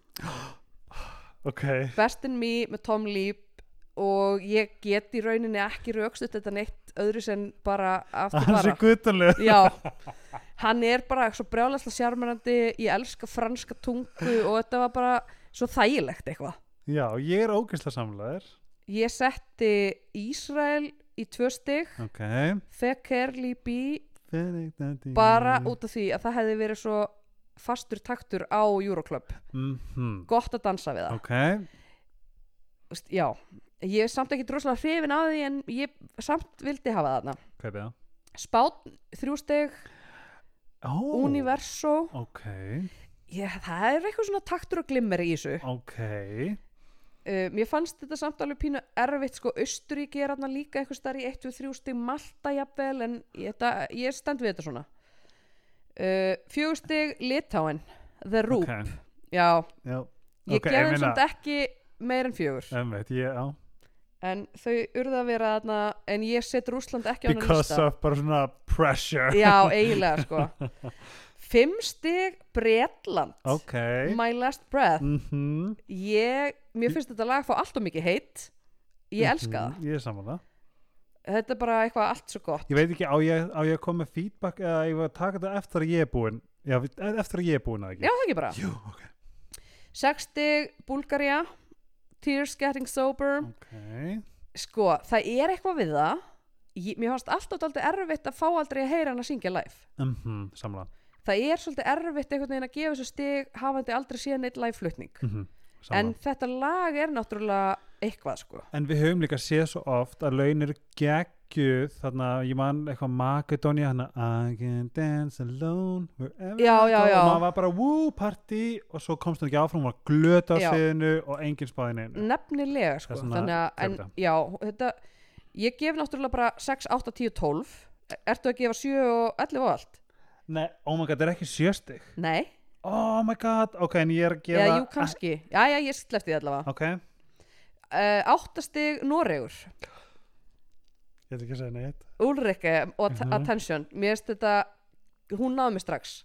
[SPEAKER 1] ok,
[SPEAKER 2] Best in Me með Tom Leap og ég get í rauninni ekki rökstutt þetta neitt öðru sem bara aftur
[SPEAKER 1] hann
[SPEAKER 2] bara
[SPEAKER 1] sé guttanlega
[SPEAKER 2] Já, hann er bara svo brjálæsla sjarmerandi, ég elska franska tungu og þetta var bara svo þægilegt eitthvað.
[SPEAKER 1] já, ég er ógeðslega samlaður
[SPEAKER 2] Ég setti Ísrael í tvö stig,
[SPEAKER 1] ok
[SPEAKER 2] Fekerli B,
[SPEAKER 1] bara
[SPEAKER 2] bara út af því að það hefði verið svo fastur taktur á Euroclub.
[SPEAKER 1] mm
[SPEAKER 2] Gott að dansa við það.
[SPEAKER 1] ok,
[SPEAKER 2] Veist, Já, ég er samt ekki droslega hrifin á því en ég samt vildi hafa þarna.
[SPEAKER 1] kaupið það
[SPEAKER 2] Spátn, þrjú stig,
[SPEAKER 1] oh,
[SPEAKER 2] Universo,
[SPEAKER 1] ok,
[SPEAKER 2] ég, það er eitthvað svona taktur og glimmer í þessu.
[SPEAKER 1] ok
[SPEAKER 2] Uh, mér fannst þetta samt alveg pínu erfitt sko, Östuríki er hann líka eitthvað starf í 1-3 stig, Malta jafnvel en ég, þetta, ég stend við þetta svona uh, fjögur stig Litáin, The Roop
[SPEAKER 1] ok,
[SPEAKER 2] já,
[SPEAKER 1] já
[SPEAKER 2] ég
[SPEAKER 1] Ok,
[SPEAKER 2] okay, geði
[SPEAKER 1] meina-
[SPEAKER 2] samt ekki meir en fjögur
[SPEAKER 1] Einmitt, ég, já,
[SPEAKER 2] en þau urða að vera þarna en ég set Rússland ekki á þennan
[SPEAKER 1] because
[SPEAKER 2] lista
[SPEAKER 1] of bara svona pressure
[SPEAKER 2] já, eiginlega sko fimm stig Bretland
[SPEAKER 1] ok
[SPEAKER 2] My Last Breath
[SPEAKER 1] mm
[SPEAKER 2] ég, mér finnst þetta lag fá allt og mikið heitt
[SPEAKER 1] Mhm.
[SPEAKER 2] ég elska það
[SPEAKER 1] ég er saman það
[SPEAKER 2] þetta er bara eitthvað allt svo gott
[SPEAKER 1] ég veit ekki, á ég, á ég að koma með feedback eða ég var að taka þetta eftir að ég er búinn já, við- e- eftir að ég er búinn að
[SPEAKER 2] já
[SPEAKER 1] ekki
[SPEAKER 2] það ekki bara
[SPEAKER 1] Jú, ok,
[SPEAKER 2] 60 Búlgaria Tears Getting Sober
[SPEAKER 1] ok
[SPEAKER 2] sko það er eitthvað við það ég, mér fannst alltaf dálítið erfitt að fá aldrei að heyra hann að syngja live
[SPEAKER 1] mm -hmm, samla
[SPEAKER 2] það er svolítið erfitt einhvern veginn að gefa þessu stig hafandi aldrei síðan eitt live flutning
[SPEAKER 1] mm -hmm,
[SPEAKER 2] en
[SPEAKER 1] en,
[SPEAKER 2] þetta lag er náttúrulega eitthvað sko
[SPEAKER 1] við höfum líka séð svo oft að launir geggju þarna, ég man eitthvað Makedónia hana, I can dance alone wherever I
[SPEAKER 2] Já,
[SPEAKER 1] go."
[SPEAKER 2] já, já.
[SPEAKER 1] og maður var bara woo party og svo komst hann ekki áfram og var glöt á
[SPEAKER 2] Já.
[SPEAKER 1] sviðinu og enginn spáði neinu
[SPEAKER 2] nefnilega sko
[SPEAKER 1] Það er svona
[SPEAKER 2] þannig að en,
[SPEAKER 1] fjölda.
[SPEAKER 2] já, þetta, ég gef náttúrulega bara 6, 8, 10, 12 ertu að gefa 7 og 11 og allt
[SPEAKER 1] Nei, oh my god, það er ekki sjöstig
[SPEAKER 2] nei,
[SPEAKER 1] oh my god, ok, en ég er að
[SPEAKER 2] eða
[SPEAKER 1] gefa
[SPEAKER 2] jú kannski já, já, ég slefti því allavega
[SPEAKER 1] ok, ég
[SPEAKER 2] uh, áttastig Noregur
[SPEAKER 1] ætla ekki að segja neitt
[SPEAKER 2] Ulrike og att
[SPEAKER 1] Mhm.
[SPEAKER 2] Attention mér finnst þetta, hún náði mig strax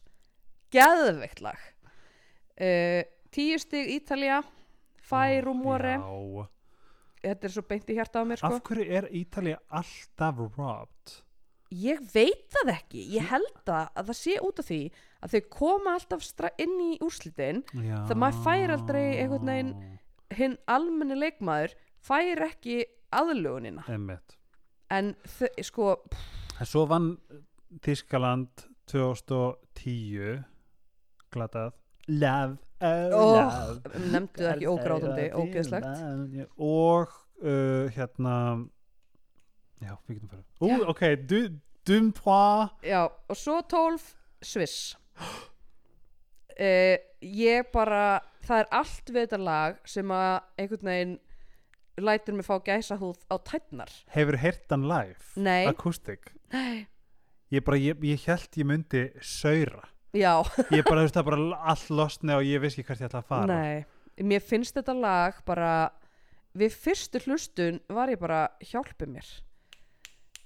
[SPEAKER 2] geðveikt lag uh, tíu stig Ítalja Fær og Móri
[SPEAKER 1] Já.
[SPEAKER 2] þetta er svo beint í hjarta á mér sko
[SPEAKER 1] Af hverju er Ítalía alltaf robbed?
[SPEAKER 2] ég veit það ekki, ég held það að það sé út af því að þau koma alltaf stra- inn í úrslitin
[SPEAKER 1] Já.
[SPEAKER 2] Það maður fær aldrei einhvern veginn- hinn almenni leikmaður fær ekki aðlugunina
[SPEAKER 1] Einmitt.
[SPEAKER 2] en þau, sko, pff,
[SPEAKER 1] En svo vann Þískaland 2010 glatað Love, oh,
[SPEAKER 2] Ó,
[SPEAKER 1] love
[SPEAKER 2] nefndu það ekki ógrátandi ógeðslegt
[SPEAKER 1] Og uh, hérna Já, við getum fyrir Ú,
[SPEAKER 2] Já.
[SPEAKER 1] ok, du, dumpois
[SPEAKER 2] Já, og svo 12 Sviss uh, Ég bara það er allt við þetta lag sem að einhvern veginn lætur mig fá gæsa húð á tætnar
[SPEAKER 1] Hefur heyrt hann live?
[SPEAKER 2] Nei.
[SPEAKER 1] Akústik? Nei Ég bara, ég, ég held ég myndi saura
[SPEAKER 2] Já,
[SPEAKER 1] Ég bara, þú veist, það bara allt losni og ég vissi ekki hvert ég ætla að fara
[SPEAKER 2] nei Mér finnst þetta lag bara við fyrstu hlustun var ég bara hjálpi mér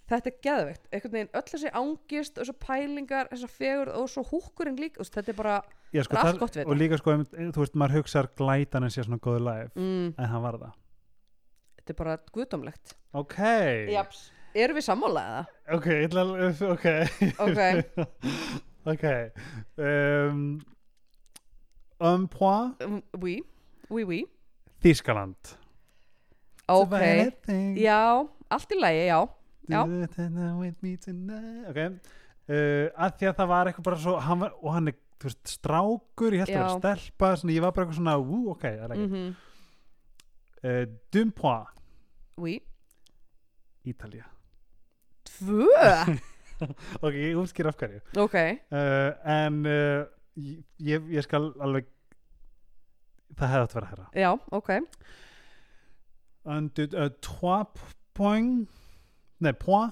[SPEAKER 2] Þetta er geðveikt, einhvern veginn öll þessi ángist og þessi pælingar, þessi fegurð og svo húkurinn líka, þú veist, þetta er bara
[SPEAKER 1] Já, sko,
[SPEAKER 2] Það er allt
[SPEAKER 1] þar-
[SPEAKER 2] gott við
[SPEAKER 1] og
[SPEAKER 2] þetta.
[SPEAKER 1] líka sko, einmitt, þú veist, maður hugsar glætan en sé svona góðu live
[SPEAKER 2] mm,
[SPEAKER 1] en hann var það
[SPEAKER 2] þetta er bara guðdómlegt
[SPEAKER 1] ok,
[SPEAKER 2] Japs, erum við sammála eða?
[SPEAKER 1] ok, ég ætla að ok
[SPEAKER 2] Ok.
[SPEAKER 1] ok um, um point
[SPEAKER 2] Um, Oui, oui, oui
[SPEAKER 1] Þískaland
[SPEAKER 2] Ok,
[SPEAKER 1] yeah.
[SPEAKER 2] já, allt í lagi, já já.
[SPEAKER 1] ok uh, að því að það var eitthvað bara svo hann var, og hann er, þú veist, strákur ég held að
[SPEAKER 2] Já.
[SPEAKER 1] vera stelpa, svona, ég var bara eitthvað svona ú, ok, það er
[SPEAKER 2] mm
[SPEAKER 1] ekki uh, Dumpois,
[SPEAKER 2] Oui,
[SPEAKER 1] Ítalía
[SPEAKER 2] tvö
[SPEAKER 1] ok, ég útskýr af hverju
[SPEAKER 2] Ok,
[SPEAKER 1] uh, en uh, ég, ég ég skal alveg það hefði átt að vera herra
[SPEAKER 2] já, ok
[SPEAKER 1] Undur, uh, 3 point nei, point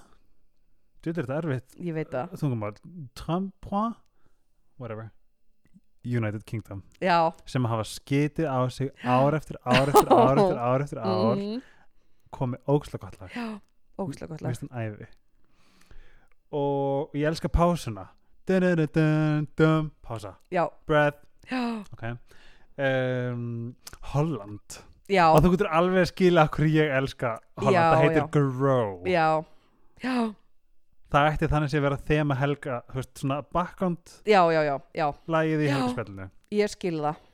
[SPEAKER 1] þú veit þetta er erfitt
[SPEAKER 2] Ég veit það,
[SPEAKER 1] þungumál 3 point whatever United Kingdom
[SPEAKER 2] já Mm.
[SPEAKER 1] sem hafa skitið á sig ár eftir ár eftir ár eftir ár eftir ár
[SPEAKER 2] Mhm.
[SPEAKER 1] komið ógslag gott lag
[SPEAKER 2] já, ógustlega gott
[SPEAKER 1] Mér
[SPEAKER 2] lag
[SPEAKER 1] finnst hann æfi og ég elska pásuna dun, dun, dun, dun, pása,
[SPEAKER 2] já,
[SPEAKER 1] breath
[SPEAKER 2] já,
[SPEAKER 1] ok um, Holland
[SPEAKER 2] já,
[SPEAKER 1] og þú getur alveg að skila af hverju ég elska Holland,
[SPEAKER 2] Já,
[SPEAKER 1] það heitir
[SPEAKER 2] já.
[SPEAKER 1] Grow
[SPEAKER 2] já já,
[SPEAKER 1] það ætti þannig sé að vera þema helga þú veist, svona bakkant
[SPEAKER 2] já, já, já, já
[SPEAKER 1] lagið í
[SPEAKER 2] Já.
[SPEAKER 1] helgaspjallinu
[SPEAKER 2] ég skil það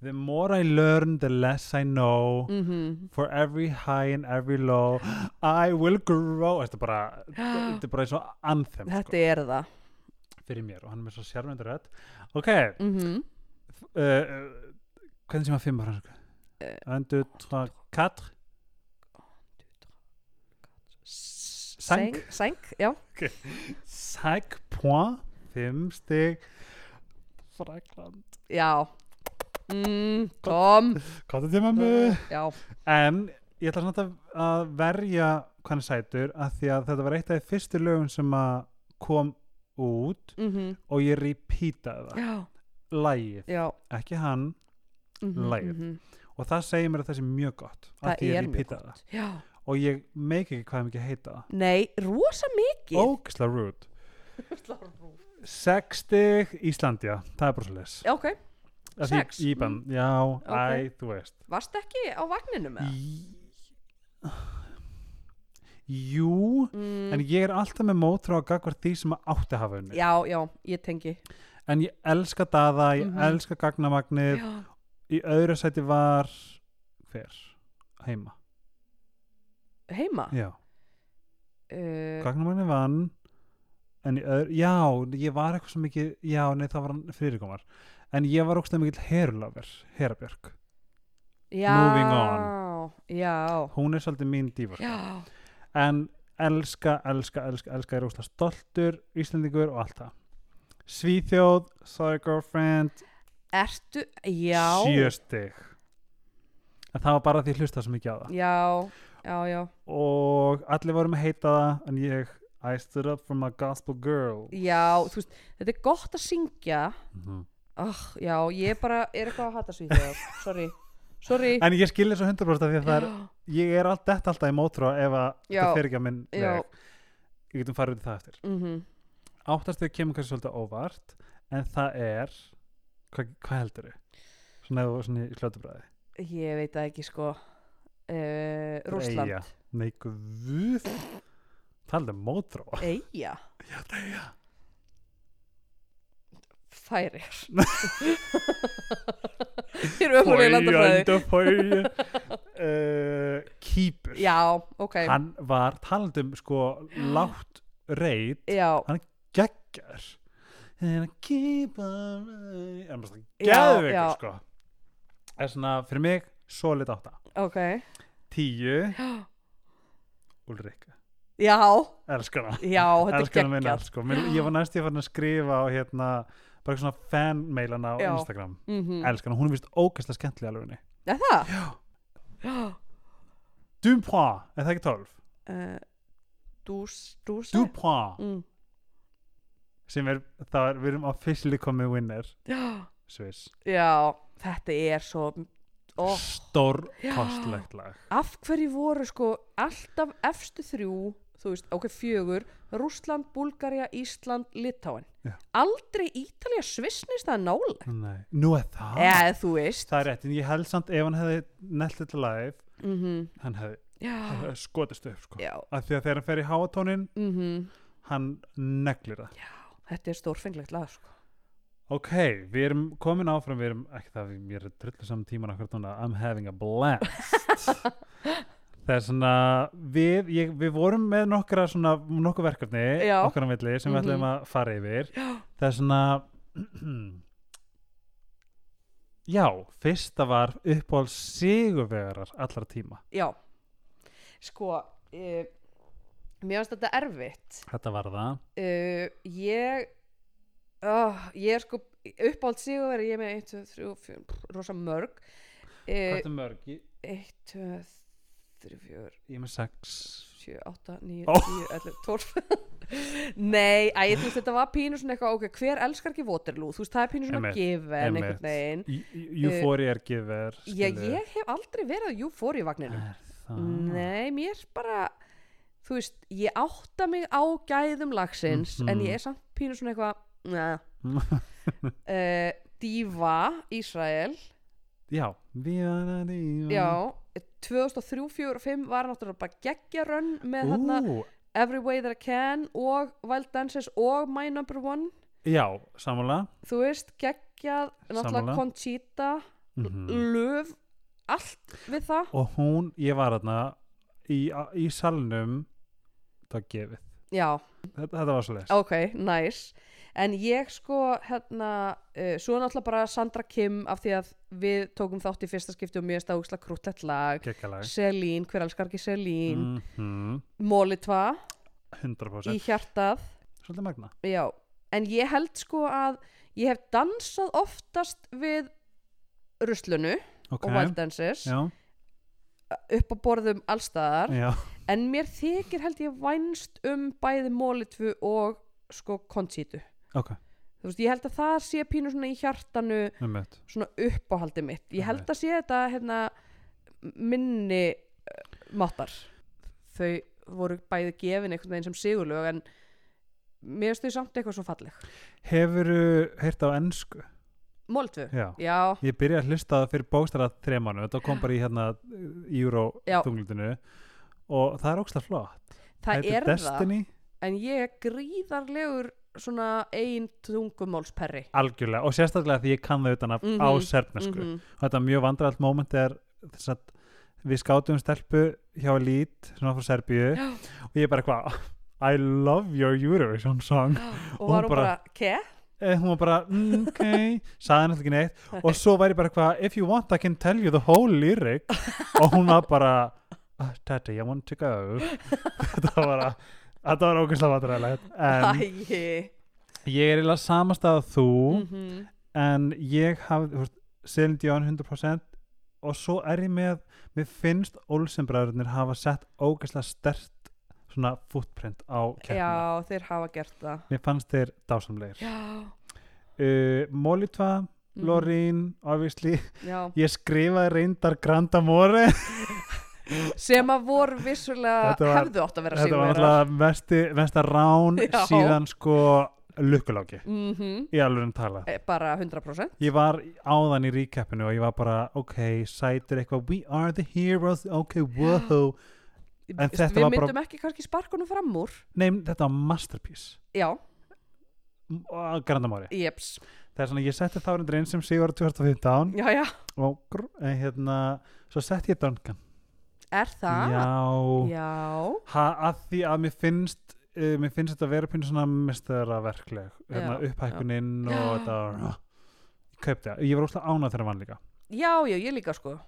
[SPEAKER 1] The more I learn, the less I know
[SPEAKER 2] mm
[SPEAKER 1] For every high and every low I will grow Þetta er bara, þetta er bara eins og anthem
[SPEAKER 2] þetta
[SPEAKER 1] sko,
[SPEAKER 2] er það
[SPEAKER 1] fyrir mér og hann er með svo sérmyndur rödd Ok,
[SPEAKER 2] mm
[SPEAKER 1] uh, uh, hvernig sem að fimm sko? á fransku?
[SPEAKER 2] Eh.
[SPEAKER 1] 1, 2, 3, 4 Sæng.
[SPEAKER 2] sæng, já
[SPEAKER 1] 5 point 5 stig Frakland
[SPEAKER 2] já mm, kom
[SPEAKER 1] Kottu til mammu
[SPEAKER 2] já,
[SPEAKER 1] En ég ætla samt að, að verja hvernig sætur að því að þetta var eitt af því fyrstu lögum sem að kom út
[SPEAKER 2] mm
[SPEAKER 1] og ég repeataði það
[SPEAKER 2] já,
[SPEAKER 1] Lægið,
[SPEAKER 2] já
[SPEAKER 1] ekki hann
[SPEAKER 2] mm
[SPEAKER 1] Lagið. og það segir mér að það sé mjög gott af
[SPEAKER 2] Það
[SPEAKER 1] því ég
[SPEAKER 2] er mjög
[SPEAKER 1] repeataði það.
[SPEAKER 2] já,
[SPEAKER 1] og ég meik ekki hvað mikið heita það
[SPEAKER 2] nei, rosa mikið
[SPEAKER 1] Ógisla rude Sex stig Íslandja, það er bara svo les
[SPEAKER 2] Já, ok, sex? Mm.
[SPEAKER 1] Íban, já, æ,
[SPEAKER 2] Ok.
[SPEAKER 1] þú veist
[SPEAKER 2] varst ekki á vagninu með það?
[SPEAKER 1] Í- Jú
[SPEAKER 2] Mm,
[SPEAKER 1] en ég er alltaf með mótrá að gagvart því sem að átti að hafa unni
[SPEAKER 2] já, já, ég tengi
[SPEAKER 1] en ég elska daða, ég
[SPEAKER 2] Mhm.
[SPEAKER 1] elska gagnamagnið
[SPEAKER 2] já,
[SPEAKER 1] í öðru sæti var hver? Heima
[SPEAKER 2] Heima?
[SPEAKER 1] Já,
[SPEAKER 2] Uh,
[SPEAKER 1] gagnamagnið vann en í öðru, já, ég var eitthvað svo mikið já, nei, það var hann fyrirkomar en ég var ógstæð mikill herulafur Herabjörg,
[SPEAKER 2] já,
[SPEAKER 1] Moving on.
[SPEAKER 2] Já,
[SPEAKER 1] hún er svolítið mín dífa sko.
[SPEAKER 2] já,
[SPEAKER 1] en elska, elska, elska, elska er ógstæð stoltur, íslendingur og allt það Svíþjóð, sorry girlfriend
[SPEAKER 2] ertu, já
[SPEAKER 1] sjö stig en það var bara því að hlusta svo mikið á það
[SPEAKER 2] Já, já, já,
[SPEAKER 1] og allir voru með heita það en ég I stood up for my gospel girl
[SPEAKER 2] já, þú veist, þetta er gott að syngja
[SPEAKER 1] Mhm.
[SPEAKER 2] oh, Já, ég bara er eitthvað að hata svíþjóð Sorry, sorry
[SPEAKER 1] en ég skilja svo 100% af því að það er
[SPEAKER 2] Já,
[SPEAKER 1] ég er allt detta alltaf í mótrá ef að
[SPEAKER 2] Já.
[SPEAKER 1] þetta fer ekki að minn
[SPEAKER 2] Já.
[SPEAKER 1] veg ég getum farið út í það eftir
[SPEAKER 2] mhm.
[SPEAKER 1] áttast þau kemur kannski svolítið óvart en það er hvað, hvað heldur þau? svona, ef þú- svona í hljótubræði
[SPEAKER 2] Ég veit það ekki sko uh, Rússland
[SPEAKER 1] Eyja. nei, guð talaðu um mótrá
[SPEAKER 2] Eyja
[SPEAKER 1] já, það er
[SPEAKER 2] Færir Ég er öfnur í landafræði
[SPEAKER 1] fæja uh, Kýpur
[SPEAKER 2] Já, ok
[SPEAKER 1] hann var talandum sko látt reyt
[SPEAKER 2] Já,
[SPEAKER 1] geggar en að kýpa en bara
[SPEAKER 2] Já, já.
[SPEAKER 1] geðveikur sko er svona fyrir mig solid átta
[SPEAKER 2] ok
[SPEAKER 1] tíu Ulrika
[SPEAKER 2] Já,
[SPEAKER 1] elskar hana
[SPEAKER 2] já, þetta er
[SPEAKER 1] elskar hana minna
[SPEAKER 2] geggjart
[SPEAKER 1] sko. Mér, ég var næst ég farin að skrifa á hérna bara svona fanmailana á
[SPEAKER 2] Já.
[SPEAKER 1] Instagram
[SPEAKER 2] mm
[SPEAKER 1] elskar hana hún er vist ógæslega skemmtilega alveg henni
[SPEAKER 2] Er það? Já
[SPEAKER 1] Dupont er það ekki 12
[SPEAKER 2] Eh, Dús, dúsa
[SPEAKER 1] Dupont
[SPEAKER 2] mm.
[SPEAKER 1] sem er það er við erum officially komið winner
[SPEAKER 2] já,
[SPEAKER 1] Sviss
[SPEAKER 2] já, þetta er svo ó,
[SPEAKER 1] stór kostlegt lag
[SPEAKER 2] af hverju voru sko alltaf efstu þrjú þú veist, ok, fjögur Rússland, Búlgaria, Ísland, Litáin
[SPEAKER 1] Já.
[SPEAKER 2] aldrei Ítalja, Svissnist það er nálega,
[SPEAKER 1] Nei. nú er það
[SPEAKER 2] eða þú veist
[SPEAKER 1] Ah, Það er rétt, en ég held samt ef hann hefði nelt þetta live,
[SPEAKER 2] mm
[SPEAKER 1] hann hefði, hann
[SPEAKER 2] já,
[SPEAKER 1] hefði skotist upp sko.
[SPEAKER 2] já
[SPEAKER 1] Af því að þegar hann fer í háatónin,
[SPEAKER 2] mm
[SPEAKER 1] hann neglir það.
[SPEAKER 2] þetta er stórfenglegt lag sko.
[SPEAKER 1] Ok, við erum komin áfram, við erum, ekki það, við- ég er drullu saman tíman akkur núna, I'm having a blast. það er svona, við, ég, við vorum með nokkra svona, nokkuð verkefni,
[SPEAKER 2] Já.
[SPEAKER 1] okkar á milli, sem við
[SPEAKER 2] Mhm.
[SPEAKER 1] ætlum að fara yfir.
[SPEAKER 2] já,
[SPEAKER 1] Það er svona, já, fyrsta var uppáhald sigurvegarar allra tíma.
[SPEAKER 2] já sko uh, mér finnst þetta erfitt
[SPEAKER 1] Þetta var það.
[SPEAKER 2] uh, ég uh, ég er sko uppáld sigurveri ég er með 1, 2, 3, 4 rosa mörg
[SPEAKER 1] Hvað
[SPEAKER 2] uh,
[SPEAKER 1] ertu mörg? Ég,
[SPEAKER 2] 1, 2, 3, 4
[SPEAKER 1] ég er með sex
[SPEAKER 2] 7, 8, 9,
[SPEAKER 1] Ó.
[SPEAKER 2] 10, 11, 12 Nei, að ég þú veist þetta var pínu svona eitthvað, ok, hver elskar ekki Waterloo, þú veist það er pínu svona
[SPEAKER 1] Einmitt,
[SPEAKER 2] given einhvern
[SPEAKER 1] einmitt.
[SPEAKER 2] veginn
[SPEAKER 1] Júfóri er gefur
[SPEAKER 2] Já, ég hef aldrei verið á Euphoria vagninum
[SPEAKER 1] Er það
[SPEAKER 2] Nei, mér bara þú veist, ég átta mig á gæðum lagsins,
[SPEAKER 1] Mhm.
[SPEAKER 2] en ég er samt pínu svona eitthvað neða
[SPEAKER 1] Mm.
[SPEAKER 2] uh, Diva, Ísrael
[SPEAKER 1] Já, við erum í
[SPEAKER 2] já, 2003, 4 og 5 var náttúrulega bara geggjarönn með þarna
[SPEAKER 1] Ú,
[SPEAKER 2] Every Way That I Can og Wild Dances og My Number One
[SPEAKER 1] Já, samanlega
[SPEAKER 2] þú veist, geggjað náttúrulega
[SPEAKER 1] Sammála.
[SPEAKER 2] Conchita
[SPEAKER 1] Mhm.
[SPEAKER 2] löf, allt við það
[SPEAKER 1] Og hún, ég var þarna í, í salnum það gefið
[SPEAKER 2] já,
[SPEAKER 1] Þetta, þetta var svo leist
[SPEAKER 2] ok, nice en ég sko, hérna uh, svo náttúrulega bara Sandra Kim af því að við tókum þátt í fyrsta skipti og mjög stáðugsla krútlegt lag
[SPEAKER 1] Gekkalag
[SPEAKER 2] Selín, hver elskar ekki Selín
[SPEAKER 1] mm -hmm.
[SPEAKER 2] Molitva
[SPEAKER 1] 100%
[SPEAKER 2] í hjartað
[SPEAKER 1] Svolítið magna
[SPEAKER 2] já, en ég held sko að ég hef dansað oftast við ruslunu
[SPEAKER 1] Ok,
[SPEAKER 2] og Wild Dances
[SPEAKER 1] já,
[SPEAKER 2] upp á borðum allstaðar
[SPEAKER 1] já,
[SPEAKER 2] en mér þykir held ég vænst um bæði Molitvu og sko Conchitu
[SPEAKER 1] ok,
[SPEAKER 2] þú veist, ég held að það sé pínu svona í hjartanu
[SPEAKER 1] um veit
[SPEAKER 2] svona uppáhaldi mitt ég held að sé þetta hérna, minni uh, máttar þau voru bæði gefin einhvern veginn sem sigurlög en mér finnst þau samt eitthvað svo falleg
[SPEAKER 1] Hefurðu heyrt á ennsku?
[SPEAKER 2] Móltvu,
[SPEAKER 1] Já
[SPEAKER 2] já,
[SPEAKER 1] Ég byrjaði að hlusta fyrir bókstara þremannu Þetta kom bara í hérna Euro
[SPEAKER 2] Já.
[SPEAKER 1] þunglindinu Og það er ókslega flott
[SPEAKER 2] það
[SPEAKER 1] Heitir
[SPEAKER 2] er
[SPEAKER 1] Destiny,
[SPEAKER 2] það en ég er gríðarlegur svona ein tungumálsperri
[SPEAKER 1] algjörlega Og sérstaklega því ég kann þau utan af
[SPEAKER 2] Mhm,
[SPEAKER 1] á serfnesku
[SPEAKER 2] mm
[SPEAKER 1] og þetta er mjög vandræðalt moment er þess að við skátum stelpu hjá Lít, svona frá Serbíu
[SPEAKER 2] Já.
[SPEAKER 1] og ég er bara eitthvað I love your Eurovision song
[SPEAKER 2] og
[SPEAKER 1] hún
[SPEAKER 2] var hún bara,
[SPEAKER 1] bara-
[SPEAKER 2] ke?
[SPEAKER 1] eh, hún var bara, mm, ok, saði hann alltaf ekki neitt og svo væri bara eitthvað if you want I can tell you the whole lyric og hún var bara "Ah, daddy, I want to go þetta var bara Þetta var ógæslega vandræðilegt en
[SPEAKER 2] Æi
[SPEAKER 1] ég er eiginlega samastað þú
[SPEAKER 2] mm
[SPEAKER 1] en ég hafði Celine Dion 100% og svo er ég með mér finnst Olsenbræðurnir hafa sett ógeðslega stert svona footprint á keppnina
[SPEAKER 2] Já, þeir hafa gert það
[SPEAKER 1] mér fannst þeir dásamlegir
[SPEAKER 2] Já,
[SPEAKER 1] uh, Molitva,
[SPEAKER 2] Mhm.
[SPEAKER 1] Lorín obviously,
[SPEAKER 2] já
[SPEAKER 1] ég skrifaði reyndar Grand Amore
[SPEAKER 2] sem að voru vissulega
[SPEAKER 1] Þetta var-
[SPEAKER 2] hefðu átt að vera
[SPEAKER 1] þetta var
[SPEAKER 2] sigurvegarar
[SPEAKER 1] alltaf mesti, mesta rán
[SPEAKER 2] Já.
[SPEAKER 1] síðan sko lukkuláki
[SPEAKER 2] mm
[SPEAKER 1] í alveg talað
[SPEAKER 2] Eh, bara 100%
[SPEAKER 1] Ég var áðan í recapinu og ég var bara, ok, sætir eitthvað, we are the heroes, ok, wow. En þetta
[SPEAKER 2] við
[SPEAKER 1] var bara-
[SPEAKER 2] myndum ekki kannski sparkunum fram úr
[SPEAKER 1] Nei, þetta var masterpiece.
[SPEAKER 2] já,
[SPEAKER 1] M- á Grandamári.
[SPEAKER 2] jeps
[SPEAKER 1] Það er svona, ég setti þá reyndir inn sem Sigur 2015
[SPEAKER 2] já, já,
[SPEAKER 1] og grr, eh, hérna, svo setti ég Duncan.
[SPEAKER 2] er það?
[SPEAKER 1] Já.
[SPEAKER 2] já,
[SPEAKER 1] Ha, að því að mér finnst, uh, mér finnst þetta vera pínu svona mistera verkleg. Hérna,
[SPEAKER 2] Já,
[SPEAKER 1] upphækkuninn og
[SPEAKER 2] Já.
[SPEAKER 1] þetta var, uh, ég kaupti það. Ég var óslega ánað þegar hann vann líka.
[SPEAKER 2] já, já, ég líka sko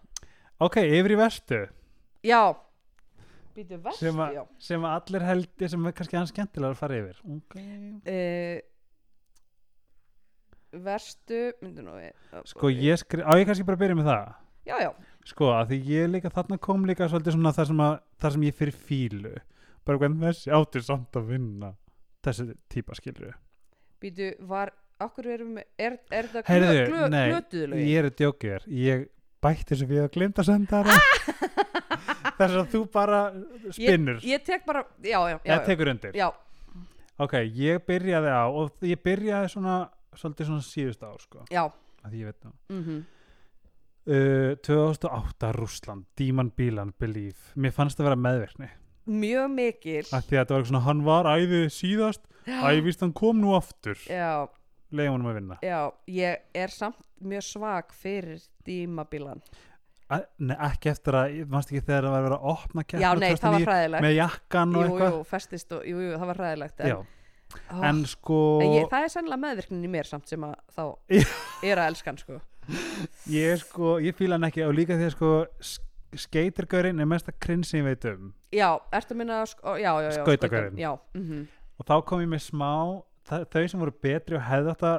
[SPEAKER 1] Ok, yfir í vestu.
[SPEAKER 2] já, býtu vest
[SPEAKER 1] sem, að-
[SPEAKER 2] já
[SPEAKER 1] sem að allir heldi sem er kannski hans skemmtilega að fara yfir okay.
[SPEAKER 2] uh, verstu myndu nú við
[SPEAKER 1] sko ég skri, á ég kannski bara að byrja með það
[SPEAKER 2] já, já,
[SPEAKER 1] sko að því ég líka þarna kom líka svolítið svona þar sem, að, þar sem ég fyrir fílu bara hvernig þessi átti samt að vinna þessi típa skilur
[SPEAKER 2] býtu var okkur erum við, er, er það
[SPEAKER 1] Heyrðu, nei,
[SPEAKER 2] glötuðlögin
[SPEAKER 1] ég er að djókja þér ég bætti þessu við að glimta sendara þess að þú bara spinnur
[SPEAKER 2] ég, ég tek bara, já, já, já,
[SPEAKER 1] eða
[SPEAKER 2] já,
[SPEAKER 1] tekur undir
[SPEAKER 2] já.
[SPEAKER 1] ok, ég byrjaði á og ég byrjaði svona svolítið svona síðust ár sko
[SPEAKER 2] já.
[SPEAKER 1] að því ég veit það
[SPEAKER 2] Mm
[SPEAKER 1] Uh, 2008 Rúsland, Díman Bílan, Believe mér fannst það vera meðverkni
[SPEAKER 2] mjög mikil
[SPEAKER 1] af því að þetta var eitthvað svona, hann var æði síðast ævist hann kom nú aftur
[SPEAKER 2] já,
[SPEAKER 1] leiðum hann að vinna
[SPEAKER 2] já, ég er samt mjög svag fyrir dímabílan
[SPEAKER 1] A, nei, ekki eftir að, mannst ekki þegar það var að vera að opna keppni
[SPEAKER 2] já,
[SPEAKER 1] á
[SPEAKER 2] nei, það var
[SPEAKER 1] 2009
[SPEAKER 2] hræðilegt
[SPEAKER 1] með jakkan og
[SPEAKER 2] jú,
[SPEAKER 1] eitthvað
[SPEAKER 2] jú, festist og, jú, jú, það var hræðilegt
[SPEAKER 1] Já,
[SPEAKER 2] en, ó,
[SPEAKER 1] en sko
[SPEAKER 2] en ég,
[SPEAKER 1] ég,
[SPEAKER 2] það er sennilega meðvirknin í mér samt sem að þá
[SPEAKER 1] Já.
[SPEAKER 2] er að elskan sko
[SPEAKER 1] sko, ég fíla hann ekki og líka því að sko skeitirgörin er mesta krinn sem ég veit um
[SPEAKER 2] já, ertu að minna, sko, já, já, já
[SPEAKER 1] Skautagörðin.
[SPEAKER 2] skautan, já, mm
[SPEAKER 1] og þá kom ég með smá þa- þau sem voru betri og hefði átt að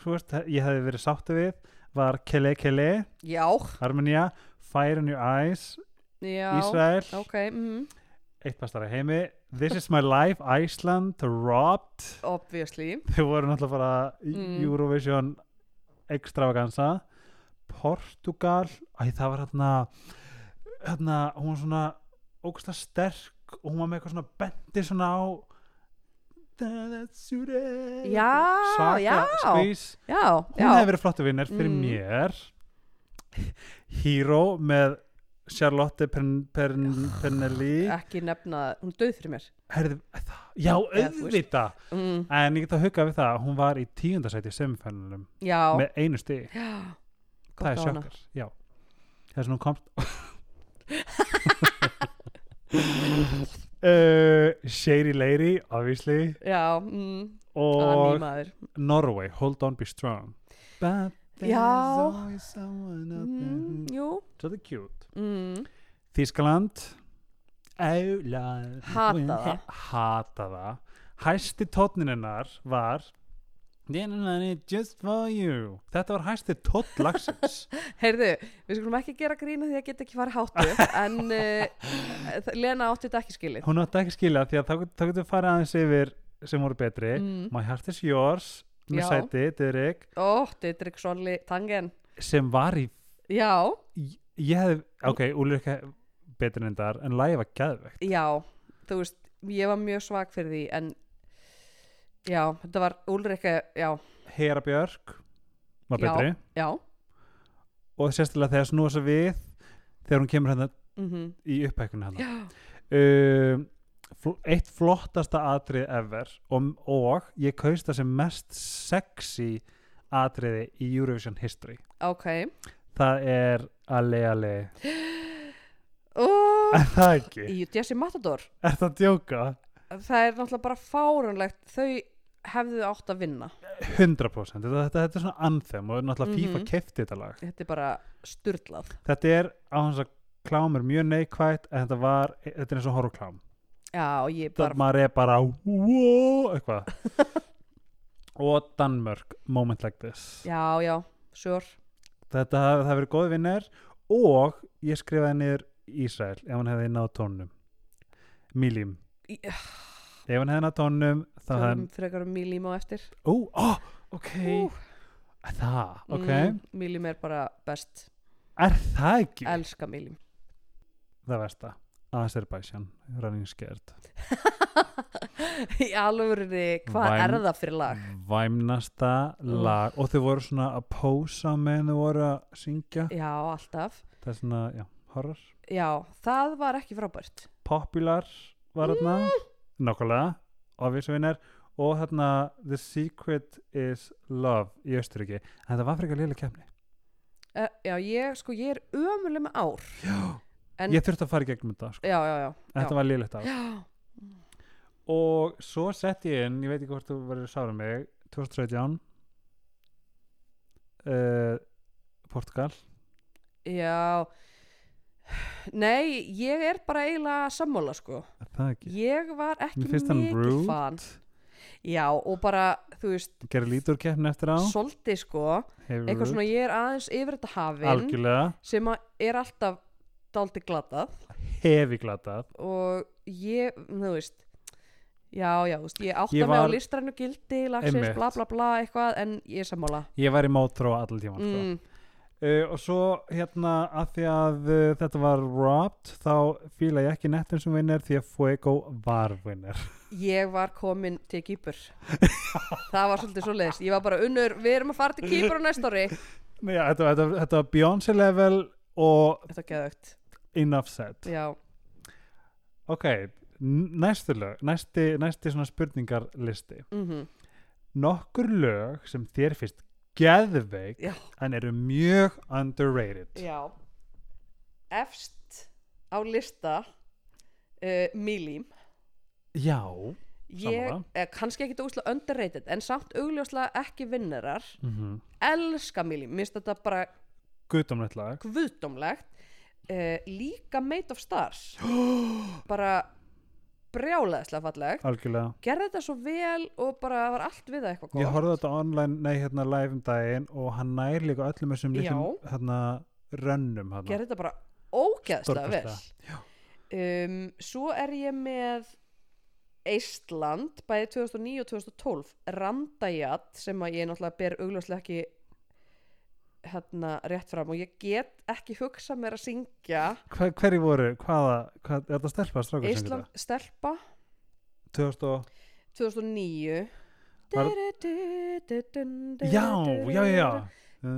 [SPEAKER 1] þú veist, ég hefði verið sáttu við var Kele Kele,
[SPEAKER 2] já,
[SPEAKER 1] Armenia Fire in your eyes,
[SPEAKER 2] já
[SPEAKER 1] Ísrael
[SPEAKER 2] ok, mm,
[SPEAKER 1] eitt bestara heimi, This is my life Iceland, Robbed
[SPEAKER 2] obviously
[SPEAKER 1] þau voru náttúrulega bara
[SPEAKER 2] Mm.
[SPEAKER 1] mm. Eurovision extravaganza Portugal æ það var hérna hérna, hún var svona ógsta sterk og hún var með eitthvað svona bendi svona á that's your head
[SPEAKER 2] Já, já.
[SPEAKER 1] skvís
[SPEAKER 2] já,
[SPEAKER 1] hún
[SPEAKER 2] já,
[SPEAKER 1] hefði verið flottu vinnir fyrir
[SPEAKER 2] Mm.
[SPEAKER 1] mér Hero með Charlotte Pern, Pern, Pernelli
[SPEAKER 2] ekki nefna hún er döð fyrir mér
[SPEAKER 1] Herði, já,
[SPEAKER 2] Eða þú veist.
[SPEAKER 1] auðvita
[SPEAKER 2] mm,
[SPEAKER 1] en ég get að huga við það að hún var í tíundasæti í semifælunum
[SPEAKER 2] já,
[SPEAKER 1] með einu stig
[SPEAKER 2] já
[SPEAKER 1] það
[SPEAKER 2] gott
[SPEAKER 1] er
[SPEAKER 2] á hana.
[SPEAKER 1] sjokkar, já þess að hún komst uh, Shady Lady obviously
[SPEAKER 2] já, mm,
[SPEAKER 1] og
[SPEAKER 2] anímaður
[SPEAKER 1] Norway, Hold On Be Strong But there's
[SPEAKER 2] Já.
[SPEAKER 1] always someone out there
[SPEAKER 2] mm,
[SPEAKER 1] who-
[SPEAKER 2] jú,
[SPEAKER 1] So they're cute
[SPEAKER 2] mm,
[SPEAKER 1] Þískaland I love
[SPEAKER 2] Hata
[SPEAKER 1] when-
[SPEAKER 2] það.
[SPEAKER 1] Hata það Hæsti tónninennar var Dinanani, Just for you Þetta var hæsti tónn lagsins
[SPEAKER 2] heyrðu, við skulum ekki gera grína því að geta ekki farið hátu en uh, Lena átti þetta ekki skilið
[SPEAKER 1] Hún átti ekki skilja því að þá, þá getum við farið aðeins yfir sem voru betri
[SPEAKER 2] mm,
[SPEAKER 1] My Heart is Yours með
[SPEAKER 2] Já.
[SPEAKER 1] sæti, Derek
[SPEAKER 2] ó, Didrik Solli Tangen
[SPEAKER 1] sem var í
[SPEAKER 2] já,
[SPEAKER 1] ég ég hef, ok, Úlrika betur en þar, en lagið var geðvegt
[SPEAKER 2] já, þú veist ég var mjög svag fyrir því en já, þetta var Úlrika já,
[SPEAKER 1] Hera Björk var
[SPEAKER 2] Já.
[SPEAKER 1] betri
[SPEAKER 2] já
[SPEAKER 1] og sérstilega þegar snúa svo við þegar hún kemur hérna
[SPEAKER 2] mm
[SPEAKER 1] í upphækkunni hérna
[SPEAKER 2] já,
[SPEAKER 1] um, fl- eitt flottasta atrið ever og, og ég kaust það sem mest sexy atriði í Eurovision history
[SPEAKER 2] ok
[SPEAKER 1] það er Ale Ale
[SPEAKER 2] og
[SPEAKER 1] er það ekki?
[SPEAKER 2] í Jesse Matador
[SPEAKER 1] Er það að djóka?
[SPEAKER 2] það er náttúrulega bara fárunlegt þau hefðu átt að vinna
[SPEAKER 1] 100% þetta, þetta, þetta er svona anthem og náttúrulega
[SPEAKER 2] Mhm.
[SPEAKER 1] FIFA kefti þetta lag
[SPEAKER 2] þetta er bara styrlað
[SPEAKER 1] þetta er á hans að klám er mjög neikvætt en þetta var, e, þetta er eins og horrorklám
[SPEAKER 2] já, og ég
[SPEAKER 1] það
[SPEAKER 2] bara
[SPEAKER 1] maður er bara wow, eitthvað og Danmörk, moment like this
[SPEAKER 2] já, já, sure
[SPEAKER 1] þetta það hafi verið góð vinnar og ég skrifaði niður Ísrael ef hann hefði náð tónum Milim,
[SPEAKER 2] Í-
[SPEAKER 1] ef hann hefði náð tónum þá hefði hann,
[SPEAKER 2] Tölum frekar um Mílím á eftir
[SPEAKER 1] ó, ó, ok það,
[SPEAKER 2] Mm.
[SPEAKER 1] ok
[SPEAKER 2] Mílím er bara best
[SPEAKER 1] er það ekki
[SPEAKER 2] elska Mílím
[SPEAKER 1] það versta, Azerbaijan running scared
[SPEAKER 2] í alvörinni, hvað
[SPEAKER 1] Væm-
[SPEAKER 2] er það fyrir lag
[SPEAKER 1] væmnasta lag og þau voru svona að pósa meðan þau voru að syngja
[SPEAKER 2] já, alltaf
[SPEAKER 1] það er svona, já, horror
[SPEAKER 2] Já, það var ekki frábært
[SPEAKER 1] popular var þarna
[SPEAKER 2] Mm.
[SPEAKER 1] nokkulega, ofisvinnar og þarna The Secret is Love í Östuríki en þetta var frekar liðlega kemni
[SPEAKER 2] uh, Já, ég, sko, ég er ömurleg með ár
[SPEAKER 1] já.
[SPEAKER 2] En-
[SPEAKER 1] ég þurfti að fara í gegnum þetta sko.
[SPEAKER 2] Já, já, já
[SPEAKER 1] En þetta var liðlegt á
[SPEAKER 2] Já,
[SPEAKER 1] og svo sett ég inn, ég veit ekki hvort þú verður sára mig 2017 uh, Portugal
[SPEAKER 2] já Nei, ég er bara eiginlega sammála, sko
[SPEAKER 1] er það ekki?
[SPEAKER 2] Ég var ekki
[SPEAKER 1] Mér finnst hann
[SPEAKER 2] mikið
[SPEAKER 1] rude.
[SPEAKER 2] fan Já, og bara, þú veist,
[SPEAKER 1] gerir lítur keppni eftir á
[SPEAKER 2] svolítið, sko
[SPEAKER 1] hefur
[SPEAKER 2] Eitthvað svona, ég er aðeins yfir þetta hafin
[SPEAKER 1] algjörlega
[SPEAKER 2] Sem að er alltaf dálítið glatað
[SPEAKER 1] hefi glatað
[SPEAKER 2] Og ég, þú veist Já, já, þú veist, ég átta
[SPEAKER 1] Ég
[SPEAKER 2] mig
[SPEAKER 1] var-
[SPEAKER 2] á listrænu gildi, lagsins,
[SPEAKER 1] Einmitt.
[SPEAKER 2] bla bla bla, eitthvað, en ég er sammála.
[SPEAKER 1] ég var í mótró allan tíman sko.
[SPEAKER 2] Mm,
[SPEAKER 1] uh, og svo hérna að því að uh, þetta var robbed þá fíla ég ekki nettum sem vinner því að Fuego var vinner
[SPEAKER 2] ég var komin til Kýpur það var svolítið svo leiðis ég var bara unnur, við erum að fara til Kýpur á næsta ári
[SPEAKER 1] Nei, já, þetta, þetta, þetta var Beyoncé level og
[SPEAKER 2] þetta er geðaukt
[SPEAKER 1] enough said
[SPEAKER 2] já,
[SPEAKER 1] ok, n- næstu lög næsti, næsti svona spurningarlisti
[SPEAKER 2] mm
[SPEAKER 1] nokkur lög sem þér finnst geðveik
[SPEAKER 2] Já.
[SPEAKER 1] en eru mjög underrated
[SPEAKER 2] já. efst á lista uh, Mílím
[SPEAKER 1] já,
[SPEAKER 2] ég,
[SPEAKER 1] Sammála.
[SPEAKER 2] eh, kannski ekki úslega underrated en samt augljóslega ekki vinnarar
[SPEAKER 1] mhm
[SPEAKER 2] elska Mílím, minnst þetta bara
[SPEAKER 1] guðdómlegt lag
[SPEAKER 2] guðdómlegt uh, líka Made of Stars bara brjálaðislega fallegt
[SPEAKER 1] algjörlega
[SPEAKER 2] gerði þetta svo vel og bara var allt við það
[SPEAKER 1] ég
[SPEAKER 2] eitthvað gott
[SPEAKER 1] horfði á þetta online, nei hérna live um daginn og hann nær líka öllum þessum litlum hérna rönnum hérna.
[SPEAKER 2] gerði þetta bara ógeðslega vel
[SPEAKER 1] Stórkostlega.
[SPEAKER 2] um, svo er ég með Eistland bæði 2009 og 2012 Randajat sem að ég náttúrulega ber augljóslega ekki hérna rétt fram og ég get ekki hugsa mér að syngja
[SPEAKER 1] Hver, hverju voru, hvaða, hvað, er þetta stelpa strákur sem
[SPEAKER 2] Ísland stelpa
[SPEAKER 1] þetta? 2000 og,
[SPEAKER 2] 2009
[SPEAKER 1] Var- já, já, já, já.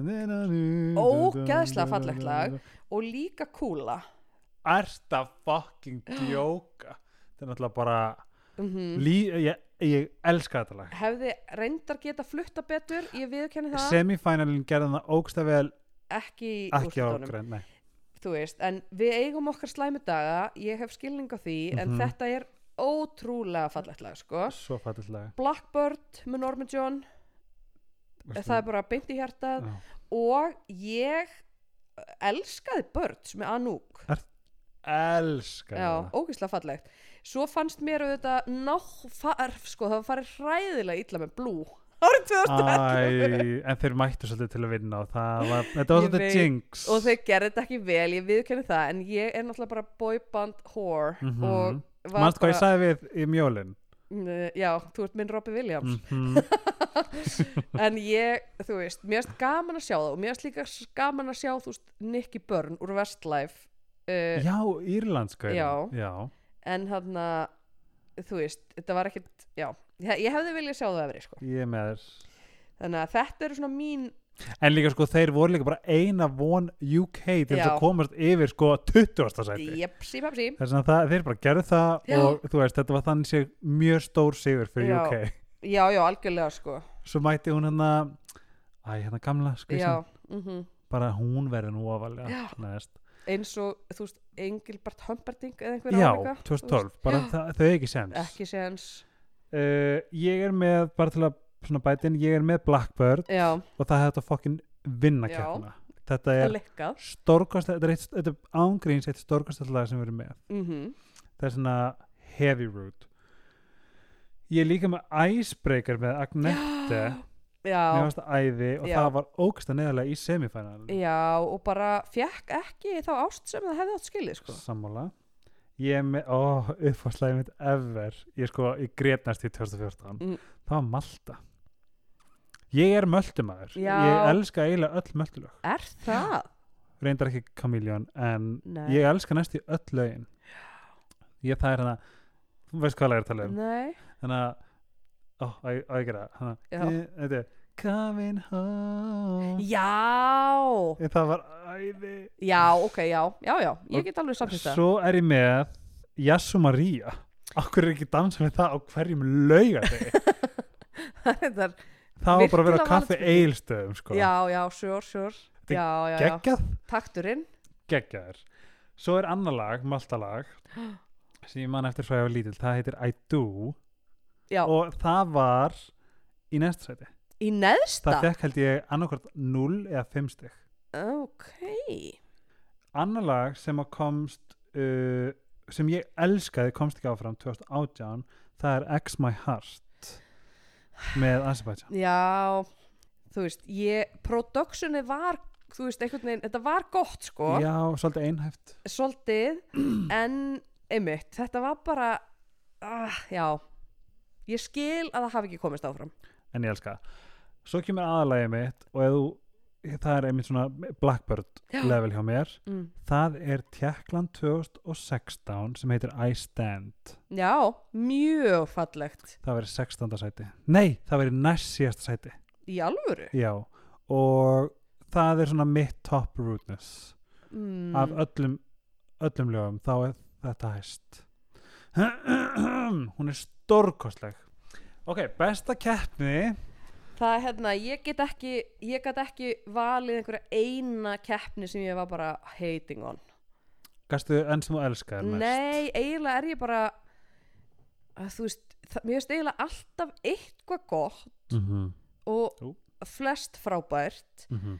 [SPEAKER 2] Ógeðslega fallegt lag. og líka kúla
[SPEAKER 1] Erta fucking djóka. Þetta er náttúrulega bara,
[SPEAKER 2] mm
[SPEAKER 1] lí, ég, ég elska þetta lag.
[SPEAKER 2] hefði reyndar geta flutta betur ég viðkenni það
[SPEAKER 1] Semifinalin gerði það ógsta vel
[SPEAKER 2] ekki í
[SPEAKER 1] ekki á
[SPEAKER 2] úrslutunum
[SPEAKER 1] grein, nei.
[SPEAKER 2] þú veist, en við eigum okkar slæmi daga ég hef skilning á því, en
[SPEAKER 1] Mhm.
[SPEAKER 2] þetta er ótrúlega fallegt lag, sko
[SPEAKER 1] Svo fallegt lag.
[SPEAKER 2] Blackbird með Norman John það er bara beint í hjartað
[SPEAKER 1] Já.
[SPEAKER 2] og ég elskaði Birds með Anouk
[SPEAKER 1] Elska
[SPEAKER 2] Já,
[SPEAKER 1] þetta.
[SPEAKER 2] ógeðslega fallegt Svo fannst mér auðvitað náfarf sko, það var farið hræðilega illa með Blue árið 2011
[SPEAKER 1] Æ, en þeir mættu svolítið til að vinna og það var, þetta var
[SPEAKER 2] Ég
[SPEAKER 1] svolítið
[SPEAKER 2] veit.
[SPEAKER 1] jinx.
[SPEAKER 2] og þeir gerði þetta ekki vel, ég viðkenni það en ég er náttúrulega bara boyband whore
[SPEAKER 1] Mhm.
[SPEAKER 2] og var
[SPEAKER 1] Manst hvað
[SPEAKER 2] bara
[SPEAKER 1] ég sagði við í mjólinn?
[SPEAKER 2] Mm, Já, þú ert minn Robbie Williams
[SPEAKER 1] Mhm.
[SPEAKER 2] en ég, þú veist, mér erst gaman að sjá það og mér erst líka s- gaman að sjá þú veist, Nicky Byrne úr Westlife uh,
[SPEAKER 1] Já, írlandskaurin.
[SPEAKER 2] Já.
[SPEAKER 1] Já.
[SPEAKER 2] en hann þú veist, þetta var ekkit já, ég, ég hefði viljað sjá það að veri sko.
[SPEAKER 1] Ég er með þér.
[SPEAKER 2] þannig að þetta eru svona mín
[SPEAKER 1] En líka sko, þeir voru líka bara eina von UK til þess
[SPEAKER 2] Já.
[SPEAKER 1] að komast yfir sko 20. sæti.
[SPEAKER 2] jepsi pepsi
[SPEAKER 1] Þess að það, þeir bara gerðu það
[SPEAKER 2] Já.
[SPEAKER 1] og þú veist, þetta var þannig sér mjög stór sigur fyrir
[SPEAKER 2] Já.
[SPEAKER 1] UK.
[SPEAKER 2] já, já, algjörlega sko
[SPEAKER 1] Svo mætti hún hérna, æ, hérna gamla, sko,
[SPEAKER 2] já, mm
[SPEAKER 1] bara hún verði nú ofalega.
[SPEAKER 2] Já.
[SPEAKER 1] Næst.
[SPEAKER 2] eins og, þú veist, Engilbert Humperdinck eða einhver
[SPEAKER 1] Já,
[SPEAKER 2] álíka, þú veist,
[SPEAKER 1] 2012, bara það, þau ekki sens.
[SPEAKER 2] ekki séns
[SPEAKER 1] Uh, ég er með, bara til að svona bætin, ég er með Blackbird
[SPEAKER 2] já,
[SPEAKER 1] og það hefði þetta fokkin vinna
[SPEAKER 2] Já.
[SPEAKER 1] kjærna. Þetta
[SPEAKER 2] það
[SPEAKER 1] er
[SPEAKER 2] lekkað
[SPEAKER 1] stórkast, þetta er eitt, þetta er ángríns eitt stórkast lag sem við erum með.
[SPEAKER 2] mm
[SPEAKER 1] það er svona heavy root ég er líka með icebreaker með Agnette mér
[SPEAKER 2] já,
[SPEAKER 1] varst æði og
[SPEAKER 2] Já.
[SPEAKER 1] það var ógsta neðarlega í semifinal
[SPEAKER 2] já, og bara fekk ekki þá ást sem það hefði átt skilið sko
[SPEAKER 1] sammála ég er með, ó, uppfárslæði mitt ever ég sko, ég gretnast í 2014
[SPEAKER 2] Mm.
[SPEAKER 1] það var Malta ég er möldumæður
[SPEAKER 2] Já.
[SPEAKER 1] ég elska eiginlega öll möldulög
[SPEAKER 2] er það?
[SPEAKER 1] reyndar ekki Kamiljón en
[SPEAKER 2] Nei.
[SPEAKER 1] ég elska næst í öll lögin ég það er hana þú veist hvað lag er að tala um
[SPEAKER 2] Nei,
[SPEAKER 1] þannig að ó, á ég á ég að gera það
[SPEAKER 2] Já.
[SPEAKER 1] Þannig að- Eh, þetta er coming home
[SPEAKER 2] já
[SPEAKER 1] En það var æði
[SPEAKER 2] já, ok, já, já, já ég
[SPEAKER 1] Og
[SPEAKER 2] get alveg samtist það
[SPEAKER 1] svo er ég með Jassu Maria okkur er ekki dansa með það á hverjum lauga þig
[SPEAKER 2] Þetta er-
[SPEAKER 1] það var bara að vera
[SPEAKER 2] Virkilega
[SPEAKER 1] á kaffi
[SPEAKER 2] vanspurning.
[SPEAKER 1] eilstöðum sko.
[SPEAKER 2] já, já, sure, sure
[SPEAKER 1] Þetta er
[SPEAKER 2] já, já, já,
[SPEAKER 1] geggjað,
[SPEAKER 2] takturinn
[SPEAKER 1] geggjaður svo er annar lag, maltalag sem ég man eftir frá ég var lítil það heitir I Do
[SPEAKER 2] já,
[SPEAKER 1] og það var í næsta sæti
[SPEAKER 2] í
[SPEAKER 1] það
[SPEAKER 2] neðsta
[SPEAKER 1] fekk held ég annarkvort 0 eða 5 stygg
[SPEAKER 2] ok
[SPEAKER 1] annar lag sem að komst uh, sem ég elskaði komst ekki áfram 2018 það er X My Heart með Azerbaijan
[SPEAKER 2] Já, þú veist, ég, productionið var, þú veist, einhvern veginn, þetta var gott, sko,
[SPEAKER 1] já, svolítið einhæft
[SPEAKER 2] svolítið, en einmitt, þetta var bara, ah, já, ég skil að það hafi ekki komist áfram.
[SPEAKER 1] en ég elska það. svo kemur aðalagið mitt og ef þú, það er einmitt svona Blackbird
[SPEAKER 2] Já.
[SPEAKER 1] level hjá mér
[SPEAKER 2] Mm.
[SPEAKER 1] það er Tjekkland 2016 sem heitir I Stand
[SPEAKER 2] Já, mjög fallegt,
[SPEAKER 1] það verið 16. sæti nei, það verið næst síðasta sæti
[SPEAKER 2] í alvöru.
[SPEAKER 1] já, og það er svona mitt top rootness
[SPEAKER 2] Mm.
[SPEAKER 1] af öllum öllum lögum þá er þetta hæst hún er stórkostleg ok, besta keppni
[SPEAKER 2] Það er hérna, ég get ekki, ég get ekki valið einhverja eina keppni sem ég var bara hating on.
[SPEAKER 1] gæstu enn sem þú elskar mest
[SPEAKER 2] Nei, eiginlega er ég bara að þú veist, það, mér veist eiginlega alltaf eitthvað gott
[SPEAKER 1] mm -hmm.
[SPEAKER 2] og
[SPEAKER 1] Jú.
[SPEAKER 2] flest frábært
[SPEAKER 1] Mm -hmm.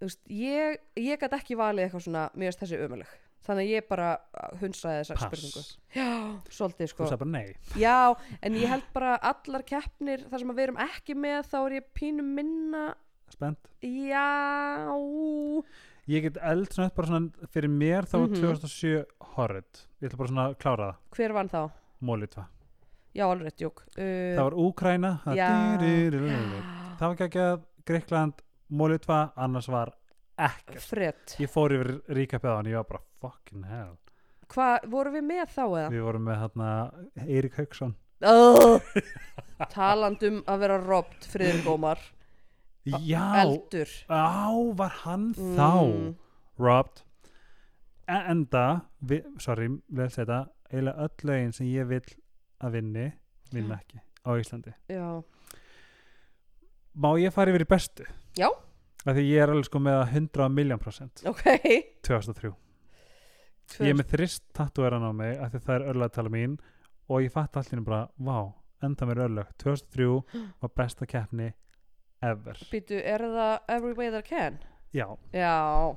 [SPEAKER 2] þú veist, ég, ég gæti ekki valið eitthvað svona, mér veist þessi ömuleg þannig að ég bara hunsaði þessa spurningu
[SPEAKER 1] pass,
[SPEAKER 2] Já, svolítið
[SPEAKER 1] þú
[SPEAKER 2] sko
[SPEAKER 1] sagði bara nei
[SPEAKER 2] Já, en ég held bara allar keppnir þar sem að við erum ekki með þá er ég pínum minna
[SPEAKER 1] spennt,
[SPEAKER 2] Já
[SPEAKER 1] ég get eld svona bara svona fyrir mér þá var
[SPEAKER 2] Mhm.
[SPEAKER 1] 2007 horrid, ég ætla bara svona að klára það
[SPEAKER 2] Hver vann þá?
[SPEAKER 1] mólitva,
[SPEAKER 2] Já, alveg rétt, júk
[SPEAKER 1] það var Úkraina það
[SPEAKER 2] Já. Uh,
[SPEAKER 1] dýririririr. það var ekki að Greikland, mólitva, annars var ekkert
[SPEAKER 2] Fred,
[SPEAKER 1] ég fór yfir recapið á hann, ég var bara fucking hell
[SPEAKER 2] hvað, vorum við með þá eða?
[SPEAKER 1] við vorum með þarna Eirík Hauksson
[SPEAKER 2] Oh, talandum um að vera robt Friðrik Ómar,
[SPEAKER 1] já,
[SPEAKER 2] eldur
[SPEAKER 1] á var hann
[SPEAKER 2] Mm.
[SPEAKER 1] þá robbed E- enda, vi, sorry, vel þetta eiginlega öll lögin sem ég vil að vinni,
[SPEAKER 2] Mm.
[SPEAKER 1] vinna ekki á Íslandi
[SPEAKER 2] já,
[SPEAKER 1] má ég fara yfir í bestu?
[SPEAKER 2] Já.
[SPEAKER 1] Af því ég er alveg sko með að 100 miljón prosent
[SPEAKER 2] ok
[SPEAKER 1] 2003. Ég er með þrist tattúeran á mig af því það er örlega tala um mín og ég fatt allir bara, vá, enda mér örlög 2003 var besta keppni ever.
[SPEAKER 2] Býtu, er það Every Way That I Can?
[SPEAKER 1] Já,
[SPEAKER 2] Já,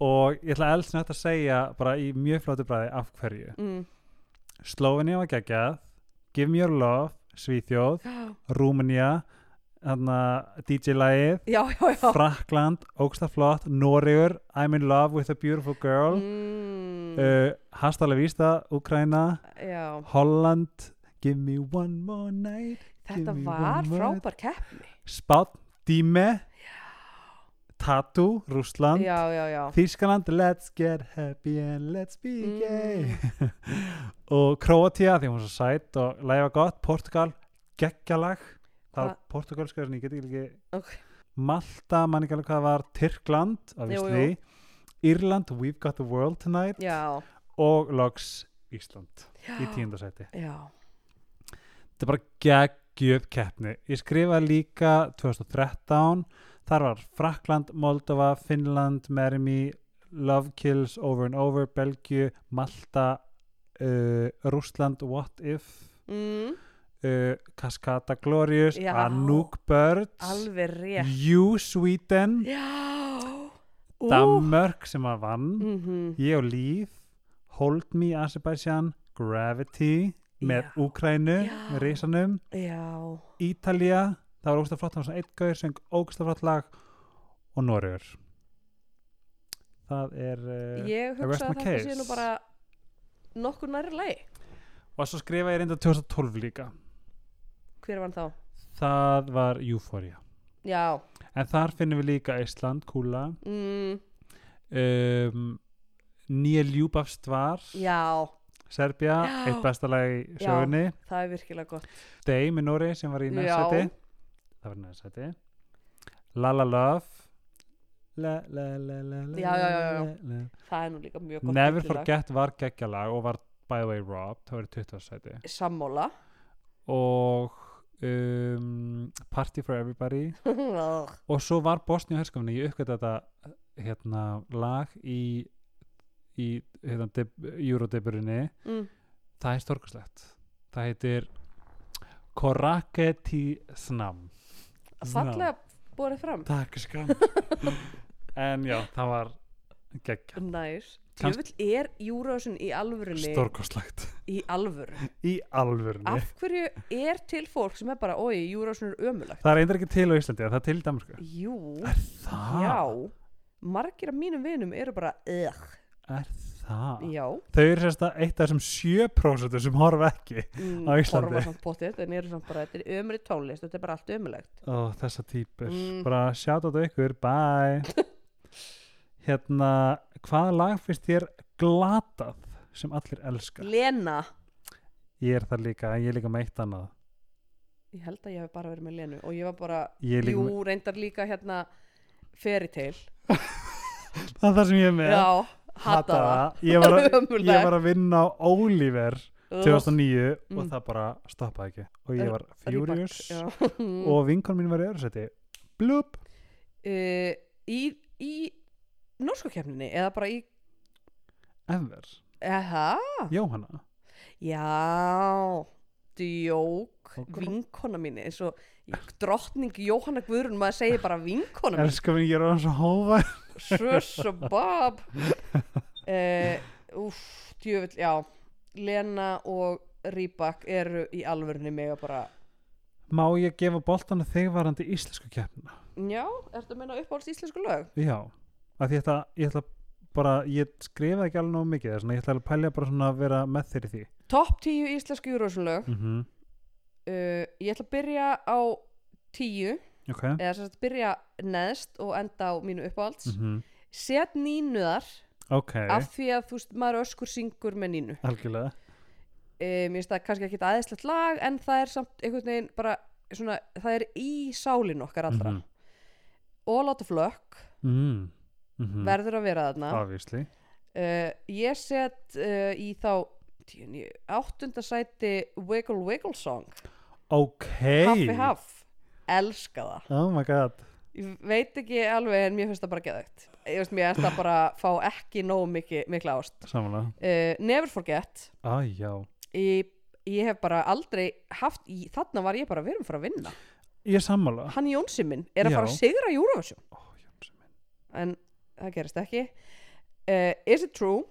[SPEAKER 1] og ég ætla elsnett að segja bara í mjög flótu bræði af hverju.
[SPEAKER 2] mm.
[SPEAKER 1] Slovenia var geggjað, Give Me Your Love, Svíþjóð, Rúmenía, DJ-lægið,
[SPEAKER 2] já, já, já.
[SPEAKER 1] Frakland, ógsta flott Noregur, I'm in love with a beautiful girl mm.
[SPEAKER 2] mm.
[SPEAKER 1] uh, Hastala Vísta, Ukraina
[SPEAKER 2] já.
[SPEAKER 1] Holland Give me one more night
[SPEAKER 2] Þetta
[SPEAKER 1] me
[SPEAKER 2] var
[SPEAKER 1] one word.
[SPEAKER 2] frábær keppni
[SPEAKER 1] Spát, Díme Tatu, Rússland
[SPEAKER 2] Já, já, já
[SPEAKER 1] Þískaland, let's get happy and let's be
[SPEAKER 2] Mm.
[SPEAKER 1] gay og Kroatia, því hún var svo sætt og lægi var gott, Portugal geggjalag, það var
[SPEAKER 2] Hva-
[SPEAKER 1] portugalska en ég get ekki
[SPEAKER 2] Ok.
[SPEAKER 1] Malta, mann ekki alveg hvað það var, Tyrkland að
[SPEAKER 2] Jú,
[SPEAKER 1] víst því, Írland We've got the world tonight
[SPEAKER 2] Já,
[SPEAKER 1] og loks Ísland
[SPEAKER 2] já,
[SPEAKER 1] í tíundasæti
[SPEAKER 2] já.
[SPEAKER 1] þetta er bara geggjöf keppni ég skrifaði líka 2013 þar var Frakland, Moldova Finnland, Marry Me Love Kills, Over and Over, Belgiu Malta uh, Rússland, What If
[SPEAKER 2] Mm,
[SPEAKER 1] uh, Cascada Glorious
[SPEAKER 2] Já.
[SPEAKER 1] Anouk Birds
[SPEAKER 2] Alveg rétt
[SPEAKER 1] You Sweden
[SPEAKER 2] Já Ú.
[SPEAKER 1] Danmörk sem að vann
[SPEAKER 2] Mhm.
[SPEAKER 1] Ég og Líf Hold Me Azerbaijan Gravity með
[SPEAKER 2] Já.
[SPEAKER 1] Úkrænu
[SPEAKER 2] Já.
[SPEAKER 1] með risanum
[SPEAKER 2] Já
[SPEAKER 1] Ítalía, það var ógsta flott það var svona eitt gauður, söng ógsta flott lag og Noregur það er uh,
[SPEAKER 2] Ég
[SPEAKER 1] I rest my
[SPEAKER 2] hugsa að þetta sé
[SPEAKER 1] case.
[SPEAKER 2] nú bara nokkur nærri lei
[SPEAKER 1] og svo skrifa ég reynda 2012 líka
[SPEAKER 2] Hver var hann þá?
[SPEAKER 1] það var Euphoria
[SPEAKER 2] Já
[SPEAKER 1] en þar finnum við líka Ísland, Kúla
[SPEAKER 2] mm,
[SPEAKER 1] um, Nýja Ljúbafst var
[SPEAKER 2] Já,
[SPEAKER 1] Serbia,
[SPEAKER 2] Já.
[SPEAKER 1] eitt besta lag í
[SPEAKER 2] Já.
[SPEAKER 1] sögunni
[SPEAKER 2] það er virkilega gott
[SPEAKER 1] Day með Nóri sem var í
[SPEAKER 2] Já.
[SPEAKER 1] næstsæti það var í næstsæti La La Love La La La La La
[SPEAKER 2] Já, já, já, já.
[SPEAKER 1] la, la, la.
[SPEAKER 2] Það er nú líka mjög gott
[SPEAKER 1] Never
[SPEAKER 2] titillag.
[SPEAKER 1] Forget var geggjalag og var by the way robbed, það var í 20. sæti
[SPEAKER 2] Sammála
[SPEAKER 1] og um, Party for Everybody
[SPEAKER 2] Já,
[SPEAKER 1] og svo var Bosnia og Herskofni ég uppgæti þetta hérna, lag í, í hérna, deb, Eurodebrinni
[SPEAKER 2] mm.
[SPEAKER 1] það er storkuslegt það heitir Korake ti snam
[SPEAKER 2] Fallega borið fram
[SPEAKER 1] Takk skam en já, það var geggja
[SPEAKER 2] Næs
[SPEAKER 1] Kanns-
[SPEAKER 2] Jöfull er Eurovision í alvörunni
[SPEAKER 1] storkuslegt
[SPEAKER 2] Í alvöru
[SPEAKER 1] í alvörni
[SPEAKER 2] Af hverju er til fólk sem er bara Ói, Eurovision er ömulagt
[SPEAKER 1] það er eindir ekki til á Íslandi, það er til í Danmarku
[SPEAKER 2] Jú,
[SPEAKER 1] Er það?
[SPEAKER 2] já Margir af mínum vinum eru bara Ugh,
[SPEAKER 1] Er það?
[SPEAKER 2] já
[SPEAKER 1] Þau eru sérst að eitt af þessum 7% sem horfa ekki
[SPEAKER 2] mm,
[SPEAKER 1] Á Íslandi.
[SPEAKER 2] horfa samt potið, en eru samt bara Þetta er ömri tónlist, þetta er bara allt ömulegt
[SPEAKER 1] Ó, þessa típur
[SPEAKER 2] Mm.
[SPEAKER 1] Bara sjátt á þetta ykkur, bye Hérna, hvaða lag finnst þér glatað sem allir elska?
[SPEAKER 2] Lena
[SPEAKER 1] Ég er það líka, en ég er líka með eitt annað
[SPEAKER 2] Ég held að ég hef bara verið með Lenu Og ég var bara,
[SPEAKER 1] Ég er líka
[SPEAKER 2] jú, reyndar líka hérna Fairy Tale
[SPEAKER 1] með, það er það sem ég er með
[SPEAKER 2] Já, hata
[SPEAKER 1] Hata
[SPEAKER 2] það
[SPEAKER 1] það Ég var, að,
[SPEAKER 2] Ömurlegt.
[SPEAKER 1] ég var að vinna á Oliver
[SPEAKER 2] Ugh,
[SPEAKER 1] 2009 og
[SPEAKER 2] Mm.
[SPEAKER 1] það bara stoppaði ekki og ég var
[SPEAKER 2] Reebok,
[SPEAKER 1] furious
[SPEAKER 2] já. Mm.
[SPEAKER 1] og vinkon mín var í öðru seti Blúp
[SPEAKER 2] uh, í, í norsku kemninni eða bara í
[SPEAKER 1] ever
[SPEAKER 2] eða,
[SPEAKER 1] Jóhanna
[SPEAKER 2] já djók,
[SPEAKER 1] Og gró-
[SPEAKER 2] vinkona mín eins og drottning Jóhanna Guðrun maður segir bara vinkona mín
[SPEAKER 1] Elskum ég er orðan svo hófa
[SPEAKER 2] sus og bab uh, úf, djöfull, já Lena og Rýbak eru í alvörunni mega bara
[SPEAKER 1] Má ég gefa boltan að þig varandi íslensku keppnina?
[SPEAKER 2] já, ertu að meina uppáhalds íslensku lög?
[SPEAKER 1] Já að ég ætla, ég ætla bara ég skrifaði ekki alveg nóg mikið þess vegna ég ætla að pælja bara svona að vera með þér í því
[SPEAKER 2] topp 10 íslensku júrósunlög
[SPEAKER 1] mm -hmm.
[SPEAKER 2] uh, ég ætla að byrja á 10
[SPEAKER 1] Ok mm
[SPEAKER 2] eða sem sagt byrja neðst og enda á mínu uppáhalds
[SPEAKER 1] -hmm.
[SPEAKER 2] set nínuðar
[SPEAKER 1] ok,
[SPEAKER 2] af því að þú veist, maður öskur syngur með nínu
[SPEAKER 1] algjörlega
[SPEAKER 2] um, ég veist það er kannski ekki aðeinslegt lag en það er samt einhvern veginn bara svona, það er í sálin okkar allra
[SPEAKER 1] Mhm.
[SPEAKER 2] All Out of Luck
[SPEAKER 1] mm. Mm -hmm.
[SPEAKER 2] verður að vera þarna
[SPEAKER 1] Obviously.
[SPEAKER 2] uh, ég set uh, í þá tíu, níu, áttunda sæti Wiggle Wiggle Song
[SPEAKER 1] ok
[SPEAKER 2] Haffi Haff, elska það
[SPEAKER 1] oh my god
[SPEAKER 2] ég veit ekki alveg en mér finnst það bara geðvægt ég veist mér finnst það bara fá ekki nóg miki, mikla ást
[SPEAKER 1] samanlega,
[SPEAKER 2] uh, Never Forget
[SPEAKER 1] ah, já
[SPEAKER 2] ég, ég hef bara aldrei haft í, þarna var ég bara við erum fyrir að vinna
[SPEAKER 1] ég er sammála
[SPEAKER 2] hann Jónsi minn er að
[SPEAKER 1] Ah. Já.
[SPEAKER 2] fara að sigra Eurovision
[SPEAKER 1] Ó, Jónsi minn.
[SPEAKER 2] en það gerist ekki uh, Is it true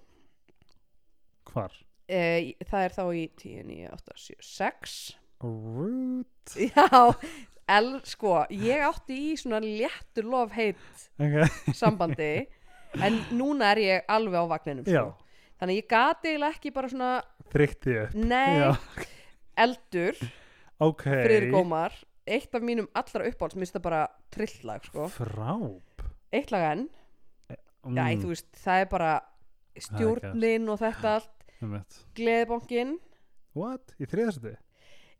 [SPEAKER 1] hvar?
[SPEAKER 2] uh, það er þá í 10, 9, 8, 7, 6
[SPEAKER 1] Rude.
[SPEAKER 2] Já, el, sko, ég átti í svona léttu lofheit
[SPEAKER 1] ok,
[SPEAKER 2] sambandi en núna er ég alveg á vagninum
[SPEAKER 1] já
[SPEAKER 2] sko. þannig að ég gati eiginlega ekki bara svona
[SPEAKER 1] þrykti upp
[SPEAKER 2] nei,
[SPEAKER 1] Já.
[SPEAKER 2] eldur
[SPEAKER 1] ok,
[SPEAKER 2] friður gómar, eitt af mínum allra uppáhalds, minnst það bara trillag sko.
[SPEAKER 1] fráb
[SPEAKER 2] eitt lag enn,
[SPEAKER 1] mm,
[SPEAKER 2] já, þú veist, það er bara stjórnin og þetta allt
[SPEAKER 1] einmitt.
[SPEAKER 2] gleðibongin,
[SPEAKER 1] what? í þriðastu?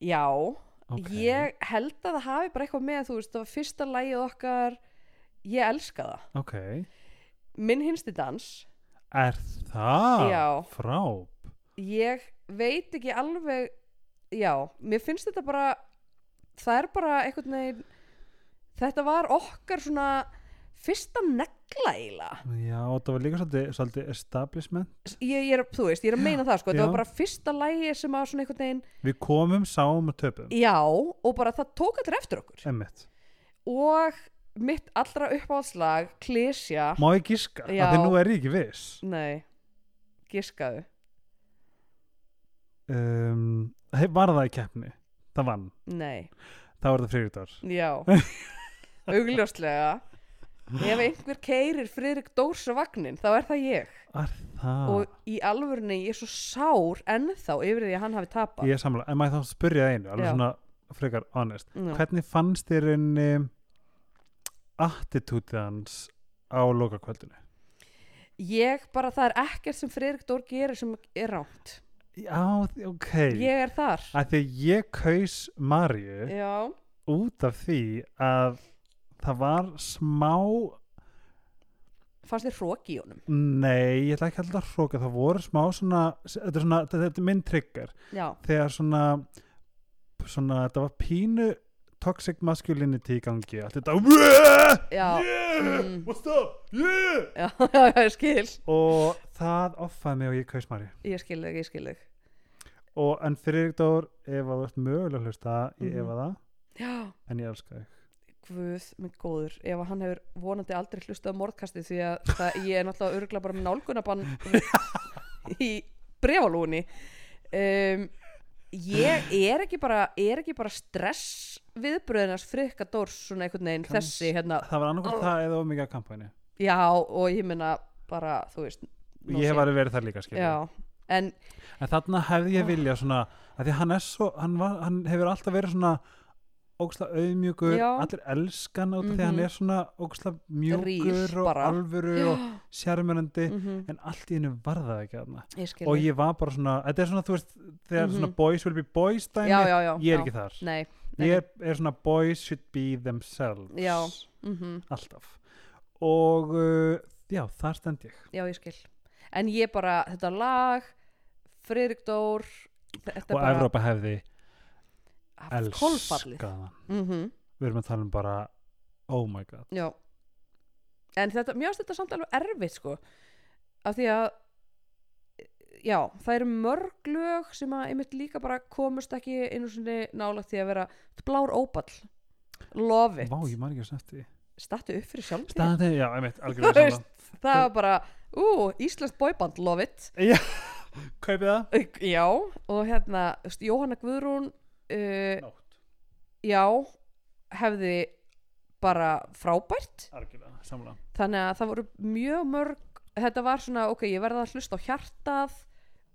[SPEAKER 2] já
[SPEAKER 1] ok,
[SPEAKER 2] ég held að það hafi bara eitthvað með þú veist, það var fyrsta lagið okkar ég elska það
[SPEAKER 1] ok
[SPEAKER 2] minn hinsti dans
[SPEAKER 1] er það?
[SPEAKER 2] Já.
[SPEAKER 1] fráb
[SPEAKER 2] ég veit ekki alveg já, mér finnst þetta bara það er bara einhvern veginn þetta var okkar svona fyrsta negla eiginlega
[SPEAKER 1] já, og það var líka svolítið, svolítið establishment
[SPEAKER 2] ég, ég er, þú veist, ég er að meina það sko
[SPEAKER 1] Já.
[SPEAKER 2] þetta var bara fyrsta lægi sem að svona einhvern veginn
[SPEAKER 1] við komum, sáum og töpum
[SPEAKER 2] já, og bara það tók allir eftir okkur
[SPEAKER 1] emmitt
[SPEAKER 2] og mitt allra uppáhaldslag klesja,
[SPEAKER 1] Má ég gíska?
[SPEAKER 2] Já.
[SPEAKER 1] Þegar nú er ég ekki viss
[SPEAKER 2] nei giskaðu,
[SPEAKER 1] um, he- Var það í keppni? Það vann,
[SPEAKER 2] nei
[SPEAKER 1] það var það friðutar
[SPEAKER 2] Já, augljóslega Ef einhver keirir Friðrik Dórs á vagnin, þá er það ég
[SPEAKER 1] Er það?
[SPEAKER 2] Og í alvörunni ég er svo sár ennþá yfir því að hann hafi tapað
[SPEAKER 1] Ég er samlega, en maður þá spyrja það einu Alveg
[SPEAKER 2] Já.
[SPEAKER 1] svona frekar honest
[SPEAKER 2] Já.
[SPEAKER 1] Hvernig fannst þér unni attitútið hans á lokakvöldinu?
[SPEAKER 2] Ég bara, það er ekkert sem Friðrik Dór gerir sem er rámt
[SPEAKER 1] Já, þi- ok
[SPEAKER 2] Ég er þar
[SPEAKER 1] Af því að ég kaus Marju
[SPEAKER 2] Já,
[SPEAKER 1] út af því að það var smá
[SPEAKER 2] fannst þér hróki í honum
[SPEAKER 1] Nei, ég ætla ekki alltaf að hróka Það voru smá svona Þetta er, svona, þetta þetta er minn trigger
[SPEAKER 2] Já,
[SPEAKER 1] þegar svona svona þetta var pínu toxic masculinity í gangi allt þetta
[SPEAKER 2] Já,
[SPEAKER 1] yeah,
[SPEAKER 2] mm.
[SPEAKER 1] what's up yeah.
[SPEAKER 2] já, já, ég skil
[SPEAKER 1] og það offaði mig og ég kaus Mari
[SPEAKER 2] Ég skil þig, ég skil þig
[SPEAKER 1] og en fyrir Dór ef að þú ert mögulega að hlusta ég
[SPEAKER 2] Mhm.
[SPEAKER 1] efa það
[SPEAKER 2] Já,
[SPEAKER 1] en ég elska þig
[SPEAKER 2] guð minn góður ef að hann hefur vonandi aldrei hlustað á morðkastið því að það, ég er náttúrulega örgla bara með nálgunabann í brefalúni um, ég er ekki bara er ekki bara stress viðbröðinars frikka dórs svona einhvern veginn
[SPEAKER 1] Kanns-
[SPEAKER 2] þessi hérna,
[SPEAKER 1] það var annarkvæmt það eða of mikið að kampæni
[SPEAKER 2] já og ég minna bara þú veist nú
[SPEAKER 1] ég
[SPEAKER 2] sé-
[SPEAKER 1] hef alveg verið það líka skilja
[SPEAKER 2] já, en
[SPEAKER 1] en þarna hefði ég vilja svona að því hann er svo hann, var, hann hefur alltaf verið svona óksla auðmjúkur,
[SPEAKER 2] Já.
[SPEAKER 1] allir elskan út af því að hann
[SPEAKER 2] Mhm.
[SPEAKER 1] er svona óksla mjúkur
[SPEAKER 2] Rýr
[SPEAKER 1] og
[SPEAKER 2] bara.
[SPEAKER 1] alvöru og sjarmjörnandi
[SPEAKER 2] mm
[SPEAKER 1] en allt í hennu var það ekki þarna
[SPEAKER 2] ég skil
[SPEAKER 1] og
[SPEAKER 2] þig.
[SPEAKER 1] ég var bara svona, þetta er svona þú veist þegar
[SPEAKER 2] Mhm.
[SPEAKER 1] svona boys will be boys dæmi,
[SPEAKER 2] já, já,
[SPEAKER 1] ég
[SPEAKER 2] já,
[SPEAKER 1] er
[SPEAKER 2] já.
[SPEAKER 1] ekki þar
[SPEAKER 2] nei, nei.
[SPEAKER 1] ég er, er svona boys should be themselves
[SPEAKER 2] Já. mhm.
[SPEAKER 1] alltaf og uh, já, þar stend ég
[SPEAKER 2] já ég skil en ég bara, þetta lag Friðrik Dór þetta
[SPEAKER 1] og Evrópa hefði
[SPEAKER 2] haft
[SPEAKER 1] elskað
[SPEAKER 2] kolfallið
[SPEAKER 1] hann
[SPEAKER 2] mm
[SPEAKER 1] við erum að tala um bara oh my god
[SPEAKER 2] já en þetta, mér finnst þetta samt alveg erfitt sko af því að já, það eru mörg lög sem að einmitt líka bara komust ekki einu sinni nálægt því að vera Þetta er blár óball love it,
[SPEAKER 1] Vá, ég man ekki að snæfti
[SPEAKER 2] stattu upp fyrir sjálf þér.
[SPEAKER 1] Staðan þegar, já, einmitt,
[SPEAKER 2] Þú
[SPEAKER 1] algjörlega
[SPEAKER 2] veist, það var bara ú, Íslands bóiband, love it
[SPEAKER 1] saman Kaupið það?
[SPEAKER 2] Auk- já, og hérna þú veist, Jóhanna Guðrún uh,
[SPEAKER 1] Nótt,
[SPEAKER 2] já, hefði bara frábært
[SPEAKER 1] algjörlega, samla
[SPEAKER 2] þannig að það voru mjög mörg þetta var svona, ok, ég verða að hlusta á hjartað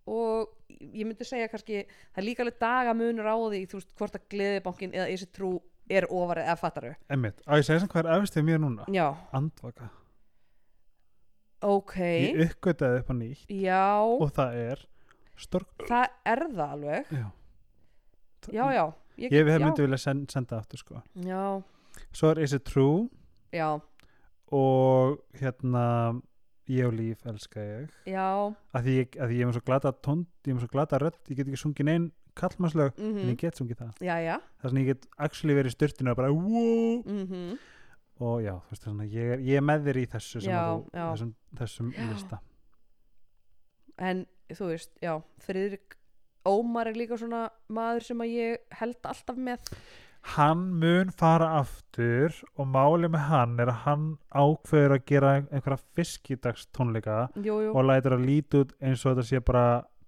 [SPEAKER 2] og ég myndi segja kannski, það er líka alveg dagamunur á því, þú veist, hvort að gleðibankin eða Isi Trú er ofar eða fattaru
[SPEAKER 1] Einmitt, á ég segja sem hvað er efstið mér núna
[SPEAKER 2] já,
[SPEAKER 1] Andvaka
[SPEAKER 2] ok,
[SPEAKER 1] Ég uppgötaði upp á nýtt
[SPEAKER 2] já,
[SPEAKER 1] og það er stork
[SPEAKER 2] það er það alveg,
[SPEAKER 1] Já,
[SPEAKER 2] já, já. Ég,
[SPEAKER 1] Ég hef
[SPEAKER 2] já,
[SPEAKER 1] myndi vilja send, senda aftur sko
[SPEAKER 2] Já,
[SPEAKER 1] Svo er Is It True
[SPEAKER 2] já,
[SPEAKER 1] og hérna Ég og líf elska ég
[SPEAKER 2] já,
[SPEAKER 1] að því ég, að því ég er með svo glata tónd ég er með svo glata rödd, ég get ekki sungið neinn kallmannslög,
[SPEAKER 2] mhm,
[SPEAKER 1] en ég get sungið það
[SPEAKER 2] já, já,
[SPEAKER 1] það er svona ég get actually verið í styrtinu og bara wow
[SPEAKER 2] mhm,
[SPEAKER 1] og já, þú veist þannig, ég er, ég er með þér í þessu sem
[SPEAKER 2] Já,
[SPEAKER 1] að þú,
[SPEAKER 2] já.
[SPEAKER 1] þessum, þessum
[SPEAKER 2] Já.
[SPEAKER 1] lista
[SPEAKER 2] en þú veist, já, Friðrik Ómar er líka svona maður sem að ég held alltaf með,
[SPEAKER 1] hann mun fara aftur og málið með hann er að hann ákveður að gera einhverja fiskidagstónleika
[SPEAKER 2] jú, jú,
[SPEAKER 1] og lætur að líti út eins og þetta sé bara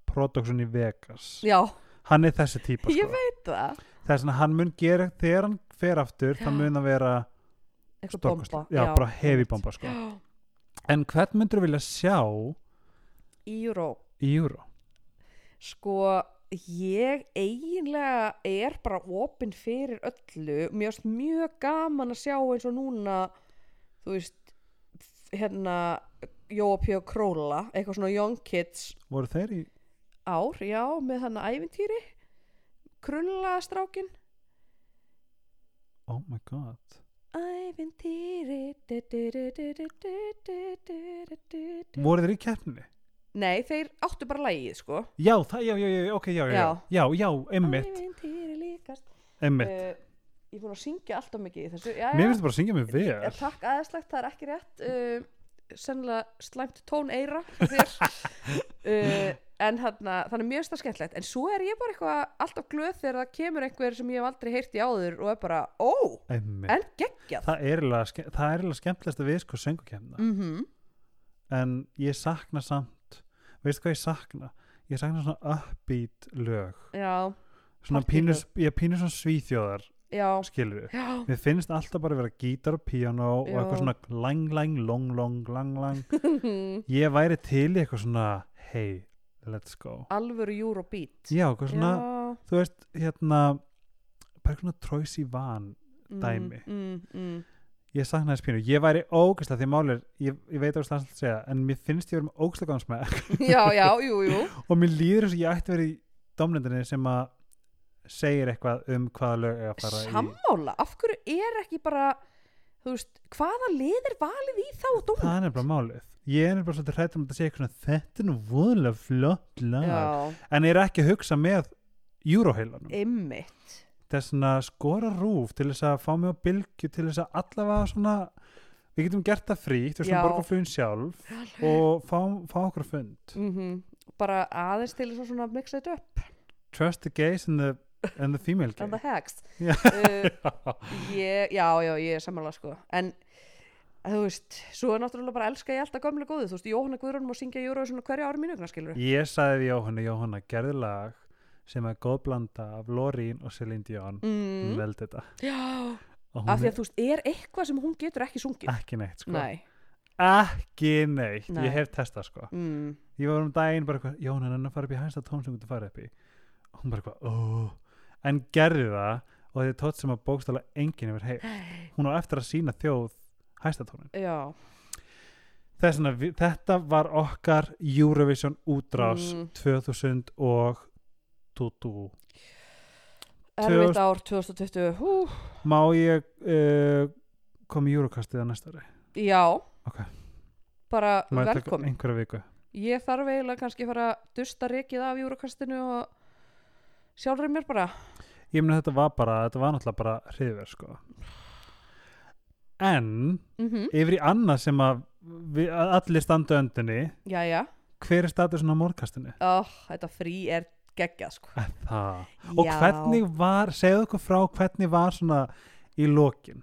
[SPEAKER 1] production í Vegas
[SPEAKER 2] já,
[SPEAKER 1] hann er þessi típa
[SPEAKER 2] ég
[SPEAKER 1] sko.
[SPEAKER 2] veit það,
[SPEAKER 1] þess að hann mun gera þegar hann fer aftur
[SPEAKER 2] Já.
[SPEAKER 1] það mun að vera
[SPEAKER 2] eitthvað bomba,
[SPEAKER 1] Storkast, já, bara heavy bomba sko.
[SPEAKER 2] Já,
[SPEAKER 1] en hvern myndur vilja sjá
[SPEAKER 2] í Júró,
[SPEAKER 1] í Euro?
[SPEAKER 2] sko, ég eiginlega er bara opinn fyrir öllu, mér finnst mjög gaman að sjá eins og núna, þú veist, hérna, Jóa Pjó Króla, eitthvað svona Young Kids
[SPEAKER 1] voru þeir í
[SPEAKER 2] ár, já, með hann ævintýri, krulla strákin,
[SPEAKER 1] oh my god
[SPEAKER 2] ævintýri, du, du, du, du, du, du, du, du, du, du, du.
[SPEAKER 1] voru þeir í keppninni?
[SPEAKER 2] Nei, þeir áttu bara lægið, sko.
[SPEAKER 1] já, það, já, já, já, ok, já, já, já,
[SPEAKER 2] Já.
[SPEAKER 1] já, já einmitt,
[SPEAKER 2] Ævintýri líkast.
[SPEAKER 1] einmitt
[SPEAKER 2] Uh, ég er búin að syngja alltaf mikið í þessu. Já,
[SPEAKER 1] mér finnst bara að syngja mig vel
[SPEAKER 2] Er takk aðeinslegt, það er ekki rétt uh, sennilega slæmt tón eira þér uh, en þarna, þannig mjög stað skemmtilegt en svo er ég bara eitthvað alltaf glöð þegar það kemur einhver sem ég hef aldrei heyrt í áður og er bara, ó,
[SPEAKER 1] einmitt,
[SPEAKER 2] en geggjað
[SPEAKER 1] það er eiginlega ske- það er eiginlega skemmtilegst að við sko söngukemna
[SPEAKER 2] mm -hmm.
[SPEAKER 1] en ég sakna samt veistu hvað ég sakna? ég sakna svona upbeat lög
[SPEAKER 2] já,
[SPEAKER 1] svona
[SPEAKER 2] Partylög.
[SPEAKER 1] pínus, ég pínus svona svíþjóðar
[SPEAKER 2] já,
[SPEAKER 1] skilur við
[SPEAKER 2] já
[SPEAKER 1] Mér finnst alltaf bara að vera gítar og píano og
[SPEAKER 2] Já.
[SPEAKER 1] eitthvað svona lang, lang, long, long, lang, lang. Ég væri til í eitthvað svona, hey, let's go.
[SPEAKER 2] alvöru Eurobeat
[SPEAKER 1] Já, eitthvað svona, þú veist, hérna, bara eitthvað svona tróis í van.
[SPEAKER 2] mm,
[SPEAKER 1] dæmi.
[SPEAKER 2] mm, mm,
[SPEAKER 1] Ég saknaði þess pínu. Ég væri ógæslega því málið, er, ég, ég veit að það er slæmt að segja, en mér finnst ég vera með ógæslega góðan smæk
[SPEAKER 2] já, já, jú, jú
[SPEAKER 1] og mér líður eins og ég ætti verið í domnendinni sem að segir eitthvað um hvaða lög er að fara í.
[SPEAKER 2] sammála, af hverju er ekki bara þú veist, hvaða liðir valið í þá dómur?
[SPEAKER 1] Það er bara málið. Ég er bara svolítið hrættur um að þetta sé eitthvað svona, þetta er nú voðalega flott lag.
[SPEAKER 2] Já,
[SPEAKER 1] en ég er ekki að hugsa með júróheilanum
[SPEAKER 2] einmitt
[SPEAKER 1] þess að skora rúf til þess að fá mig á bylgju til þess að allavega svona við getum gert það frí til þess
[SPEAKER 2] Já.
[SPEAKER 1] að borga flugin sjálf og fá, fá okkur á fund
[SPEAKER 2] mm bara aðeins til þess að svona mixa þetta upp
[SPEAKER 1] trust the gays and the, and the female
[SPEAKER 2] and the
[SPEAKER 1] gay
[SPEAKER 2] hacks
[SPEAKER 1] Já.
[SPEAKER 2] uh, ég, já, já, ég er sammála sko en þú veist, svo er náttúrulega bara elska ég alltaf gömlega góðu, þú veist, Jóhanna Guðrún má syngja Júra svona hverja ári mínugna skilur
[SPEAKER 1] ég sagði við Jóhanna Jóhanna gerði lag sem er góð blanda af Lorín og Celine Dion
[SPEAKER 2] mm.
[SPEAKER 1] mm. veldi þetta
[SPEAKER 2] já,
[SPEAKER 1] og
[SPEAKER 2] af því
[SPEAKER 1] hún
[SPEAKER 2] að þú veist, er eitthvað sem hún getur ekki sungið
[SPEAKER 1] er ekki neitt sko
[SPEAKER 2] nei,
[SPEAKER 1] ekki neitt,
[SPEAKER 2] Nei.
[SPEAKER 1] ég hef testað sko
[SPEAKER 2] mm.
[SPEAKER 1] ég var um daginn bara eitthvað Jón hann er að fara upp í hæsta tón sem þú ert að fara upp í og hún bara eitthvað oh. en gerði það og þetta er tótt sem að bókstala enginn yfir heim hún á eftir að sína þjóð hæsta tónin
[SPEAKER 2] já,
[SPEAKER 1] þess vegna við- þetta var okkar Eurovision útrás
[SPEAKER 2] Mm.
[SPEAKER 1] 2000 og 2000
[SPEAKER 2] erfitt ár 2020 hú,
[SPEAKER 1] má ég uh, koma í Eurocastið að næsta ári
[SPEAKER 2] já
[SPEAKER 1] Ok.
[SPEAKER 2] bara
[SPEAKER 1] Má ég taka
[SPEAKER 2] velkomin
[SPEAKER 1] einhverja viku
[SPEAKER 2] Ég þarf eiginlega kannski að fara að dusta rekið af júrakastinu og sjálfur mér bara.
[SPEAKER 1] ég meni þetta var bara þetta var náttúrulega bara hriðver sko en
[SPEAKER 2] Mm -hmm.
[SPEAKER 1] yfir í annað sem að við, að allir standu öndinni
[SPEAKER 2] Jæja,
[SPEAKER 1] hver er statusin á morgkastinu?
[SPEAKER 2] oh, þetta frí er geggjað sko.
[SPEAKER 1] Það. Og
[SPEAKER 2] Já.
[SPEAKER 1] hvernig var, segðu okkur frá hvernig var svona í lokin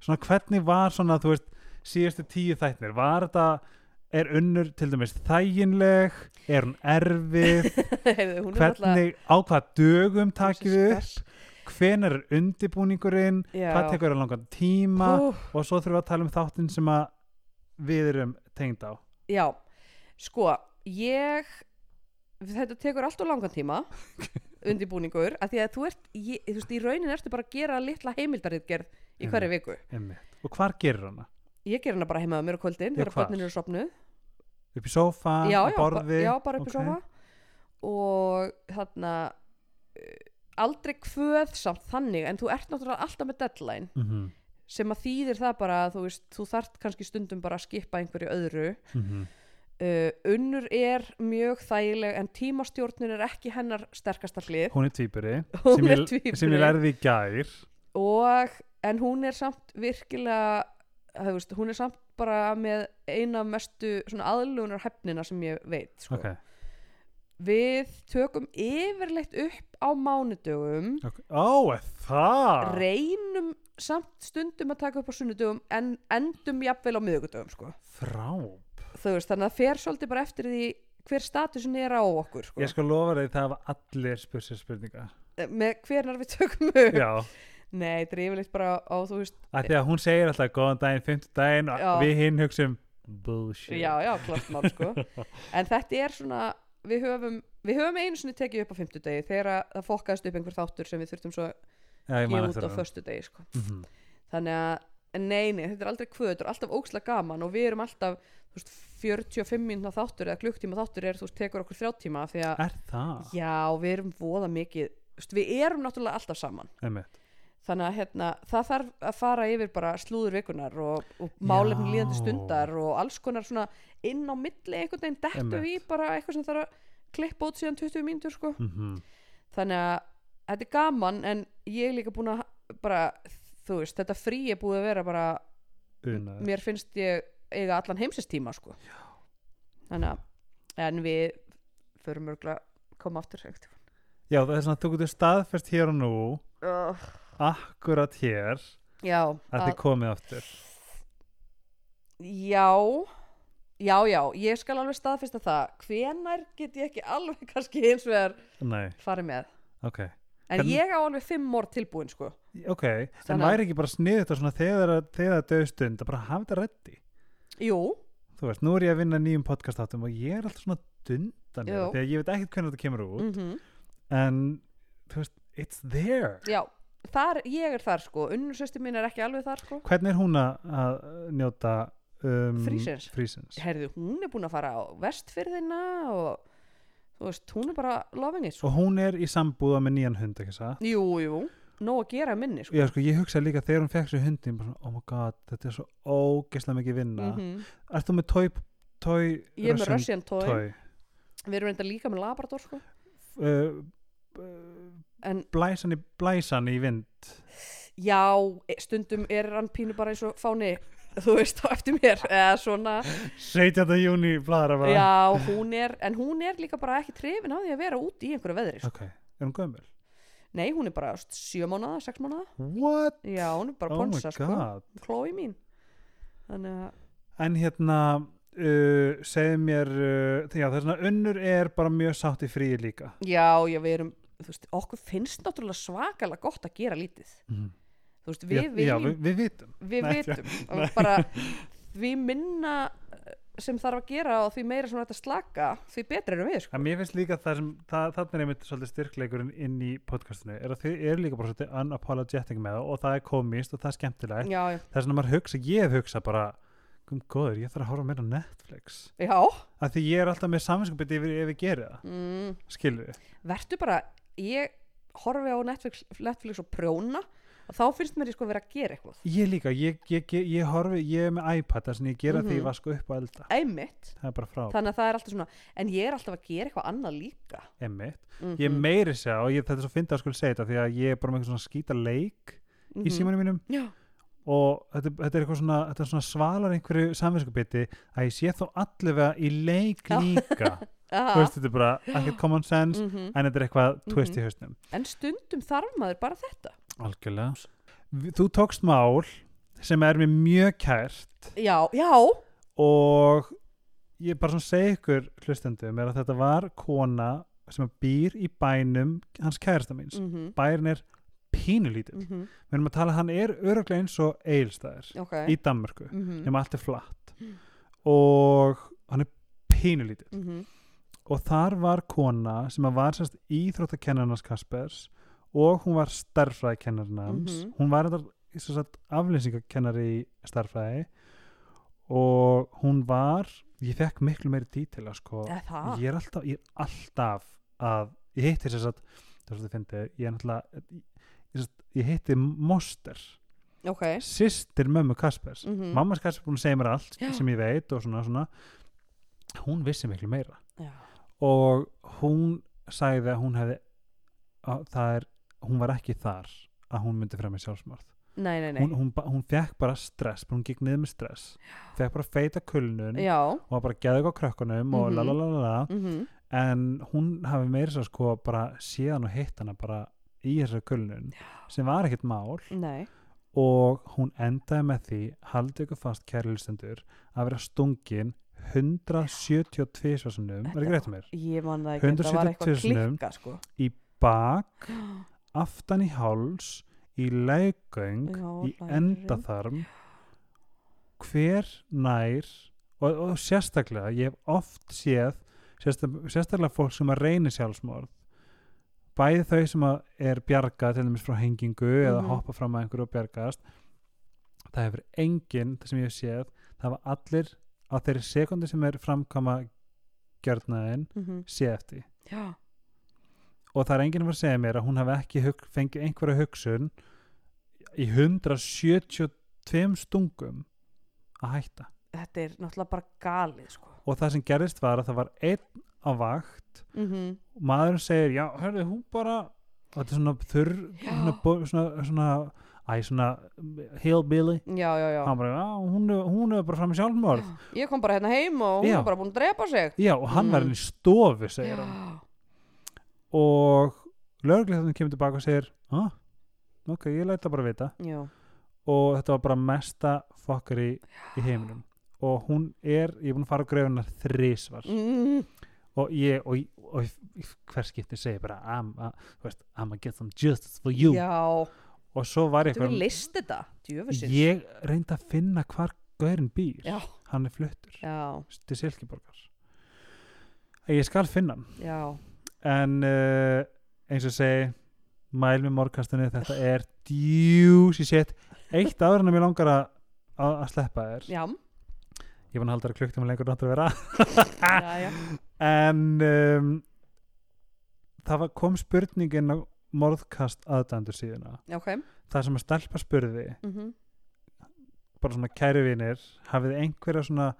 [SPEAKER 1] svona hvernig var svona, þú veist síðustu tíu þætnir, var þetta er unnur til dæmis þæginleg er hún erfið
[SPEAKER 2] Heyrðu, hún
[SPEAKER 1] hvernig á hvaða dögum takið við upp,
[SPEAKER 2] Þessi
[SPEAKER 1] hvenar er undirbúningurinn
[SPEAKER 2] Já.
[SPEAKER 1] hvað tekur það langan tíma
[SPEAKER 2] Pú,
[SPEAKER 1] og svo þurfum við að tala um þáttinn sem að við erum tengd á
[SPEAKER 2] já, sko, ég, þetta tekur allt og langan tíma, undirbúningur, að því að þú ert, ég, þú veist, í raunin ertu bara að gera litla heimildaritgerð í hverju viku.
[SPEAKER 1] Einmitt. og hvar gerir hana?
[SPEAKER 2] Ég ger hana bara heimaða mér á kvöldin
[SPEAKER 1] Já,
[SPEAKER 2] þegar
[SPEAKER 1] hvar?
[SPEAKER 2] börnin eru sopnuð
[SPEAKER 1] upp í sófa,
[SPEAKER 2] já, já, ba-
[SPEAKER 1] borði
[SPEAKER 2] já, bara upp í
[SPEAKER 1] ok.
[SPEAKER 2] okay. sofa og þarna eh, aldrei kvöð samt þannig en þú ert náttúrulega alltaf með deadline
[SPEAKER 1] Mhm,
[SPEAKER 2] sem að þýðir það bara að þú veist þú þart kannski stundum bara að skipa einhverju öðru
[SPEAKER 1] mhm,
[SPEAKER 2] uh, unnur er mjög þægileg en tímastjórnin er ekki hennar sterkasta hlið
[SPEAKER 1] hún er týpuri
[SPEAKER 2] Hún
[SPEAKER 1] sem,
[SPEAKER 2] er
[SPEAKER 1] ég-
[SPEAKER 2] tvíburi.
[SPEAKER 1] sem ég lærði í gær
[SPEAKER 2] og en hún er samt virkilega að, veist, hún er samt bara með eina af mestu aðlunar hefnina sem ég veit sko.
[SPEAKER 1] ok,
[SPEAKER 2] við tökum yfirleitt upp á mánudögum
[SPEAKER 1] ok ó, er það
[SPEAKER 2] reynum samt stundum að taka upp á sunnudögum en endum jafnvel á miðugudögum sko.
[SPEAKER 1] frá
[SPEAKER 2] Þú veist, þannig að fer svolítið bara eftir því hver statusin er á okkur sko. Eh,
[SPEAKER 1] Ég skal lofa þig það hafa allir spursið spurninga
[SPEAKER 2] með hvernar við tökum upp
[SPEAKER 1] Já,
[SPEAKER 2] nei, þetta er yfirleitt bara á þú veist
[SPEAKER 1] af því að hún segir alltaf góðan daginn, fymtu daginn og
[SPEAKER 2] Já.
[SPEAKER 1] við hinn hugsum bullshit
[SPEAKER 2] já, já, klart mál sko en þetta er svona við höfum, við höfum einu sinni tekið upp á fimmtudegi þegar að það fokkaðist upp einhver þáttur sem við þurftum svo að
[SPEAKER 1] Já, ég
[SPEAKER 2] gefa
[SPEAKER 1] man
[SPEAKER 2] út
[SPEAKER 1] eftir
[SPEAKER 2] á
[SPEAKER 1] það
[SPEAKER 2] föstudegi sko.
[SPEAKER 1] Mhm.
[SPEAKER 2] þannig að, en nei, nei, þetta er aldrei kvöður alltaf ókslega gaman og við erum alltaf þú veist, 45 minna þáttur eða klukktíma þáttur er, þú veist, tekur okkur þrjáttíma af því að,
[SPEAKER 1] Er það?
[SPEAKER 2] já, við erum voða mikið, þú veist, við erum náttúrulega alltaf saman
[SPEAKER 1] Einmitt.
[SPEAKER 2] þannig að hérna, það þarf að fara yfir bara slúður vikunar og, og málefni
[SPEAKER 1] Já.
[SPEAKER 2] líðandi stundar og alls konar svona inn á milli einhvern veginn dettu við
[SPEAKER 1] Einmitt.
[SPEAKER 2] bara eitthvað sem þarf að klippa út síðan 20 mínútur sko
[SPEAKER 1] Mhm.
[SPEAKER 2] þannig að þetta er gaman en ég er líka búin að bara, þú veist, þetta frí er búið að vera bara,
[SPEAKER 1] Unaður.
[SPEAKER 2] mér finnst ég eiga allan heimsistíma sko Já. þannig að en við förum örgulega koma aftur ekkert
[SPEAKER 1] Já, það er svona að þú getur staðfest hér og nú
[SPEAKER 2] uh,
[SPEAKER 1] akkurat hér
[SPEAKER 2] já,
[SPEAKER 1] að þið komið aftur
[SPEAKER 2] Já, já, já, ég skal alveg staðfesta það. Hvenær get ég ekki alveg kannski eins og er
[SPEAKER 1] Nei,
[SPEAKER 2] farið með?
[SPEAKER 1] ok
[SPEAKER 2] En
[SPEAKER 1] Hvern-
[SPEAKER 2] ég á alveg fimm orð tilbúin, sko.
[SPEAKER 1] Ok, en
[SPEAKER 2] Þannig að-
[SPEAKER 1] væri ekki bara sniðið þetta svona þegar það döðstund að bara hafa þetta reddi
[SPEAKER 2] Jú,
[SPEAKER 1] Þú veist, nú er ég að vinna nýjum podcastáttum og ég er alltaf svona dundan
[SPEAKER 2] Jú.
[SPEAKER 1] mér af því að ég veit ekkert hvernig þetta kemur út
[SPEAKER 2] mm
[SPEAKER 1] en þú veist, it's there
[SPEAKER 2] já, þar, ég er þar, sko. Unnursösti mín er ekki alveg þar, sko.
[SPEAKER 1] hvernig er hún að- að njóta um,
[SPEAKER 2] Frísins.
[SPEAKER 1] frísins?
[SPEAKER 2] Herðu, hún er búin að fara á vestfyrðina og, þú veist, hún er bara loving it, sko.
[SPEAKER 1] og hún er í sambúða með nýjan hund ekki það?
[SPEAKER 2] Jú, jú, nóg að gera minni, sko.
[SPEAKER 1] Já, sko, ég hugsaði líka þegar hún fekk sér hundin bara, svona, oh my god, þetta er svo ógeðslega mikið vinna
[SPEAKER 2] Mm
[SPEAKER 1] mm -hmm. Ert þú með tói, tói
[SPEAKER 2] Ég er með Russian toy.
[SPEAKER 1] tói.
[SPEAKER 2] Við erum reynda líka með Labrador, sko.
[SPEAKER 1] Uh,
[SPEAKER 2] En
[SPEAKER 1] blæsan, í, blæsan í vind
[SPEAKER 2] já, e- stundum er hann pínu bara eins og fáni, þú veist, á eftir mér, eða svona...
[SPEAKER 1] 17. júni blæðra bara
[SPEAKER 2] Já, hún er, en hún er líka bara ekki trefin á því að vera úti í einhverju veðri sko.
[SPEAKER 1] ok, er hún gömul?
[SPEAKER 2] Nei, hún er bara st- sjö mánuða, sex mánuða
[SPEAKER 1] What?
[SPEAKER 2] Já, hún er bara
[SPEAKER 1] oh my
[SPEAKER 2] ponsa, sko
[SPEAKER 1] god
[SPEAKER 2] Chloe mín Þannig að,
[SPEAKER 1] En hérna uh, segðu mér uh, já, það er svona unnur er bara mjög sátt í fríi líka
[SPEAKER 2] já, já, við erum þú veist, okkur finnst náttúrulega svakalega gott að gera lítið
[SPEAKER 1] Mhm.
[SPEAKER 2] Þú veist, við
[SPEAKER 1] já, já,
[SPEAKER 2] viljum,
[SPEAKER 1] við, við vitum
[SPEAKER 2] við
[SPEAKER 1] Nei,
[SPEAKER 2] vitum og bara, því minna eh, sem þarf að gera og því meira sem þetta slaka, því betra erum við sko.
[SPEAKER 1] en mér finnst líka það sem það, það er einmitt svolítið styrkleikurinn inn í podcastinu er að þið eru líka bara svolítið unapologetic með það og það er komist og það er skemmtilegt
[SPEAKER 2] Já, já,
[SPEAKER 1] það er svona maður hugsa, ég hef hugsa bara um góður, ég þarf að horfa meira á Netflix
[SPEAKER 2] já.
[SPEAKER 1] af því ég er alltaf með saminskupið yfir ef ég geri það,
[SPEAKER 2] Mm.
[SPEAKER 1] skilur við
[SPEAKER 2] verður bara, ég horfi á Netflix, Netflix og prjóna og þá finnst mér ég sko vera að gera eitthvað
[SPEAKER 1] ég líka, ég, ég, ég, ég horfi, ég er með iPad þar sem ég gera mm
[SPEAKER 2] Mhm.
[SPEAKER 1] -hmm. því ég var sko upp á elda
[SPEAKER 2] einmitt,
[SPEAKER 1] það er bara frá
[SPEAKER 2] þannig að það er alltaf svona en ég er alltaf að gera eitthvað annað líka
[SPEAKER 1] emmitt
[SPEAKER 2] mm
[SPEAKER 1] ég meiri segja og ég, þetta er svo fyndið að skulle segja þetta því að ég er bara með eitthvað svona skýta leik í
[SPEAKER 2] Mhm.
[SPEAKER 1] símanum mínum
[SPEAKER 2] já,
[SPEAKER 1] og þetta, þetta er eitthvað svona, þetta er svona svalar einhverju samvinskupiti að ég sé þó allavega í leik
[SPEAKER 2] Já.
[SPEAKER 1] líka þú
[SPEAKER 2] aha,
[SPEAKER 1] veist þetta er bara ekkert common sense
[SPEAKER 2] mhm.
[SPEAKER 1] en þetta er eitthvað twist í hausnum
[SPEAKER 2] en stundum þarf maður bara þetta
[SPEAKER 1] algjörlega Vi- þú tókst mál sem er mér mjög kært
[SPEAKER 2] já, já,
[SPEAKER 1] og ég bara svona segi ykkur hlustendum er að þetta var kona sem býr í bænum hans kærasta míns
[SPEAKER 2] mhm,
[SPEAKER 1] bærin er pínulítið
[SPEAKER 2] mhm,
[SPEAKER 1] við erum að tala, hann er öruglega eins og eilstæðir
[SPEAKER 2] ok
[SPEAKER 1] í Danmörku
[SPEAKER 2] mhm,
[SPEAKER 1] nema allt er flatt og hann er pínulítið
[SPEAKER 2] mhm,
[SPEAKER 1] og þar var kona sem að var sérst íþróttakennarnas Kaspers og hún var starffræðikennarnans
[SPEAKER 2] Mhm.
[SPEAKER 1] hún var þetta aflýsingakennari í starffræði og hún var ég fekk miklu meiri dítila sko.
[SPEAKER 2] Eða það?
[SPEAKER 1] ég er alltaf, ég er alltaf að, ég hitti þess að það er svo þið fyndi, ég er náttúrulega ég, ég, ég hitti Moster
[SPEAKER 2] Ok.
[SPEAKER 1] sýstir mömmu Kaspers mm
[SPEAKER 2] Mhm.
[SPEAKER 1] -hmm. mammas Kaspers búin að segja mér allt
[SPEAKER 2] Já.
[SPEAKER 1] sem ég veit og svona, svona hún vissi miklu meira
[SPEAKER 2] Já.
[SPEAKER 1] og hún sagði að hún hefði að það er, hún var ekki þar að hún myndi fremja sjálfsmörð
[SPEAKER 2] Nei, nei, nei.
[SPEAKER 1] hún, hún, ba- hún fekk bara stress, bara hún gikk niður með stress fekk bara feita kulnun
[SPEAKER 2] Já.
[SPEAKER 1] og var bara geðu á krökkunum og
[SPEAKER 2] Mhm.
[SPEAKER 1] la la la la la
[SPEAKER 2] Mm
[SPEAKER 1] en hún hafi meira svo sko bara séðan og hitt hana bara í þessari kulnun sem var ekkert mál
[SPEAKER 2] Nei.
[SPEAKER 1] og hún endaði með því haldið ykkur fast kærlustendur að vera stungin 172 svarsunum, er ekki
[SPEAKER 2] Þetta-
[SPEAKER 1] rétt mér
[SPEAKER 2] Ég man það ekki. Það var eitthvað
[SPEAKER 1] 170.000
[SPEAKER 2] klikka, sko.
[SPEAKER 1] bak, aftan í háls í leggöng
[SPEAKER 2] Já,
[SPEAKER 1] í
[SPEAKER 2] lærum.
[SPEAKER 1] endaþarm hver nær og, og sérstaklega ég hef oft séð sérstaklega, sérstaklega fólk sem að reyni sjálfsmorð bæði þau sem að er bjargað til dæmis frá hengingu eða
[SPEAKER 2] Mhm.
[SPEAKER 1] hoppa fram að einhverju og bjargast það hefur enginn, það sem ég hef séð það hafa allir á þeirri sekundi sem er framkama gjörnaðin
[SPEAKER 2] Mhm.
[SPEAKER 1] sé eftir því.
[SPEAKER 2] Já.
[SPEAKER 1] og það er enginn að fara að segja mér að hún hafi ekki hug, fengið einhverja hugsun í 172 stungum að hætta
[SPEAKER 2] Þetta er náttúrulega bara galið, sko.
[SPEAKER 1] og það sem gerðist var að það var einn á vakt
[SPEAKER 2] Mm
[SPEAKER 1] og maðurinn segir, já, hörðu, hún bara og þetta er svona þurr
[SPEAKER 2] Já.
[SPEAKER 1] svona, bo- svona, svona, æ, svona hillbilly
[SPEAKER 2] Já, já, já.
[SPEAKER 1] hann bara, já, hún, er- hún er bara fram í sjálfmörð
[SPEAKER 2] Ég kom bara hérna heim og hún
[SPEAKER 1] Já.
[SPEAKER 2] var bara búin að drepa sig.
[SPEAKER 1] já, og hann var
[SPEAKER 2] Mm.
[SPEAKER 1] henni í stofu, segir hann
[SPEAKER 2] Já.
[SPEAKER 1] og lögreglið kemur tilbaka og segir, ah, ok, ég læta bara vita
[SPEAKER 2] Já.
[SPEAKER 1] og þetta var bara mesta fokkari í heiminum og hún er, ég er búin að fara á greifuna þrísvar
[SPEAKER 2] Mm.
[SPEAKER 1] og ég, og, ég- og, og hver skipti segi bara I'm, uh, veist, I'm gonna get some justice for you
[SPEAKER 2] Já.
[SPEAKER 1] og svo var ég
[SPEAKER 2] Þú hefur
[SPEAKER 1] eitthvað
[SPEAKER 2] list þetta. Djöfusins.
[SPEAKER 1] ég reyndi að finna hvar gaurinn býr,
[SPEAKER 2] Já.
[SPEAKER 1] hann er fluttur
[SPEAKER 2] Já.
[SPEAKER 1] til Silkeborgar ég skal finna hann
[SPEAKER 2] Já.
[SPEAKER 1] en uh, eins og ég segi mæl með morgastunni, þetta er djúsi sett, eitt áður en að mér langar að, að að sleppa þér
[SPEAKER 2] Já.
[SPEAKER 1] ég fann að halda þér klukktum lengur náttur að vera
[SPEAKER 2] Já,
[SPEAKER 1] Ah.
[SPEAKER 2] já.
[SPEAKER 1] en um, það var, kom spurningin á morðkast aðdændur síðuna
[SPEAKER 2] Ok.
[SPEAKER 1] það sem að stelpa spurði
[SPEAKER 2] Mm
[SPEAKER 1] bara svona kæru vinir hafið einhverja svona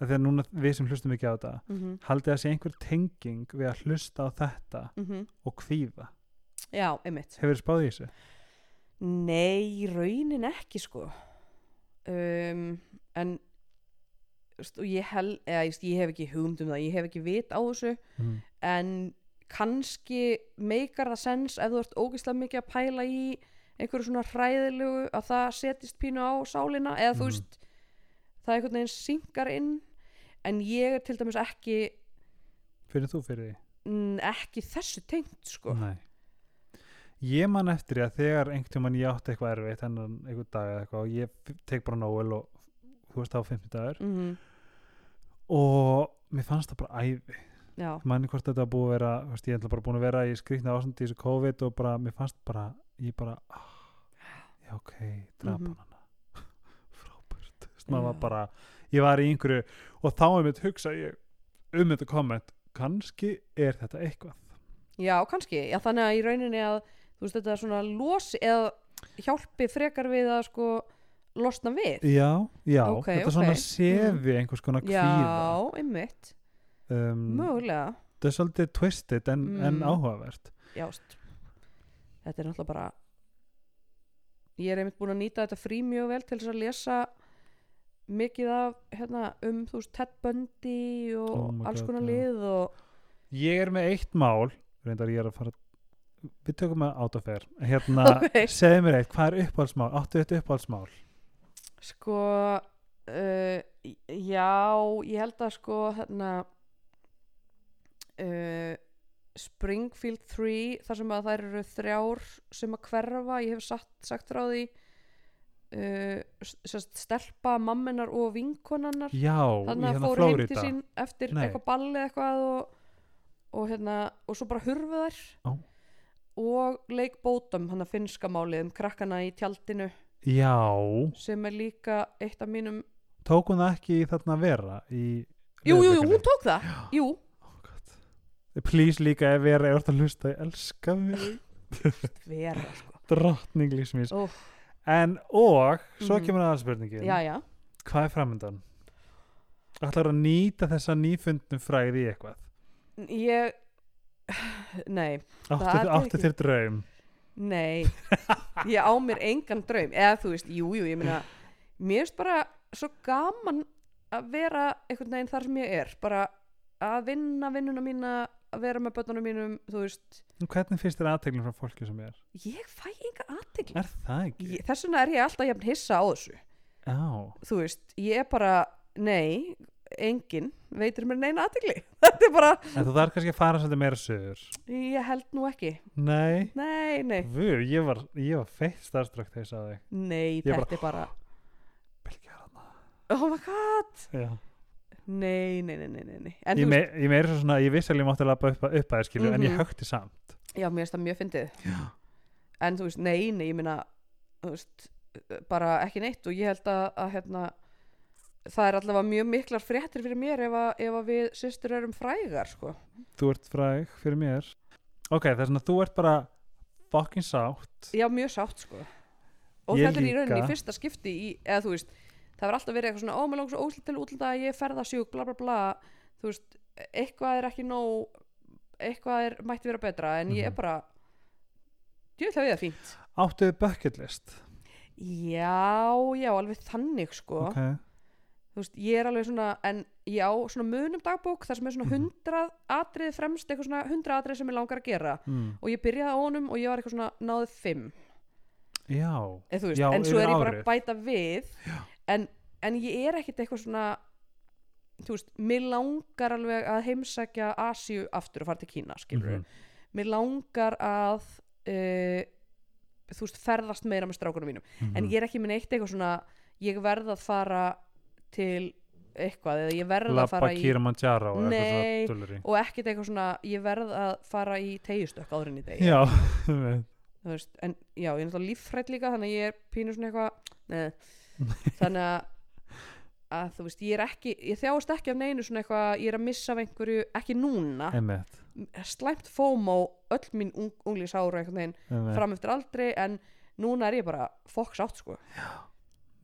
[SPEAKER 1] af því að núna við sem hlustum ekki á þetta
[SPEAKER 2] mhm,
[SPEAKER 1] haldið að sé einhver tenging við að hlusta á þetta og kvíða
[SPEAKER 2] mhm. Já, einmitt.
[SPEAKER 1] hefur þið spáð í þessu?
[SPEAKER 2] Nei, í raunin ekki sko um, en þú veist, og ég, hel, eða, ég, veist, ég hef ekki hugmynd um það, ég hef ekki vit á þessu
[SPEAKER 1] Mm.
[SPEAKER 2] en kannski meikar það sens ef þú ert ógeðslega mikið að pæla í einhverju svona hræðilegu að það setist pínu á sálina eða þú
[SPEAKER 1] Mhm.
[SPEAKER 2] veist það einhvern veginn synkar inn en ég er til dæmis ekki
[SPEAKER 1] finnir þú fyrir því?
[SPEAKER 2] mm, ekki þessu tengt sko
[SPEAKER 1] Nei Ég man eftir því að þegar einhvern tímann ég átti eitthvað erfitt hennan einhvern dag eða eitthvað og ég f- tek bara Noel og þú veist þá 50 dagur
[SPEAKER 2] mm
[SPEAKER 1] og mér fannst það bara æði
[SPEAKER 2] já,
[SPEAKER 1] manni hvort þetta var búið að vera þú veist, ég ætla bara búin að vera í skrýtna ásandi í þessu COVID og bara, mér fannst bara ég bara, ah, já ok drapa mm
[SPEAKER 2] Mhm.
[SPEAKER 1] hana frábært, þú veist, maður var
[SPEAKER 2] Já.
[SPEAKER 1] bara ég var í einhverju og þá er mitt hugsa ég um þetta komment kannski er þetta eitthvað
[SPEAKER 2] já, kannski já, þannig að í rauninni að þú veist þetta er svona losi eða hjálpi frekar við að sko losna við
[SPEAKER 1] já, já,
[SPEAKER 2] Ok,
[SPEAKER 1] þetta
[SPEAKER 2] ok. Mhm.
[SPEAKER 1] svona sefi einhvers konar kvíða
[SPEAKER 2] já, einmitt,
[SPEAKER 1] um,
[SPEAKER 2] mögulega
[SPEAKER 1] það er svolítið twisted en, en
[SPEAKER 2] Mm.
[SPEAKER 1] áhugavert
[SPEAKER 2] já, st- þetta er náttúrulega bara ég er einmitt búin að nýta þetta frí mjög vel til þess að lesa mikið af hérna, um þú veist Ted Bundy og
[SPEAKER 1] Oh my
[SPEAKER 2] alls
[SPEAKER 1] God,
[SPEAKER 2] konar
[SPEAKER 1] já.
[SPEAKER 2] lið og
[SPEAKER 1] Ég er með eitt mál reyndar ég er að fara við tökum að átafer hérna,
[SPEAKER 2] Ok.
[SPEAKER 1] segðu mér eitt, hvað er uppáhaldsmál áttu þetta uppáhaldsmál
[SPEAKER 2] sko uh, í- já, ég held að sko hérna uh, Springfield 3 þar sem að þær eru þrjár sem að hverfa, ég hef sagt, sagt frá því uh, s- sérst, stelpa mamminar og vinkonannar
[SPEAKER 1] já,
[SPEAKER 2] þannig
[SPEAKER 1] í
[SPEAKER 2] að
[SPEAKER 1] hérna
[SPEAKER 2] fóru heim til
[SPEAKER 1] Flórida
[SPEAKER 2] sín eftir
[SPEAKER 1] Nei.
[SPEAKER 2] eitthvað balli eða eitthvað og, og, hérna, og svo bara hurfu þær
[SPEAKER 1] Ó.
[SPEAKER 2] og leik bótum hann að finnska málið um krakkana í tjaldinu
[SPEAKER 1] já,
[SPEAKER 2] sem er líka eitt af mínum
[SPEAKER 1] tók hún það ekki í þarna vera í
[SPEAKER 2] jú, jú, jú,
[SPEAKER 1] leðurbökunni?
[SPEAKER 2] hún tók það jú,
[SPEAKER 1] Oh God. Please líka ef vera er að hlusta, ég elska mig
[SPEAKER 2] vera sko.
[SPEAKER 1] drottning lífsmís
[SPEAKER 2] Úff.
[SPEAKER 1] en og, svo
[SPEAKER 2] Mhm.
[SPEAKER 1] kemur aðal spurningin
[SPEAKER 2] já, já,
[SPEAKER 1] hvað er framöndan? Ætlar að nýta þessa nýfundnu fræði í eitthvað?
[SPEAKER 2] ég nei,
[SPEAKER 1] Áttu,
[SPEAKER 2] Það er
[SPEAKER 1] áttu
[SPEAKER 2] ekki-
[SPEAKER 1] þér draum?
[SPEAKER 2] nei ég á mér engan draum eða þú veist, jú, jú, ég meina mér finnst bara svo gaman að vera einhvern veginn þar sem ég er bara að vinna vinnuna mína að vera með börnunum mínum þú veist,
[SPEAKER 1] En Hvernig finnst þér aðteglum frá fólki sem er?
[SPEAKER 2] ég fæ enga aðtegl
[SPEAKER 1] Er það ekki?
[SPEAKER 2] Ég- þess vegna er ég alltaf jafn hissa á þessu
[SPEAKER 1] Já,
[SPEAKER 2] þú veist, ég er bara nei, engin veitir mér neina aðtegli þetta er bara,
[SPEAKER 1] en þú þarf kannski að fara svolítið meira sögur.
[SPEAKER 2] ég held nú ekki
[SPEAKER 1] Nei,
[SPEAKER 2] nei, nei,
[SPEAKER 1] vö, ég var, ég var feitt starfströkk þegar ég sagði þig.
[SPEAKER 2] nei,
[SPEAKER 1] Ég bara-
[SPEAKER 2] þetta er bara
[SPEAKER 1] Belgja er hana.
[SPEAKER 2] oh my god,
[SPEAKER 1] Já.
[SPEAKER 2] nei, nei, nei, nei, nei, nei. en
[SPEAKER 1] Ég,
[SPEAKER 2] þú
[SPEAKER 1] me,
[SPEAKER 2] veist,
[SPEAKER 1] ég meira svo svona, ég vissi alveg ég mátti lappa upp, upp að skilju, en ég
[SPEAKER 2] Mhm.
[SPEAKER 1] högti samt.
[SPEAKER 2] já, mér finnst það mjög fyndið
[SPEAKER 1] Já.
[SPEAKER 2] en þú veist, nei, nei, ég minna þú veist, bara ekki neitt og ég held að, að hérna það er allavega mjög miklar fréttir fyrir mér ef að, ef að við systur erum frægar sko.
[SPEAKER 1] Þú ert fræg fyrir mér. Ok, það er svona, þú ert bara fucking sátt.
[SPEAKER 2] já, mjög sátt sko. og
[SPEAKER 1] Ég
[SPEAKER 2] þetta er í rauninni
[SPEAKER 1] líka.
[SPEAKER 2] í fyrsta skipti í, eða þú veist, það var alltaf verið eitthvað svona, ó, mér langar svo óslut til útlita að ég ferða sjúk, bla bla bla þú veist, eitthvað er ekki nóg eitthvað er, mætti vera betra en ég er
[SPEAKER 1] Mhm.
[SPEAKER 2] bara djöfull hef ég það fínt
[SPEAKER 1] Áttuðu bucket list.
[SPEAKER 2] Sko. já, já, alveg þannig sko
[SPEAKER 1] Ok,
[SPEAKER 2] þú veist, ég er alveg svona en ég á svona munum dagbók þar sem er svona
[SPEAKER 1] Mhm.
[SPEAKER 2] hundrað atriði fremst eitthvað svona hundrað atriði sem ég langar að gera
[SPEAKER 1] mm.
[SPEAKER 2] og ég byrjaði á honum og ég var eitthvað svona náðið fimm
[SPEAKER 1] já,
[SPEAKER 2] eð, veist,
[SPEAKER 1] Já,
[SPEAKER 2] en svo
[SPEAKER 1] yfir
[SPEAKER 2] er ég bara
[SPEAKER 1] árið.
[SPEAKER 2] að bæta við en, en ég er ekkit eitthvað svona þú veist, mér langar alveg að heimsækja Asíu aftur og fara til Kína skilur
[SPEAKER 1] Mhm.
[SPEAKER 2] mér langar að uh, þú veist, ferðast meira með strákunum mínum en
[SPEAKER 1] Hmm. Mm.
[SPEAKER 2] ég er ekki minn eitt eitthvað svona ég verð að fara til eitthvað eða ég verð að
[SPEAKER 1] lappa
[SPEAKER 2] fara í
[SPEAKER 1] Kilimanjaro eða
[SPEAKER 2] Nei.
[SPEAKER 1] eitthvað svona dulleri.
[SPEAKER 2] og ekkert eitthvað svona ég verð að fara í tegjustökk áður en í degi
[SPEAKER 1] Já, einmitt.
[SPEAKER 2] þú veist, en já, ég er náttúrulega líffrætt líka þannig að ég er pínu svona eitthvað neð, þannig að að þú veist, ég er ekki, ég þjáast ekki af neinu svona eitthvað, ég er að missa af einhverju ekki núna,
[SPEAKER 1] einmitt,
[SPEAKER 2] slæmt fómo öll mín ung, unglísáru einhvern veginn
[SPEAKER 1] einmitt.
[SPEAKER 2] fram eftir aldrei, en núna er ég bara fokks átt, sko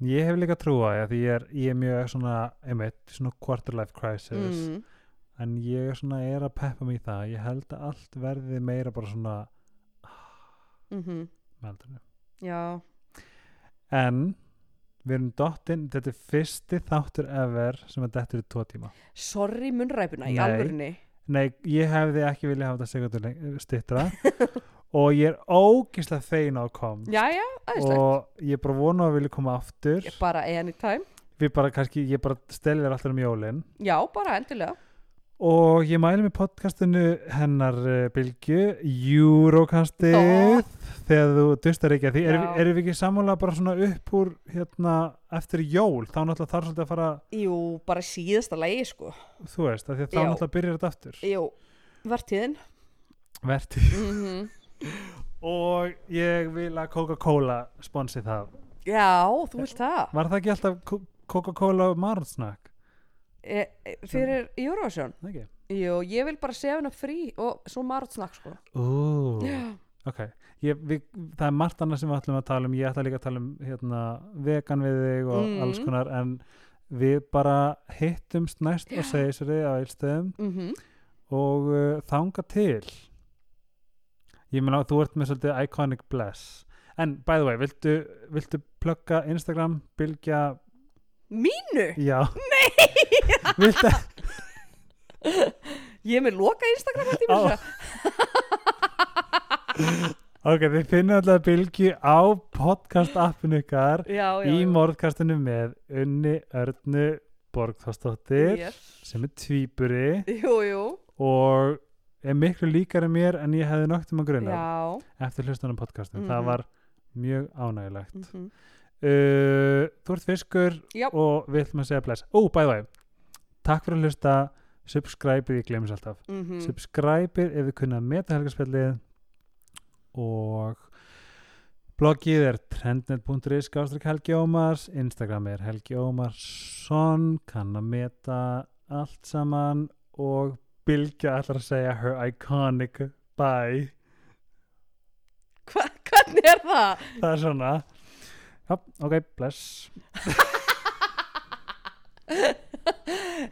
[SPEAKER 1] Ég hef líka trú á því að ég er, ég er mjög svona, einmitt, svona quarter life crisis
[SPEAKER 2] mm,
[SPEAKER 1] en ég er svona, er að peppa mig í það ég held að allt verði meira bara svona
[SPEAKER 2] mm
[SPEAKER 1] með aldrinum.
[SPEAKER 2] já,
[SPEAKER 1] en við erum dottinn, þetta er fyrsti þáttur ever sem að dettur í tvo tíma
[SPEAKER 2] sorry munnræpuna í
[SPEAKER 1] Nei.
[SPEAKER 2] alvörunni
[SPEAKER 1] Nei, ég hefði ekki viljað hafa þetta sekundur leng- styttra og ég er ógislega fein á að kom
[SPEAKER 2] Jæja, aðeinslegt
[SPEAKER 1] og ég bara vona að vilja koma aftur
[SPEAKER 2] Ég bara anytime
[SPEAKER 1] við bara kannski, ég bara steli þér alltaf um jólin
[SPEAKER 2] Já, bara endilega
[SPEAKER 1] og ég mæli með podcastinu hennar uh, Bilgju Eurocastið
[SPEAKER 2] Ó.
[SPEAKER 1] þegar þú dustar ekki að því erum,
[SPEAKER 2] Já.
[SPEAKER 1] erum við ekki sammála bara svona upp úr hérna, eftir jól, þá náttúrulega þarf svolítið að fara
[SPEAKER 2] Jú, bara síðasta lægi sko
[SPEAKER 1] þú veist, af því að þá
[SPEAKER 2] Já.
[SPEAKER 1] náttúrulega byrjar þetta aftur
[SPEAKER 2] Jú, vertíðin
[SPEAKER 1] vertið
[SPEAKER 2] mm
[SPEAKER 1] Mhm. og ég vil að Coca-Cola sponsi það,
[SPEAKER 2] Já, þú vilt það
[SPEAKER 1] var það ekki alltaf Co- Coca-Cola maronsnakk?
[SPEAKER 2] e, e, Fyrir Eurovision
[SPEAKER 1] Það ekki?
[SPEAKER 2] Jú, ég vil bara sefna frí og svo margt snakk sko
[SPEAKER 1] Ú,
[SPEAKER 2] Já,
[SPEAKER 1] ok ég, við, það er margt annað sem við ætlum að tala um ég ætla líka að tala um hérna, vegan við þig og
[SPEAKER 2] Mm.
[SPEAKER 1] alls konar en við bara hittumst næst og segisri á eilstöðum
[SPEAKER 2] mm
[SPEAKER 1] og uh, þanga til ég meina þú ert með svolítið iconic bless en by the way, viltu, viltu plugga Instagram, bylgja
[SPEAKER 2] Mínu?
[SPEAKER 1] já, nei viltu,
[SPEAKER 2] Ég er með loka Instagram hætti mér
[SPEAKER 1] Á.
[SPEAKER 2] þess
[SPEAKER 1] ok, þið finnum alltaf bylgju á podcast appinu ykkar
[SPEAKER 2] Já, já
[SPEAKER 1] í
[SPEAKER 2] já.
[SPEAKER 1] morðkastinu með Unni Örnu Borgþórsdóttir
[SPEAKER 2] Yes.
[SPEAKER 1] sem er tvíburi
[SPEAKER 2] Jú, jú
[SPEAKER 1] og er miklu líkari mér en ég hefði noktum að gruna
[SPEAKER 2] Já
[SPEAKER 1] eftir hlustunum podcastum,
[SPEAKER 2] Mhm.
[SPEAKER 1] það var mjög ánægilegt
[SPEAKER 2] mm
[SPEAKER 1] uh, Þú ert fiskur
[SPEAKER 2] Já.
[SPEAKER 1] og við ætlum að segja bless Ó, by the way, takk fyrir að hlusta subscribe-ið, ég glemis alltaf
[SPEAKER 2] mm
[SPEAKER 1] subscribe-ið ef við kunna að meta helgarspjallið og bloggið er trendnet.is skástrík Helgi Ómars Instagram er Helgi Ómars Johnson kann að meta allt saman og Bylgja ætlar að segja her iconic bye
[SPEAKER 2] Hva, hvernig er það?
[SPEAKER 1] það er svona já, ok, bless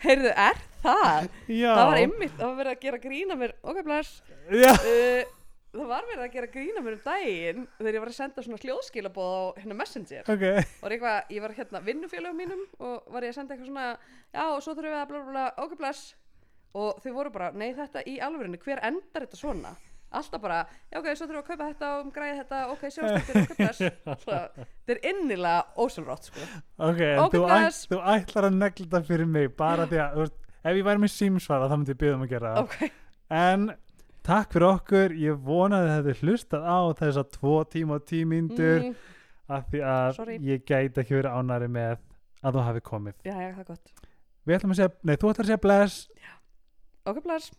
[SPEAKER 2] Heyrðu, er það?
[SPEAKER 1] já,
[SPEAKER 2] Það var einmitt, það var verið að gera grína mér Ok, bless
[SPEAKER 1] já,
[SPEAKER 2] uh, Það var verið að gera grína mér um daginn Þegar ég var að senda svona hljóðskilabóð á hérna Messenger
[SPEAKER 1] ok
[SPEAKER 2] Og eitthvað, ég var hérna vinnufélögum mínum Og var ég að senda eitthvað svona Já, og svo þurfum við að bla bla bla, ok, bless Og þau voru bara, nei þetta í alvörinu Hver endar þetta svona? Alltaf bara, já ok, svo þurfum við að kaupa þetta og græða þetta, ok, sjáumstættir, ok, bless Svo, Þetta er innilega ósjálfrátt, sko
[SPEAKER 1] ok, en
[SPEAKER 2] Ok,
[SPEAKER 1] þú, æt,
[SPEAKER 2] bless.
[SPEAKER 1] þú ætlar að negla þetta fyrir mig bara því að, þú veist, ef ég væri með símsvara þá myndi ég byggja um að gera það
[SPEAKER 2] Ok,
[SPEAKER 1] en takk fyrir okkur, ég vonaði að þið hefði hlustað á þessa tvo tíma og tímyndur mm.
[SPEAKER 2] mm,
[SPEAKER 1] af því að
[SPEAKER 2] Sorry.
[SPEAKER 1] ég gæti ekki verið ánæri með að þú hafi komið
[SPEAKER 2] já, já, það er gott
[SPEAKER 1] við ætlum að segja, nei, þú ætlar að segja bless
[SPEAKER 2] Ok, bless